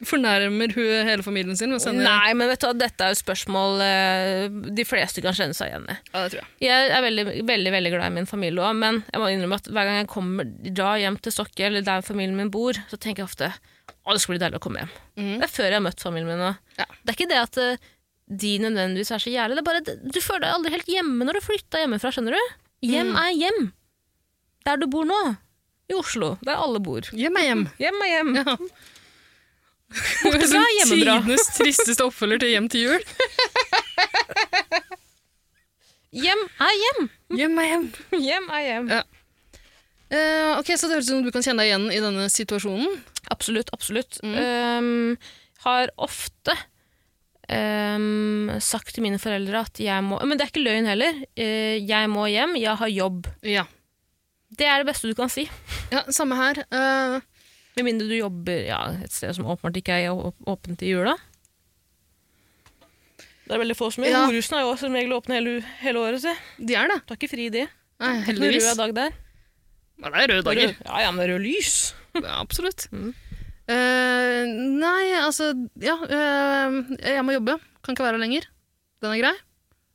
[SPEAKER 3] fornærmer hun hele familien sin ved å sende
[SPEAKER 2] Nei, men vet du hva, dette er jo spørsmål eh, de fleste kan kjenne seg igjen i.
[SPEAKER 3] Ja, det tror jeg.
[SPEAKER 2] Jeg er veldig, veldig, veldig glad i min familie òg, men jeg må innrømme at hver gang jeg kommer da hjem til Stokke, eller der familien min bor, så tenker jeg ofte å, det skulle bli deilig å komme hjem. Det er før jeg har møtt familien min. Og.
[SPEAKER 3] Ja.
[SPEAKER 2] Det er ikke det at eh, de nødvendigvis er så jævlig, det er bare at du føler deg aldri helt hjemme når du flytta hjemmefra, skjønner du? Hjem er hjem. Der du bor nå. I Oslo, der alle bor.
[SPEAKER 3] Hjem er hjem.
[SPEAKER 2] Hjem er hjem.
[SPEAKER 3] Ja. sånn
[SPEAKER 2] bra, hjemme bra.
[SPEAKER 3] Tidenes tristeste oppfølger til Hjem til jul.
[SPEAKER 2] Hjem er hjem.
[SPEAKER 3] Hjem er hjem.
[SPEAKER 2] Hjem er hjem.
[SPEAKER 3] Eh, ok, Så det høres ut som du kan kjenne deg igjen i denne situasjonen.
[SPEAKER 2] Absolutt, absolutt. Ehm, har ofte ehm, sagt til mine foreldre at jeg må Men det er ikke løgn heller. Eh, jeg må hjem, jeg har jobb.
[SPEAKER 3] Ja.
[SPEAKER 2] Det er det beste du kan si.
[SPEAKER 3] ja samme her. Eh,
[SPEAKER 2] Med mindre du jobber ja, et sted som åpenbart ikke er å- åpent i jula. Det er veldig få som gjør.
[SPEAKER 3] Ja.
[SPEAKER 2] Horhusene er jo som regel åpne hele, hele året. Se.
[SPEAKER 3] de er det.
[SPEAKER 2] Du har ikke fri, de.
[SPEAKER 3] Nei,
[SPEAKER 2] Heldigvis.
[SPEAKER 3] heldigvis.
[SPEAKER 2] Rød dag der.
[SPEAKER 3] Ja, det er røde dager.
[SPEAKER 2] Rød- Ja, ja, men det er rød lys.
[SPEAKER 3] Ja, absolutt.
[SPEAKER 2] Mm.
[SPEAKER 3] Eh, nei, altså Ja, eh, jeg må jobbe. Kan ikke være her lenger. Den er grei.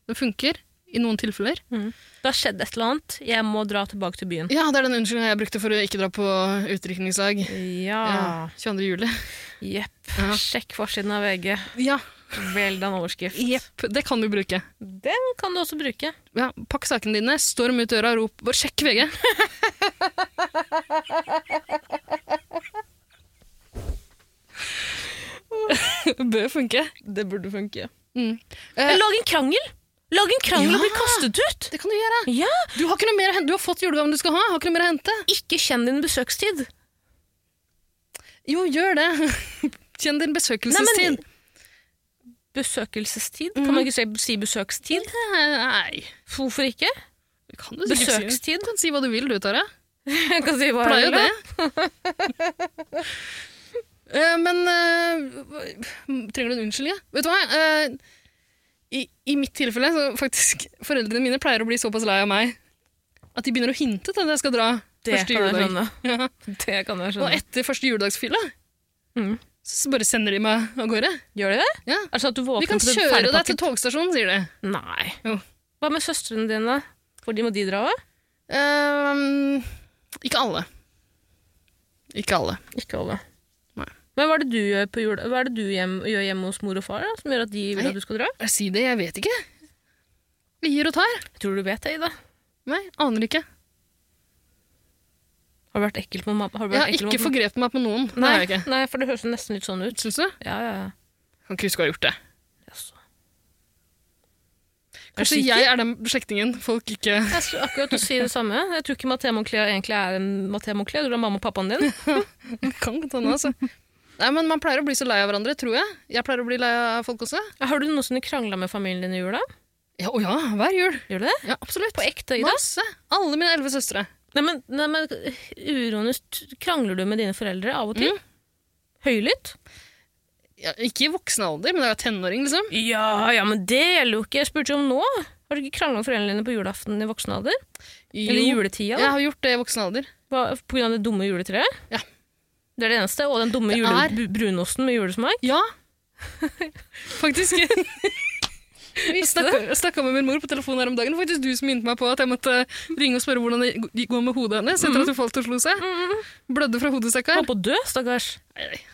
[SPEAKER 3] Den funker. I noen tilfeller.
[SPEAKER 2] Det har skjedd et eller annet. Jeg må dra tilbake til byen.
[SPEAKER 3] Ja, det er den unnskyldningen jeg brukte for å ikke dra på utdrikningsdag. Ja, 22. juli.
[SPEAKER 2] Jepp.
[SPEAKER 3] Ja.
[SPEAKER 2] Sjekk forsiden av VG.
[SPEAKER 3] Ja,
[SPEAKER 2] Vel den overskrift.
[SPEAKER 3] jepp. Det kan du bruke.
[SPEAKER 2] Den kan du også bruke.
[SPEAKER 3] Ja, pakk sakene dine, storm ut døra, rop bare 'sjekk VG'. Bør funke.
[SPEAKER 2] Det burde funke.
[SPEAKER 3] Mm.
[SPEAKER 2] Eh, Lag en krangel! Lag en krangel
[SPEAKER 3] Ja.
[SPEAKER 2] og bli kastet ut!
[SPEAKER 3] Det kan du gjøre.
[SPEAKER 2] Ja,
[SPEAKER 3] Du har ikke noe mer å hente. Du har fått julegaven du skal ha. Har ikke noe mer å hente.
[SPEAKER 2] Ikke kjenn din besøkstid.
[SPEAKER 3] Jo, gjør det. Kjenn din
[SPEAKER 2] Nei,
[SPEAKER 3] besøkelsestid.
[SPEAKER 2] men- Besøkelsestid? Kan man Mhm. ikke si- si besøkstid?
[SPEAKER 3] Nei,
[SPEAKER 2] Hvorfor ikke?
[SPEAKER 3] kan du sikkert si.
[SPEAKER 2] Besøkstid?
[SPEAKER 3] Du kan si hva du vil, du, Tara.
[SPEAKER 2] Jeg kan si hva jeg
[SPEAKER 3] Pleier jo
[SPEAKER 2] vil, da.
[SPEAKER 3] det. Eh, men eh, hva- trenger du en unnskyldning? ja? Vet du hva? Eh, i, I mitt tilfelle så faktisk Foreldrene mine pleier å bli såpass lei av meg at de begynner å hinte til at jeg skal dra
[SPEAKER 2] Det
[SPEAKER 3] første
[SPEAKER 2] kan jeg
[SPEAKER 3] juledag.
[SPEAKER 2] skjønne.
[SPEAKER 3] Ja.
[SPEAKER 2] Det kan jeg
[SPEAKER 3] Og
[SPEAKER 2] skjønne.
[SPEAKER 3] etter første juledagsfylla
[SPEAKER 2] Mm.
[SPEAKER 3] så bare sender de meg av gårde.
[SPEAKER 2] Gjør de det?
[SPEAKER 3] Ja.
[SPEAKER 2] Er det sånn at du
[SPEAKER 3] Vi
[SPEAKER 2] våkner
[SPEAKER 3] kan
[SPEAKER 2] til et
[SPEAKER 3] kjøre deg til
[SPEAKER 2] ferdigpakket-
[SPEAKER 3] togstasjonen, sier de.
[SPEAKER 2] Nei.
[SPEAKER 3] Jo.
[SPEAKER 2] Hva med søstrene dine? For de må de dra òg?
[SPEAKER 3] Ehm, ikke alle. Ikke alle.
[SPEAKER 2] Ikke alle.
[SPEAKER 3] Nei.
[SPEAKER 2] Men hva er det du gjør, på jul? Hva er det du hjem, gjør hjemme hos mor og far da, som gjør at de vil
[SPEAKER 3] Nei.
[SPEAKER 2] at du skal dra?
[SPEAKER 3] Jeg sier det, jeg vet ikke. Vi gir og tar.
[SPEAKER 2] Jeg tror du vet det, Ida.
[SPEAKER 3] Nei, aner ikke.
[SPEAKER 2] Har du vært ekkel på mamma? Har du
[SPEAKER 3] Jeg
[SPEAKER 2] vært
[SPEAKER 3] har
[SPEAKER 2] ekkel
[SPEAKER 3] ikke
[SPEAKER 2] mot-
[SPEAKER 3] forgrepet meg på noen. Nei. Det har jeg
[SPEAKER 2] Nei,
[SPEAKER 3] ikke.
[SPEAKER 2] nei, for det høres nesten litt sånn ut.
[SPEAKER 3] Syns du?
[SPEAKER 2] Ja, ja, ja.
[SPEAKER 3] Kan ikke huske å ha gjort det.
[SPEAKER 2] Jaså.
[SPEAKER 3] Kanskje jeg er den slektningen folk ikke
[SPEAKER 2] Jeg skulle akkurat til å si det samme. Jeg tror ikke Mathea Monclair egentlig er en Mathea Monclair. Du er mamma og pappaen din.
[SPEAKER 3] kan ta nå, altså. Nei, men Man pleier å bli så lei av hverandre, tror jeg. Jeg pleier å bli lei av folk også.
[SPEAKER 2] Har du noensinne krangla med familien din i jula?
[SPEAKER 3] Ja, Å ja, hver jul.
[SPEAKER 2] Gjør du det?
[SPEAKER 3] Ja, Absolutt.
[SPEAKER 2] På ekte, Ida?
[SPEAKER 3] Masse. Alle mine elleve søstre.
[SPEAKER 2] Nei, men, nei, men uronisk, krangler du med dine foreldre av og til? Mm. Høylytt?
[SPEAKER 3] Ja, ikke i voksen alder, men da jeg var tenåring, liksom.
[SPEAKER 2] Ja, ja, men det gjelder jo ikke. Jeg spurte jo om nå. Har du ikke krangla med foreldrene dine på julaften i voksen alder? Eller
[SPEAKER 3] Jo,
[SPEAKER 2] juletida?
[SPEAKER 3] Jeg
[SPEAKER 2] da?
[SPEAKER 3] har gjort det i voksen alder.
[SPEAKER 2] Hva, på grunn av det dumme juletreet?
[SPEAKER 3] Ja.
[SPEAKER 2] Det er det eneste. Og den dumme
[SPEAKER 3] Det
[SPEAKER 2] jule,
[SPEAKER 3] er-
[SPEAKER 2] bu- brunosten med julesmak.
[SPEAKER 3] Ja. Faktisk. Jeg snakka- snakka med min mor på telefonen her om dagen. Det var Faktisk du som minnet meg på at jeg måtte ringe og spørre hvordan det går med hodet hennes etter at hun falt og slo seg. Blødde fra hodet, stakkar.
[SPEAKER 2] Holdt på å dø, stakkars.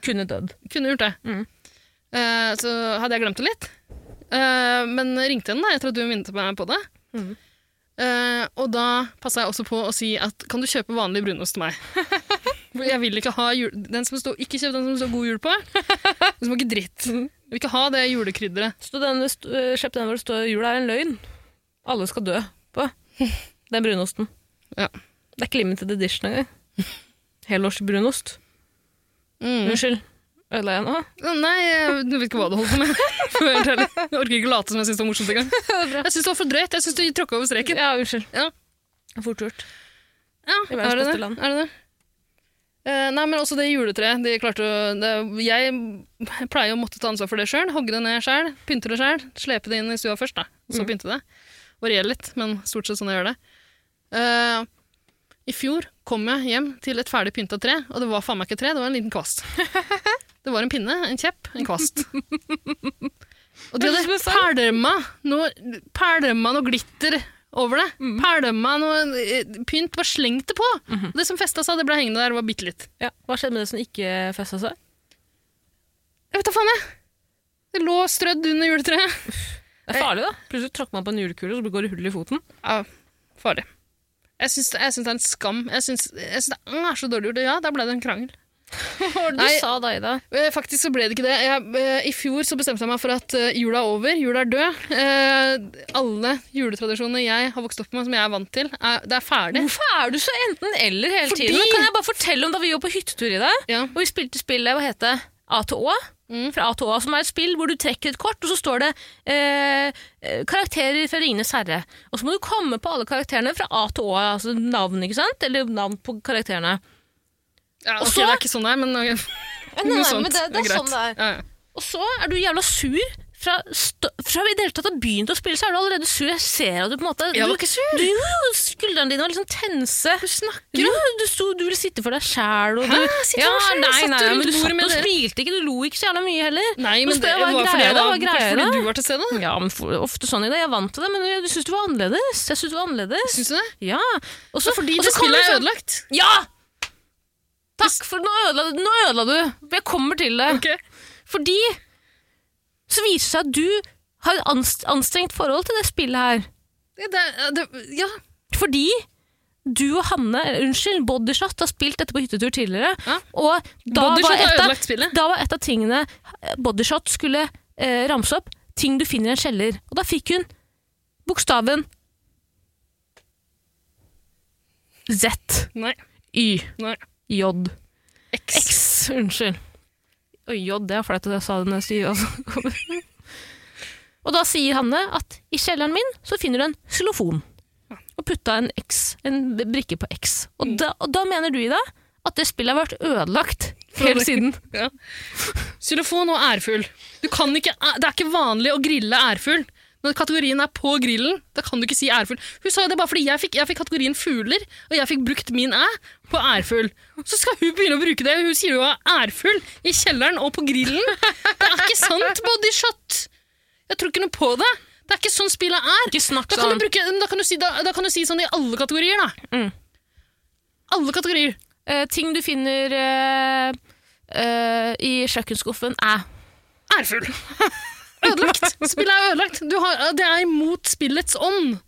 [SPEAKER 2] Kunne dødd.
[SPEAKER 3] Kunne gjort det.
[SPEAKER 2] Mm.
[SPEAKER 3] Eh, så hadde jeg glemt det litt. Eh, men ringte henne da, etter at du minnet meg på det.
[SPEAKER 2] Mm.
[SPEAKER 3] Eh, og da passa jeg også på å si at kan du kjøpe vanlig brunost til meg? For jeg vil ikke ha jul den som står, Ikke kjøp den som står god jul på. Den smaker dritt.
[SPEAKER 2] Mm.
[SPEAKER 3] Jeg vil ikke ha det julekrydderet.
[SPEAKER 2] Så den, st- øh, Slipp den hvor det står 'jula er en løgn'. Alle skal dø på den brunosten.
[SPEAKER 3] Ja.
[SPEAKER 2] Det er ikke limited edition engang. Helårsbrunost.
[SPEAKER 3] Mm.
[SPEAKER 2] Unnskyld. Ødela jeg nå?
[SPEAKER 3] Nei, jeg du vet ikke hva du holder på med. For å være helt ærlig. Jeg orker ikke late som jeg syns det var morsomt engang.
[SPEAKER 2] bra.
[SPEAKER 3] Jeg syns det var for drøyt. Jeg syns du tråkka over streken.
[SPEAKER 2] Ja, unnskyld.
[SPEAKER 3] Ja.
[SPEAKER 2] Fort gjort.
[SPEAKER 3] Ja,
[SPEAKER 2] I verdens
[SPEAKER 3] er det
[SPEAKER 2] beste
[SPEAKER 3] det?
[SPEAKER 2] land.
[SPEAKER 3] Er det det? Eh, nei, men også det juletreet. De klarte å, det, jeg pleier å måtte ta ansvar for det sjøl. Hogge det ned sjøl, pynte det sjøl. Slepe det inn i stua først, da. og
[SPEAKER 2] Mm.
[SPEAKER 3] Så pynte det. Varierer litt, men stort sett sånn jeg gjør det. Eh, I fjor kom jeg hjem til et ferdig pynta tre, og det var faen meg ikke et tre, det var en liten kvast. Det var en pinne, en kjepp, en kvast. Og de hadde pælma noe, pælma noe glitter over det. Pælma noe eh, pynt, bare slengt det på. Og Det som festa seg, det ble hengende der, det var bitte litt.
[SPEAKER 2] Ja. Hva skjedde med det som ikke festa seg?
[SPEAKER 3] Jeg vet da faen, jeg! Det lå strødd under juletreet.
[SPEAKER 2] Det er farlig, da. Plutselig tråkker man på en julekule, og så går det hull i foten.
[SPEAKER 3] Ja, farlig. Jeg syns, jeg syns det er en skam. Jeg syns, jeg syns det er så dårlig gjort. Ja, der ble det en krangel.
[SPEAKER 2] Hva var det du
[SPEAKER 3] Nei.
[SPEAKER 2] sa da, Ida?
[SPEAKER 3] Eh, Faktisk så ble det ikke det. Jeg, eh, I fjor så bestemte jeg meg for at eh, jula er over, jula er død. Eh, alle juletradisjoner jeg har vokst opp med, som jeg er vant til, er, det er ferdig.
[SPEAKER 2] Hvorfor er du så enten-eller hele
[SPEAKER 3] Mm. Fordi-
[SPEAKER 2] tiden? Kan jeg bare fortelle om da vi var på hyttetur i dag?
[SPEAKER 3] Ja.
[SPEAKER 2] Og vi spilte spillet, hva heter det? A til Å. Fra A til Å, som er et spill hvor du trekker et kort, og så står det eh, eh, karakterer fra Ringenes herre. Og så må du komme på alle karakterene fra A til Å, altså navn, ikke sant? Eller navn på karakterene.
[SPEAKER 3] Ja,
[SPEAKER 2] Og
[SPEAKER 3] ok,
[SPEAKER 2] så-
[SPEAKER 3] det er ikke sånn det er, men ok.
[SPEAKER 2] nei,
[SPEAKER 3] noe
[SPEAKER 2] nei,
[SPEAKER 3] sånt
[SPEAKER 2] men det- det er
[SPEAKER 3] greit.
[SPEAKER 2] sånn det
[SPEAKER 3] Ja, ja.
[SPEAKER 2] Og så er du jævla sur. Fra, st fra vi i det hele tatt har begynt å spille, så er du allerede sur. Jeg ser at du på en måte
[SPEAKER 3] Jeg var
[SPEAKER 2] du-
[SPEAKER 3] ikke sur.
[SPEAKER 2] Du, jo, skuldrene dine var liksom tense. Du snakker jo. Du, sto, du ville sitte for deg sjæl.
[SPEAKER 3] Hæ? Sitte for
[SPEAKER 2] Nei,
[SPEAKER 3] meg selv? Jeg
[SPEAKER 2] nei,
[SPEAKER 3] satt jo
[SPEAKER 2] men du
[SPEAKER 3] rundt bordet
[SPEAKER 2] satt
[SPEAKER 3] med
[SPEAKER 2] og
[SPEAKER 3] dere.
[SPEAKER 2] smilte ikke. Du lo ikke så jævla mye heller.
[SPEAKER 3] Nei,
[SPEAKER 2] Nå
[SPEAKER 3] men
[SPEAKER 2] spør
[SPEAKER 3] det
[SPEAKER 2] jeg, hva
[SPEAKER 3] var
[SPEAKER 2] er
[SPEAKER 3] fordi,
[SPEAKER 2] greia
[SPEAKER 3] jeg
[SPEAKER 2] da?
[SPEAKER 3] var,
[SPEAKER 2] Hva er greia
[SPEAKER 3] fordi
[SPEAKER 2] da?
[SPEAKER 3] du var til stede. da.
[SPEAKER 2] Ja, men for, ofte sånn i dag. Jeg vant til det, men jeg- du syns du var annerledes. Jeg syns du var annerledes.
[SPEAKER 3] Syns du det?
[SPEAKER 2] Ja. Og
[SPEAKER 3] Så
[SPEAKER 2] så-
[SPEAKER 3] fordi
[SPEAKER 2] og
[SPEAKER 3] det
[SPEAKER 2] så kommer
[SPEAKER 3] spillet er
[SPEAKER 2] sånn-
[SPEAKER 3] ødelagt.
[SPEAKER 2] Ja! Takk, for nå ødela, nå ødela du. Jeg kommer til det.
[SPEAKER 3] Ok.
[SPEAKER 2] Fordi så viser det seg at du har et anst- anstrengt forhold til det spillet her.
[SPEAKER 3] Ja, Det, er- det, ja.
[SPEAKER 2] Fordi du og Hanne, eller unnskyld, Bodyshot har spilt dette på hyttetur tidligere.
[SPEAKER 3] Ja.
[SPEAKER 2] Og da
[SPEAKER 3] Bodyshot
[SPEAKER 2] var,
[SPEAKER 3] har
[SPEAKER 2] et
[SPEAKER 3] ødelagt
[SPEAKER 2] av,
[SPEAKER 3] spillet.
[SPEAKER 2] da var et av tingene eh, Bodyshot skulle eh, ramse opp, ting du finner i en kjeller. Og da fikk hun bokstaven Z,
[SPEAKER 3] Nei.
[SPEAKER 2] Y,
[SPEAKER 3] Nei.
[SPEAKER 2] J,
[SPEAKER 3] X.
[SPEAKER 2] X. Unnskyld. Og J, det er flaut at jeg sa det når jeg sier altså. Og da sier Hanne at i kjelleren min så finner du en xylofon. Og putta en, X, en brikke på X. Og, da, og da mener du, Ida, at det spillet har vært ødelagt helt siden.
[SPEAKER 3] Ja. Xylofon og ærfugl. Du kan ikke, eh, det er ikke vanlig å grille ærfugl. Når kategorien er på grillen, da kan du ikke si ærfugl. Hun sa jo det bare fordi jeg fikk, jeg fikk kategorien fugler, og jeg fikk brukt min æ på ærfugl. Så skal hun begynne å bruke det. Hun sier jo ærfugl i kjelleren og på grillen. Det er ikke sant, bodyshot! Jeg tror ikke noe på det. Det er ikke sånn spillet er.
[SPEAKER 2] Ikke snakk
[SPEAKER 3] Da kan,
[SPEAKER 2] sånn.
[SPEAKER 3] du bruke, da, kan du si, da, da kan du si sånn i alle kategorier, da.
[SPEAKER 2] Mm.
[SPEAKER 3] Alle kategorier.
[SPEAKER 2] Eh, ting du finner eh, eh, i kjøkkenskuffen er
[SPEAKER 3] Ærfugl. Ødelagt. Spillet er ødelagt. Du har, det er imot spillets ånd.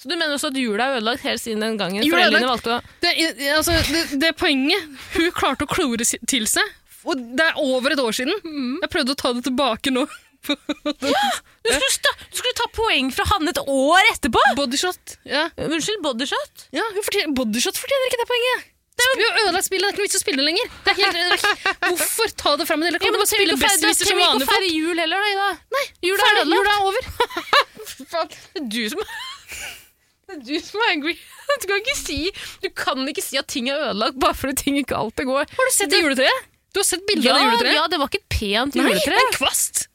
[SPEAKER 2] Så du mener også at jula er ødelagt helt siden den gangen
[SPEAKER 3] Jula er
[SPEAKER 2] foreldrene
[SPEAKER 3] ødelagt.
[SPEAKER 2] valgte å
[SPEAKER 3] Det, er- altså, det, det er poenget. Hun klarte å klore si- til seg. Og det er over et år siden. Jeg prøvde å ta det tilbake nå. på
[SPEAKER 2] Du skulle, sta- du skulle ta poeng fra Hanne et år etterpå!
[SPEAKER 3] bodyshot. Ja.
[SPEAKER 2] Unnskyld, bodyshot?
[SPEAKER 3] Ja, hun fortjener, bodyshot fortjener ikke det poenget. Sp- Vi har ødelagt spillet, det er ikke noe vits å spille det lenger. Det er helt, hvorfor ta det fram med det? Kan
[SPEAKER 2] Ja,
[SPEAKER 3] du
[SPEAKER 2] men
[SPEAKER 3] bare
[SPEAKER 2] da trenger vi
[SPEAKER 3] spille
[SPEAKER 2] ikke å feire- da
[SPEAKER 3] besserwisser som
[SPEAKER 2] trenger vi ikke
[SPEAKER 3] vanlig
[SPEAKER 2] å
[SPEAKER 3] folk?
[SPEAKER 2] feire jul heller, da, Ida. Nei, jul er
[SPEAKER 3] Ferdig,
[SPEAKER 2] ødelagt.
[SPEAKER 3] Jula er over.
[SPEAKER 2] Det er du som Det er du som er angry. Du kan ikke si, du kan ikke si at ting er ødelagt bare fordi ting ikke alltid går.
[SPEAKER 3] Har du sett det juletreet? Du har sett bildet
[SPEAKER 2] Ja,
[SPEAKER 3] av det juletreet?
[SPEAKER 2] ja, det var ikke et pent
[SPEAKER 3] Nei, det
[SPEAKER 2] juletre.
[SPEAKER 3] er en kvast!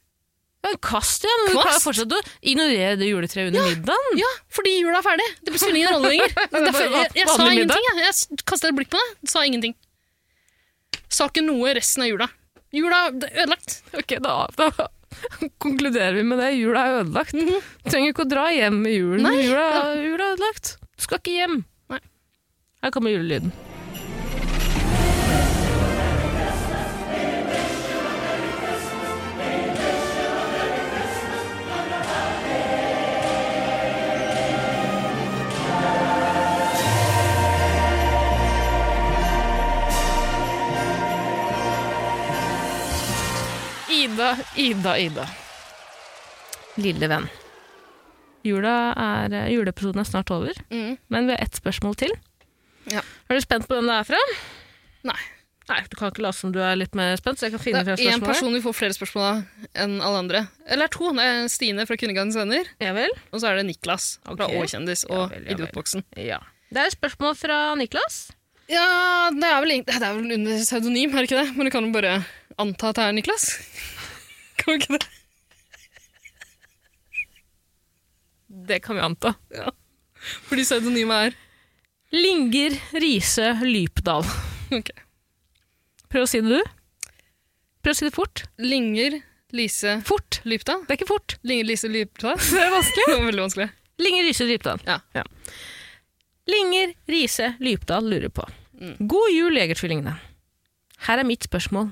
[SPEAKER 2] Ja, Kast det, men du
[SPEAKER 3] Kvast.
[SPEAKER 2] klarer fortsatt å ignorere det juletreet under middagen.
[SPEAKER 3] Ja, fordi jula er ferdig. Det spiller ingen rolle lenger.
[SPEAKER 2] er
[SPEAKER 3] Derfor,
[SPEAKER 2] bare
[SPEAKER 3] jeg, jeg sa
[SPEAKER 2] vanlig middag.
[SPEAKER 3] ingenting, jeg. Jeg s- kastet et blikk på det. Sa ingenting. Sa ikke noe resten av jula. Jula det er ødelagt.
[SPEAKER 2] Ok, da, da konkluderer vi med det. Jula er ødelagt. Du trenger ikke å dra hjem i julen.
[SPEAKER 3] Nei.
[SPEAKER 2] Jula, jula er ødelagt. Du skal ikke hjem.
[SPEAKER 3] Nei.
[SPEAKER 2] Her kommer julelyden. Ida, Ida, Ida. Lille venn. Jula er, juleepisoden er snart over,
[SPEAKER 3] Mm.
[SPEAKER 2] men vi har ett spørsmål til.
[SPEAKER 3] Ja.
[SPEAKER 2] Er du spent på hvem det er fra?
[SPEAKER 3] Nei.
[SPEAKER 2] Nei, Du kan ikke late som du er litt mer spent, så jeg kan
[SPEAKER 3] Det
[SPEAKER 2] finne
[SPEAKER 3] er
[SPEAKER 2] frem
[SPEAKER 3] én
[SPEAKER 2] spørsmålet.
[SPEAKER 3] person vi får flere spørsmål av enn alle andre. Eller to. Det er Stine fra Kundegardenens venner.
[SPEAKER 2] Ja vel?
[SPEAKER 3] Og så er det Niklas fra
[SPEAKER 2] Ok.
[SPEAKER 3] Åkjendis og
[SPEAKER 2] Ja vel, ja vel.
[SPEAKER 3] Idiotboksen.
[SPEAKER 2] Ja. Det er et spørsmål fra Niklas.
[SPEAKER 3] Ja, det er vel, egentlig- det er vel under pseudonym, er det ikke det? Men du kan jo bare anta at det er Niklas. Kan vi ikke det?
[SPEAKER 2] Det kan vi anta.
[SPEAKER 3] Fordi pseudonymet er
[SPEAKER 2] Linger Riise Lypdal.
[SPEAKER 3] Ok.
[SPEAKER 2] Prøv å si det, du. Prøv å si det fort.
[SPEAKER 3] Linger Lise
[SPEAKER 2] Fort.
[SPEAKER 3] Lypdal.
[SPEAKER 2] Det er ikke fort.
[SPEAKER 3] Linger Lise Lypdal.
[SPEAKER 2] Det er vanskelig.
[SPEAKER 3] Det var veldig vanskelig.
[SPEAKER 2] Linger Riise Lypdal.
[SPEAKER 3] Ja.
[SPEAKER 2] Linger Riise Lypdal lurer på.
[SPEAKER 3] Mm.
[SPEAKER 2] God jul, Jegertvillingene. Her er mitt spørsmål.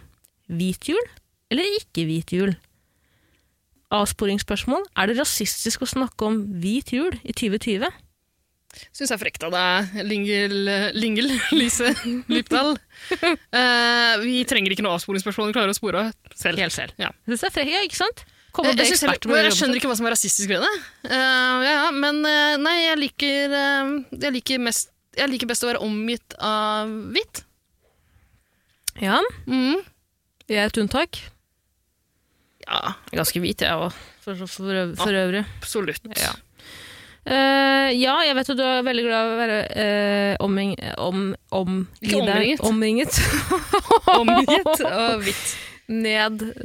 [SPEAKER 2] Hvit jul eller ikke hvit jul? Avsporingsspørsmål. Er det rasistisk å snakke om hvit jul i 2020?
[SPEAKER 3] Syns jeg er frekt av deg, Lingel, Lingel Lise Lypdal. Eh, vi trenger ikke noe avsporingsspørsmål, vi klarer å spore av selv.
[SPEAKER 2] Helt selv.
[SPEAKER 3] Ja.
[SPEAKER 2] Jeg synes det er frekt, ja, ikke sant? Kommer
[SPEAKER 3] Jeg,
[SPEAKER 2] det
[SPEAKER 3] jeg, synes
[SPEAKER 2] eksperter med
[SPEAKER 3] heller-
[SPEAKER 2] å
[SPEAKER 3] jeg
[SPEAKER 2] jobbe
[SPEAKER 3] skjønner ikke hva som er rasistisk ved det. Eh, ja, ja, men eh, nei, jeg liker, eh, jeg, liker mest, jeg liker best å være omgitt av hvitt. Mm.
[SPEAKER 2] til? Ja, jeg er et unntak.
[SPEAKER 3] Ja,
[SPEAKER 2] Ganske hvit, jeg òg, for, for, for, øv- for øvrig.
[SPEAKER 3] absolutt.
[SPEAKER 2] Ja. Eh, ja, jeg vet at du er veldig glad i å være eh, omring, om, om,
[SPEAKER 3] Ikke
[SPEAKER 2] i deg- omringet.
[SPEAKER 3] Omgitt av hvitt.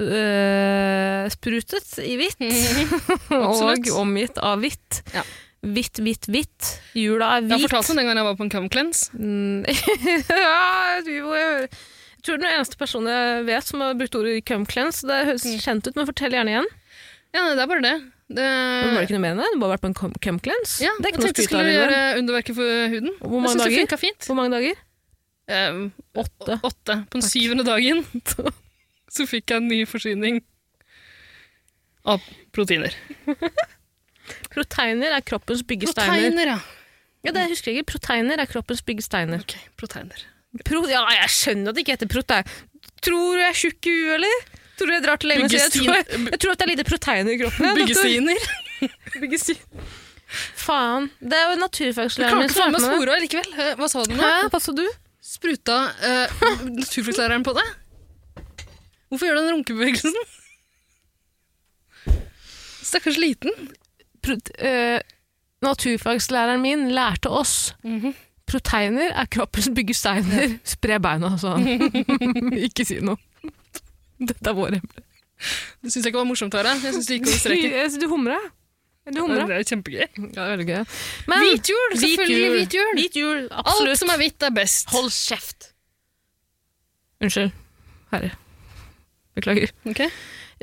[SPEAKER 2] Nedsprutet eh, i hvitt. og
[SPEAKER 3] Mm, absolutt.
[SPEAKER 2] omgitt av hvitt.
[SPEAKER 3] Ja.
[SPEAKER 2] Hvitt, hvitt, hvitt. Jula er
[SPEAKER 3] Jeg har
[SPEAKER 2] hvit.
[SPEAKER 3] fortalt om den gangen jeg var på en cum cleanse.
[SPEAKER 2] Mm, ja, jeg tror jeg jeg tror den eneste personen jeg vet som har brukt ordet cum cleanse. Det høres
[SPEAKER 3] Mm.
[SPEAKER 2] kjent ut, men fortell gjerne igjen.
[SPEAKER 3] Ja, nei, det er bare det. det
[SPEAKER 2] Men var det ikke noe mer enn det? Du bare har vært på en cum- cum cleanse?
[SPEAKER 3] Mm. ja,
[SPEAKER 2] det er ikke
[SPEAKER 3] jeg
[SPEAKER 2] noe
[SPEAKER 3] tenkte jeg
[SPEAKER 2] skryt
[SPEAKER 3] skulle
[SPEAKER 2] av Lindholm.
[SPEAKER 3] gjøre underverket for huden.
[SPEAKER 2] Hvor
[SPEAKER 3] Jeg
[SPEAKER 2] mange
[SPEAKER 3] synes det
[SPEAKER 2] dager?
[SPEAKER 3] funka fint.
[SPEAKER 2] Hvor mange dager?
[SPEAKER 3] Eh,
[SPEAKER 2] Åtte.
[SPEAKER 3] åtte. På den syvende dagen så fikk jeg en ny forsyning av proteiner.
[SPEAKER 2] Proteiner er kroppens byggesteiner.
[SPEAKER 3] Proteiner, ja.
[SPEAKER 2] Ja, det husker jeg ikke. Proteiner er kroppens byggesteiner.
[SPEAKER 3] Ok, proteiner.
[SPEAKER 2] Pro ja, jeg skjønner at det ikke heter protein. Tror du jeg er tjukk i huet, eller? Tror du jeg drar til lenge? Jeg
[SPEAKER 3] Byggestin-
[SPEAKER 2] tror, jeg, jeg tror at det er lite proteiner i kroppen. jeg, doktor.
[SPEAKER 3] Byggesteiner.
[SPEAKER 2] Byggestin. Faen. Det er jo
[SPEAKER 3] Du klarer
[SPEAKER 2] naturfaglæreren
[SPEAKER 3] ikke å få med
[SPEAKER 2] meg.
[SPEAKER 3] spora likevel. Eh, Hva sa du nå?
[SPEAKER 2] Hæ, hva sa du?
[SPEAKER 3] Spruta eh, naturfaglæreren på deg? Hvorfor gjør du den runkebevegelsen? Stakkars liten.
[SPEAKER 2] Prot eh, naturfagslæreren min lærte oss
[SPEAKER 3] Mhm.
[SPEAKER 2] proteiner er kroppens byggesteiner. Spre beina, sa han. ikke si noe. Dette er vår hemmelighet.
[SPEAKER 3] Det syns jeg ikke var morsomt, Tara. Jeg synes det gikk over streken.
[SPEAKER 2] Jeg synes Du humra. Du humra.
[SPEAKER 3] Det er kjempegøy.
[SPEAKER 2] Ja, det er veldig gøy. Men,
[SPEAKER 3] Hvit jul! Selvfølgelig hvit jul.
[SPEAKER 2] Hvit jul, absolutt.
[SPEAKER 3] Alt som er hvitt, er best.
[SPEAKER 2] Hold kjeft. Unnskyld, herre. Beklager.
[SPEAKER 3] Ok?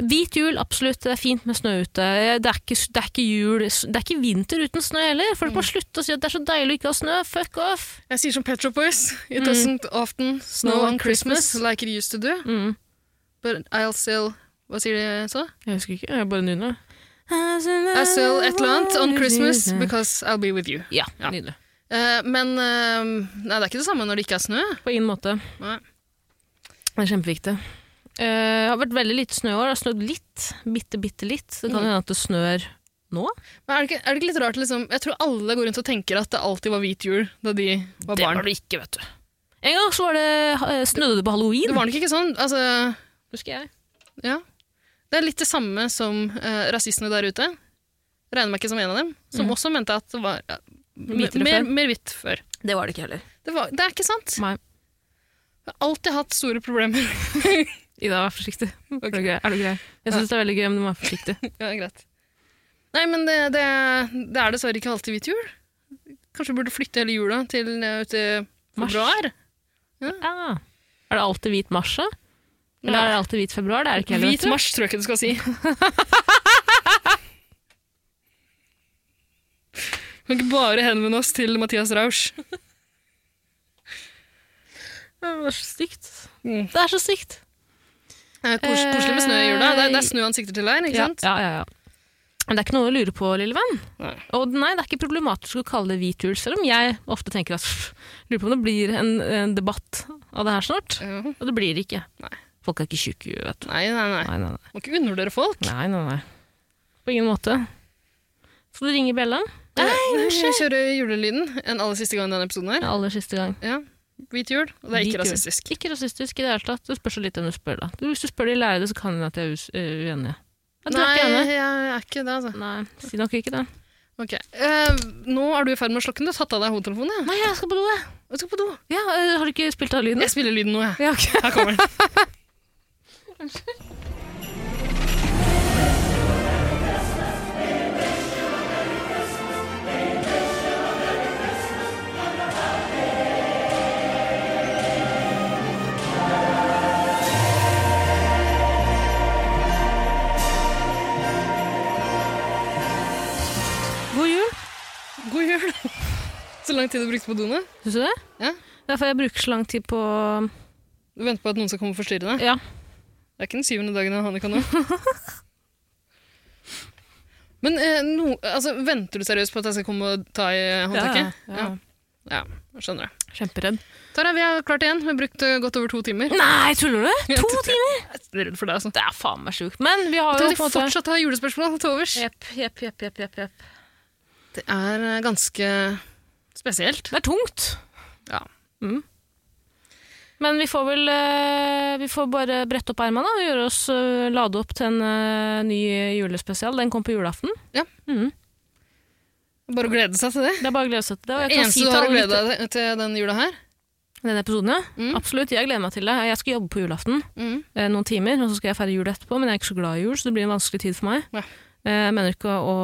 [SPEAKER 2] Hvit jul, absolutt. Det er fint med snø ute. Det er ikke, det er ikke jul Det er ikke vinter uten snø heller. Folk må slutte å si at det er så deilig å ikke ha snø. Fuck off!
[SPEAKER 3] Jeg sier som Petro Boys. It doesn't often snow on Christmas like it used to do,
[SPEAKER 2] Mm.
[SPEAKER 3] but I'll still Hva sier de så?
[SPEAKER 2] Jeg husker ikke, jeg bare nynner.
[SPEAKER 3] I'll still et eller annet on Christmas because I'll be with you.
[SPEAKER 2] Ja,
[SPEAKER 3] Ja.
[SPEAKER 2] nydelig.
[SPEAKER 3] Eh, men eh, nei, det er ikke det samme når det ikke er snø.
[SPEAKER 2] På ingen måte.
[SPEAKER 3] Nei.
[SPEAKER 2] Det er kjempeviktig. Eh, det har vært veldig lite snø i år. Det har snødd litt. Bitte, bitte litt. Det kan hende at det snør nå.
[SPEAKER 3] Men er det, ikke, er det ikke litt rart, liksom? Jeg tror alle går rundt og tenker at det alltid var hvit jul da de var barn.
[SPEAKER 2] det ikke, vet du. En gang så var det eh, snødde det på halloween.
[SPEAKER 3] Det var nok ikke sånn. Altså,
[SPEAKER 2] husker jeg.
[SPEAKER 3] ja. Det er litt det samme som eh, rasistene der ute. Regner meg ikke som en av dem. Som
[SPEAKER 2] Mm.
[SPEAKER 3] også mente at det var ja,
[SPEAKER 2] Hvitere
[SPEAKER 3] mer,
[SPEAKER 2] før.
[SPEAKER 3] mer hvitt før.
[SPEAKER 2] Det var det ikke heller.
[SPEAKER 3] Det, var, det er ikke sant.
[SPEAKER 2] Nei.
[SPEAKER 3] Jeg har alltid hatt store problemer.
[SPEAKER 2] Ida, vær forsiktig. Er du grei? Er du grei? Jeg syns det er veldig gøy, men du må være forsiktig.
[SPEAKER 3] ja, greit. Nei, men det, det, det er dessverre ikke alltid hvit jul. Kanskje vi burde flytte hele jula til eh, ut i
[SPEAKER 2] Mars.
[SPEAKER 3] februar?
[SPEAKER 2] Ja. Ah. Er det alltid hvit mars, da? Eller
[SPEAKER 3] Nei.
[SPEAKER 2] er det alltid hvit februar? Det er det ikke heller.
[SPEAKER 3] Hvit
[SPEAKER 2] vet du.
[SPEAKER 3] mars, tror jeg ikke du skal si. Vi kan ikke bare henvende oss til Mathias Rausch.
[SPEAKER 2] Ja, Det er så stygt.
[SPEAKER 3] Mm.
[SPEAKER 2] Det er så stygt.
[SPEAKER 3] Eh, kos- Koselig med snø i jula. Det er, det er snø han sikter til her, ikke
[SPEAKER 2] Ja,
[SPEAKER 3] sant?
[SPEAKER 2] ja, ja, ja. Men det er ikke noe å lure på, lille venn.
[SPEAKER 3] Nei.
[SPEAKER 2] Og nei, det er ikke problematisk å kalle det hvit jul, selv om jeg ofte tenker at pff, lurer på om det blir en, en debatt av det her snart.
[SPEAKER 3] Ja.
[SPEAKER 2] Og det blir det ikke.
[SPEAKER 3] Nei.
[SPEAKER 2] Folk er ikke tjukke, vet du.
[SPEAKER 3] Eh, Nei, nei, nei.
[SPEAKER 2] Nei, nei, nei.
[SPEAKER 3] Må ikke undervurdere folk.
[SPEAKER 2] nei, nei, nei. På ingen måte. Skal du ringe bjella?
[SPEAKER 3] Jeg Eh, kjører julelyden en aller siste gang i denne episoden her.
[SPEAKER 2] Aller siste gang.
[SPEAKER 3] Ja. Hvit jul, og det er
[SPEAKER 2] Hvit
[SPEAKER 3] ikke
[SPEAKER 2] jul.
[SPEAKER 3] rasistisk.
[SPEAKER 2] Ikke rasistisk i det hele tatt. Det spørs jo litt hvem du spør, da. Hvis du spør de lærde, så kan det hende at jeg er us- eh, uenig. Ja, du
[SPEAKER 3] Nei,
[SPEAKER 2] er ikke enig?
[SPEAKER 3] jeg er ikke det, altså.
[SPEAKER 2] Nei, si nok ikke det.
[SPEAKER 3] Ok. Eh, nå er du i ferd med å slokke den. Du har tatt av deg hodetelefonen. ja.
[SPEAKER 2] Nei, jeg skal på do, jeg.
[SPEAKER 3] Jeg skal på do.
[SPEAKER 2] Ja, eh, har du ikke spilt av lyden?
[SPEAKER 3] Jeg spiller lyden nå, jeg.
[SPEAKER 2] Ja, ok.
[SPEAKER 3] Her kommer den.
[SPEAKER 2] God jul.
[SPEAKER 3] God jul. Så lang tid du brukte på doene.
[SPEAKER 2] Syns du det? Det
[SPEAKER 3] Ja.
[SPEAKER 2] er Derfor jeg bruker så lang tid på
[SPEAKER 3] Du venter på at noen skal komme og forstyrre deg?
[SPEAKER 2] Ja.
[SPEAKER 3] Det er ikke den syvende dagen av Hannika nå. Men eh, no, altså, venter du seriøst på at jeg skal komme og ta i håndtaket?
[SPEAKER 2] ja.
[SPEAKER 3] Ja, jeg skjønner det.
[SPEAKER 2] Kjemperedd.
[SPEAKER 3] Tara, vi har klart igjen. Vi har brukt eh, godt over to timer.
[SPEAKER 2] Nei, tuller du?
[SPEAKER 3] Jeg
[SPEAKER 2] To
[SPEAKER 3] tror-
[SPEAKER 2] timer?
[SPEAKER 3] Jeg er redd for deg, altså.
[SPEAKER 2] Det er faen meg sjukt. Men vi har
[SPEAKER 3] At
[SPEAKER 2] jo
[SPEAKER 3] vi
[SPEAKER 2] på en måte
[SPEAKER 3] fortsatt har julespørsmål til overs.
[SPEAKER 2] Jepp, jepp, jepp, jepp, jepp, jepp.
[SPEAKER 3] Det er eh, ganske spesielt.
[SPEAKER 2] Det er tungt.
[SPEAKER 3] Ja.
[SPEAKER 2] Mm. Men vi får vel eh, Vi får bare brette opp ermene og gjøre oss eh, lade opp til en eh, ny julespesial. Den kom på julaften.
[SPEAKER 3] Ja.
[SPEAKER 2] Mm.
[SPEAKER 3] Bare å glede seg til det.
[SPEAKER 2] Det er bare å glede seg til det. Og jeg
[SPEAKER 3] Det
[SPEAKER 2] kan
[SPEAKER 3] eneste
[SPEAKER 2] si
[SPEAKER 3] du
[SPEAKER 2] til
[SPEAKER 3] har å
[SPEAKER 2] alle
[SPEAKER 3] glede deg til- til denne jula her.
[SPEAKER 2] Denne episoden, ja.
[SPEAKER 3] Mm.
[SPEAKER 2] Absolutt. Jeg gleder meg til det. Jeg skal jobbe på julaften eh, noen timer, og så skal jeg feire jul etterpå, men jeg er ikke så glad i jul, så det blir en vanskelig tid for meg.
[SPEAKER 3] Ja.
[SPEAKER 2] Eh, Jeg mener ikke å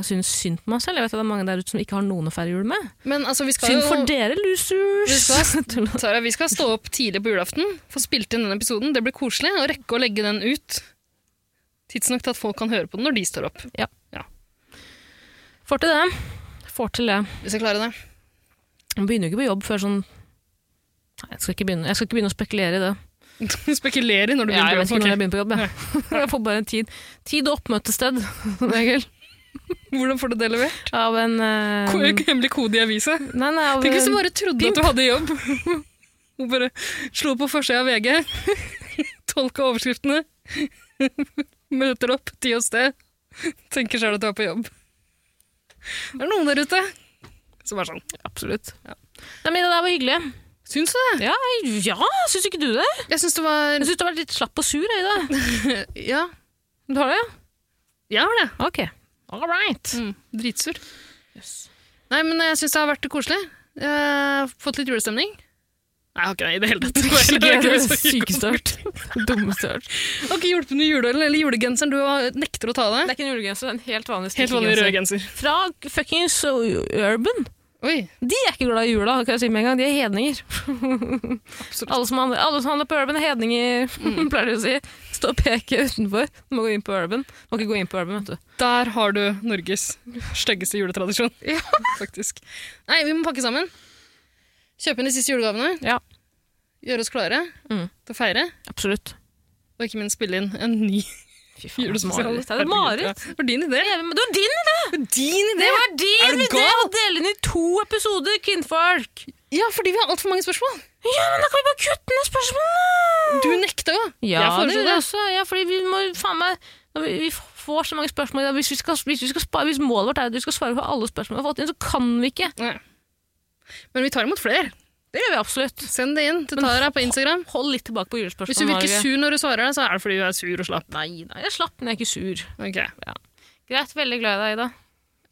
[SPEAKER 2] å synes synd på meg selv. Jeg vet at det er mange der ute som ikke har noen å feire jul med.
[SPEAKER 3] Men altså, vi skal
[SPEAKER 2] Synd for
[SPEAKER 3] jo
[SPEAKER 2] dere, losers!
[SPEAKER 3] Vi skal-
[SPEAKER 2] Tulla.
[SPEAKER 3] Sara, vi skal stå opp tidlig på julaften, få spilt inn den episoden. Det blir koselig å rekke å legge den ut. Tidsnok til at folk kan høre på den når de står opp.
[SPEAKER 2] Får til det. Får til det.
[SPEAKER 3] Hvis jeg klarer det.
[SPEAKER 2] Man begynner jo ikke på jobb før sånn Nei, jeg skal ikke begynne, jeg skal ikke begynne å spekulere i det.
[SPEAKER 3] Du spekulerer når du
[SPEAKER 2] Ja, jeg vet
[SPEAKER 3] begynner på
[SPEAKER 2] ikke når jeg
[SPEAKER 3] jobb.
[SPEAKER 2] begynner på jobb. Jeg, jeg får bare en tid. Tid og oppmøtested, som regel.
[SPEAKER 3] ok. Hvordan får du det levert?
[SPEAKER 2] Av en eh,
[SPEAKER 3] Ko- Hemmelig kode i avisa.
[SPEAKER 2] Nei, nei, av
[SPEAKER 3] Tenk hvis du
[SPEAKER 2] en-
[SPEAKER 3] bare trodde at du hadde jobb. Og bare slo på forsida av VG. Tolka overskriftene. Møter opp tid og sted. Tenker sjøl at du er på jobb. Det er noen der ute som er sånn.
[SPEAKER 2] Absolutt. Nei, men det der var hyggelig.
[SPEAKER 3] Syns du det?
[SPEAKER 2] Ja, ja syns ikke du det?
[SPEAKER 3] Jeg syns det var
[SPEAKER 2] Jeg syns du har vært litt slapp og sur, jeg, Ida.
[SPEAKER 3] Ja.
[SPEAKER 2] Du har det, ja?
[SPEAKER 3] Jeg har det.
[SPEAKER 2] Ok. All right.
[SPEAKER 3] Mm, dritsur.
[SPEAKER 2] Mm.
[SPEAKER 3] Nei, men jeg syns det har vært koselig. Jeg har fått litt julestemning. Nei, jeg har ikke det i det hele tatt. Det var heller
[SPEAKER 2] Ikke
[SPEAKER 3] ikke så
[SPEAKER 2] sykeste jeg har hørt. Dummeste jeg har hørt.
[SPEAKER 3] Jeg har ikke hjulpet med juleølen eller julegenseren du har- nekter å ta av
[SPEAKER 2] Det
[SPEAKER 3] deg.
[SPEAKER 2] er ikke en julegenser, det er en helt vanlig
[SPEAKER 3] Helt vanlig
[SPEAKER 2] strikkegenser.
[SPEAKER 3] rød genser.
[SPEAKER 2] Fra fuckings Urban.
[SPEAKER 3] Oi,
[SPEAKER 2] De er ikke glad i jula, kan jeg si med en gang. De er hedninger.
[SPEAKER 3] absolutt.
[SPEAKER 2] Alle som handler, alle som handler på Urban er hedninger, pleier de å si. Stå og peke utenfor. Du må gå inn på Urban. Du må ikke gå inn på Urban, vet du.
[SPEAKER 3] Der har du Norges styggeste juletradisjon, faktisk. Nei, vi må pakke sammen. Kjøpe inn de siste julegavene.
[SPEAKER 2] Ja.
[SPEAKER 3] Gjøre oss klare
[SPEAKER 2] Mm.
[SPEAKER 3] til å feire.
[SPEAKER 2] Absolutt.
[SPEAKER 3] Og ikke minst spille inn en ny
[SPEAKER 2] Fy faen, det er
[SPEAKER 3] julespesial.
[SPEAKER 2] mareritt. Det er et mareritt.
[SPEAKER 3] Herregud, ja. Det var din idé.
[SPEAKER 2] Det er- men Det var din idé!
[SPEAKER 3] Din
[SPEAKER 2] Det var
[SPEAKER 3] Er
[SPEAKER 2] din
[SPEAKER 3] du
[SPEAKER 2] idé
[SPEAKER 3] gal?
[SPEAKER 2] å dele den i to episoder, kvinnfolk!
[SPEAKER 3] Ja, fordi vi har altfor mange spørsmål.
[SPEAKER 2] Ja, men da kan vi bare kutte ned spørsmålene!
[SPEAKER 3] Du nekta jo!
[SPEAKER 2] Ja,
[SPEAKER 3] jeg
[SPEAKER 2] det
[SPEAKER 3] foreslo
[SPEAKER 2] vil
[SPEAKER 3] det.
[SPEAKER 2] jeg også. Ja, fordi vi må faen meg når vi, vi får så mange spørsmål i dag. Hvis, vi skal, hvis, vi skal spare, hvis målet vårt er at vi skal svare på alle spørsmål vi har fått inn, så kan vi ikke.
[SPEAKER 3] Nei. Men vi tar imot flere.
[SPEAKER 2] Det gjør vi absolutt.
[SPEAKER 3] Send det inn til Tara på Instagram.
[SPEAKER 2] Hold litt tilbake på julespørsmål.
[SPEAKER 3] Hvis du virker
[SPEAKER 2] Norge.
[SPEAKER 3] sur når du svarer, så er det fordi du er sur og slapp.
[SPEAKER 2] Nei, nei, jeg slapp, men jeg er ikke sur.
[SPEAKER 3] Ok,
[SPEAKER 2] Greit, veldig glad i deg, Ida.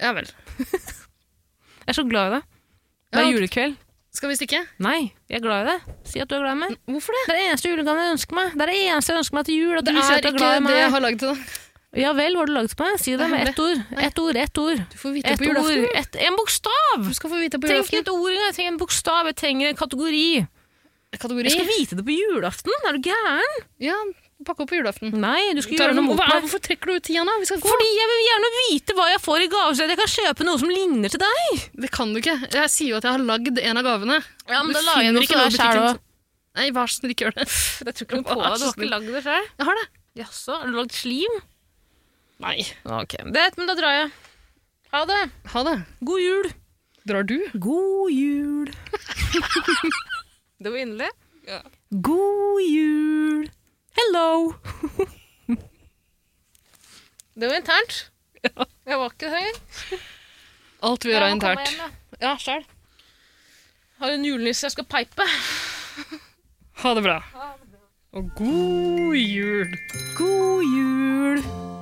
[SPEAKER 3] ja vel.
[SPEAKER 2] Jeg er så glad i deg. Det
[SPEAKER 3] Ja.
[SPEAKER 2] er julekveld.
[SPEAKER 3] Skal vi stikke?
[SPEAKER 2] Nei, jeg er glad i deg. Si at du er glad i meg.
[SPEAKER 3] Hvorfor det?
[SPEAKER 2] Det er det eneste julegaven jeg ønsker meg. Det er det eneste jeg ønsker meg til jul. At
[SPEAKER 3] Det
[SPEAKER 2] du sier at
[SPEAKER 3] er
[SPEAKER 2] du er
[SPEAKER 3] ikke
[SPEAKER 2] glad i
[SPEAKER 3] det jeg
[SPEAKER 2] meg.
[SPEAKER 3] har lagd til deg.
[SPEAKER 2] Ja vel, hva har du laget på meg? Si det
[SPEAKER 3] er
[SPEAKER 2] med
[SPEAKER 3] hemmelig.
[SPEAKER 2] ett ord. Ett ord, ett ord.
[SPEAKER 3] Du får vite
[SPEAKER 2] Ett
[SPEAKER 3] på
[SPEAKER 2] ord.
[SPEAKER 3] julaften.
[SPEAKER 2] Ett, en bokstav!
[SPEAKER 3] Du skal få vite på
[SPEAKER 2] Trenger ikke et
[SPEAKER 3] julaften.
[SPEAKER 2] ord engang. Jeg trenger en bokstav, jeg trenger en kategori.
[SPEAKER 3] Kategori.
[SPEAKER 2] Jeg skal vite det på julaften! Er du gæren?
[SPEAKER 3] Ja, pakke opp på julaften.
[SPEAKER 2] Nei, du skal
[SPEAKER 3] Tara,
[SPEAKER 2] gjøre noe
[SPEAKER 3] nå-
[SPEAKER 2] mot
[SPEAKER 3] hva er-
[SPEAKER 2] meg.
[SPEAKER 3] Hvorfor trekker du ut tida nå? Vi skal gå.
[SPEAKER 2] Fordi jeg vil gjerne vite hva jeg får i gave, så jeg kan kjøpe noe som ligner til deg.
[SPEAKER 3] Det kan du ikke. Jeg sier jo at jeg har lagd en av gavene.
[SPEAKER 2] Ja, men
[SPEAKER 3] Du
[SPEAKER 2] da lager jeg
[SPEAKER 3] finner
[SPEAKER 2] noe
[SPEAKER 3] ikke
[SPEAKER 2] til
[SPEAKER 3] noe i
[SPEAKER 2] deg sjæl
[SPEAKER 3] butikken.
[SPEAKER 2] òg.
[SPEAKER 3] Nei, vær så snill, ikke gjør det.
[SPEAKER 2] Jeg tror ikke noe på deg. Du har ikke lagd det sjøl?
[SPEAKER 3] Jeg har det.
[SPEAKER 2] Jaså, har du lagd slim?
[SPEAKER 3] Nei.
[SPEAKER 2] Ok, Greit, men da drar jeg. Ha det.
[SPEAKER 3] Ha det.
[SPEAKER 2] God jul.
[SPEAKER 3] Drar du?
[SPEAKER 2] God jul. det var inderlig. God jul. Hello. det var internt. Jeg var ikke høy.
[SPEAKER 3] Alt vi gjør er internt. Ja, sjæl.
[SPEAKER 2] Har en julenisse jeg skal peipe.
[SPEAKER 3] Ha det bra. Og god jul.
[SPEAKER 2] God jul.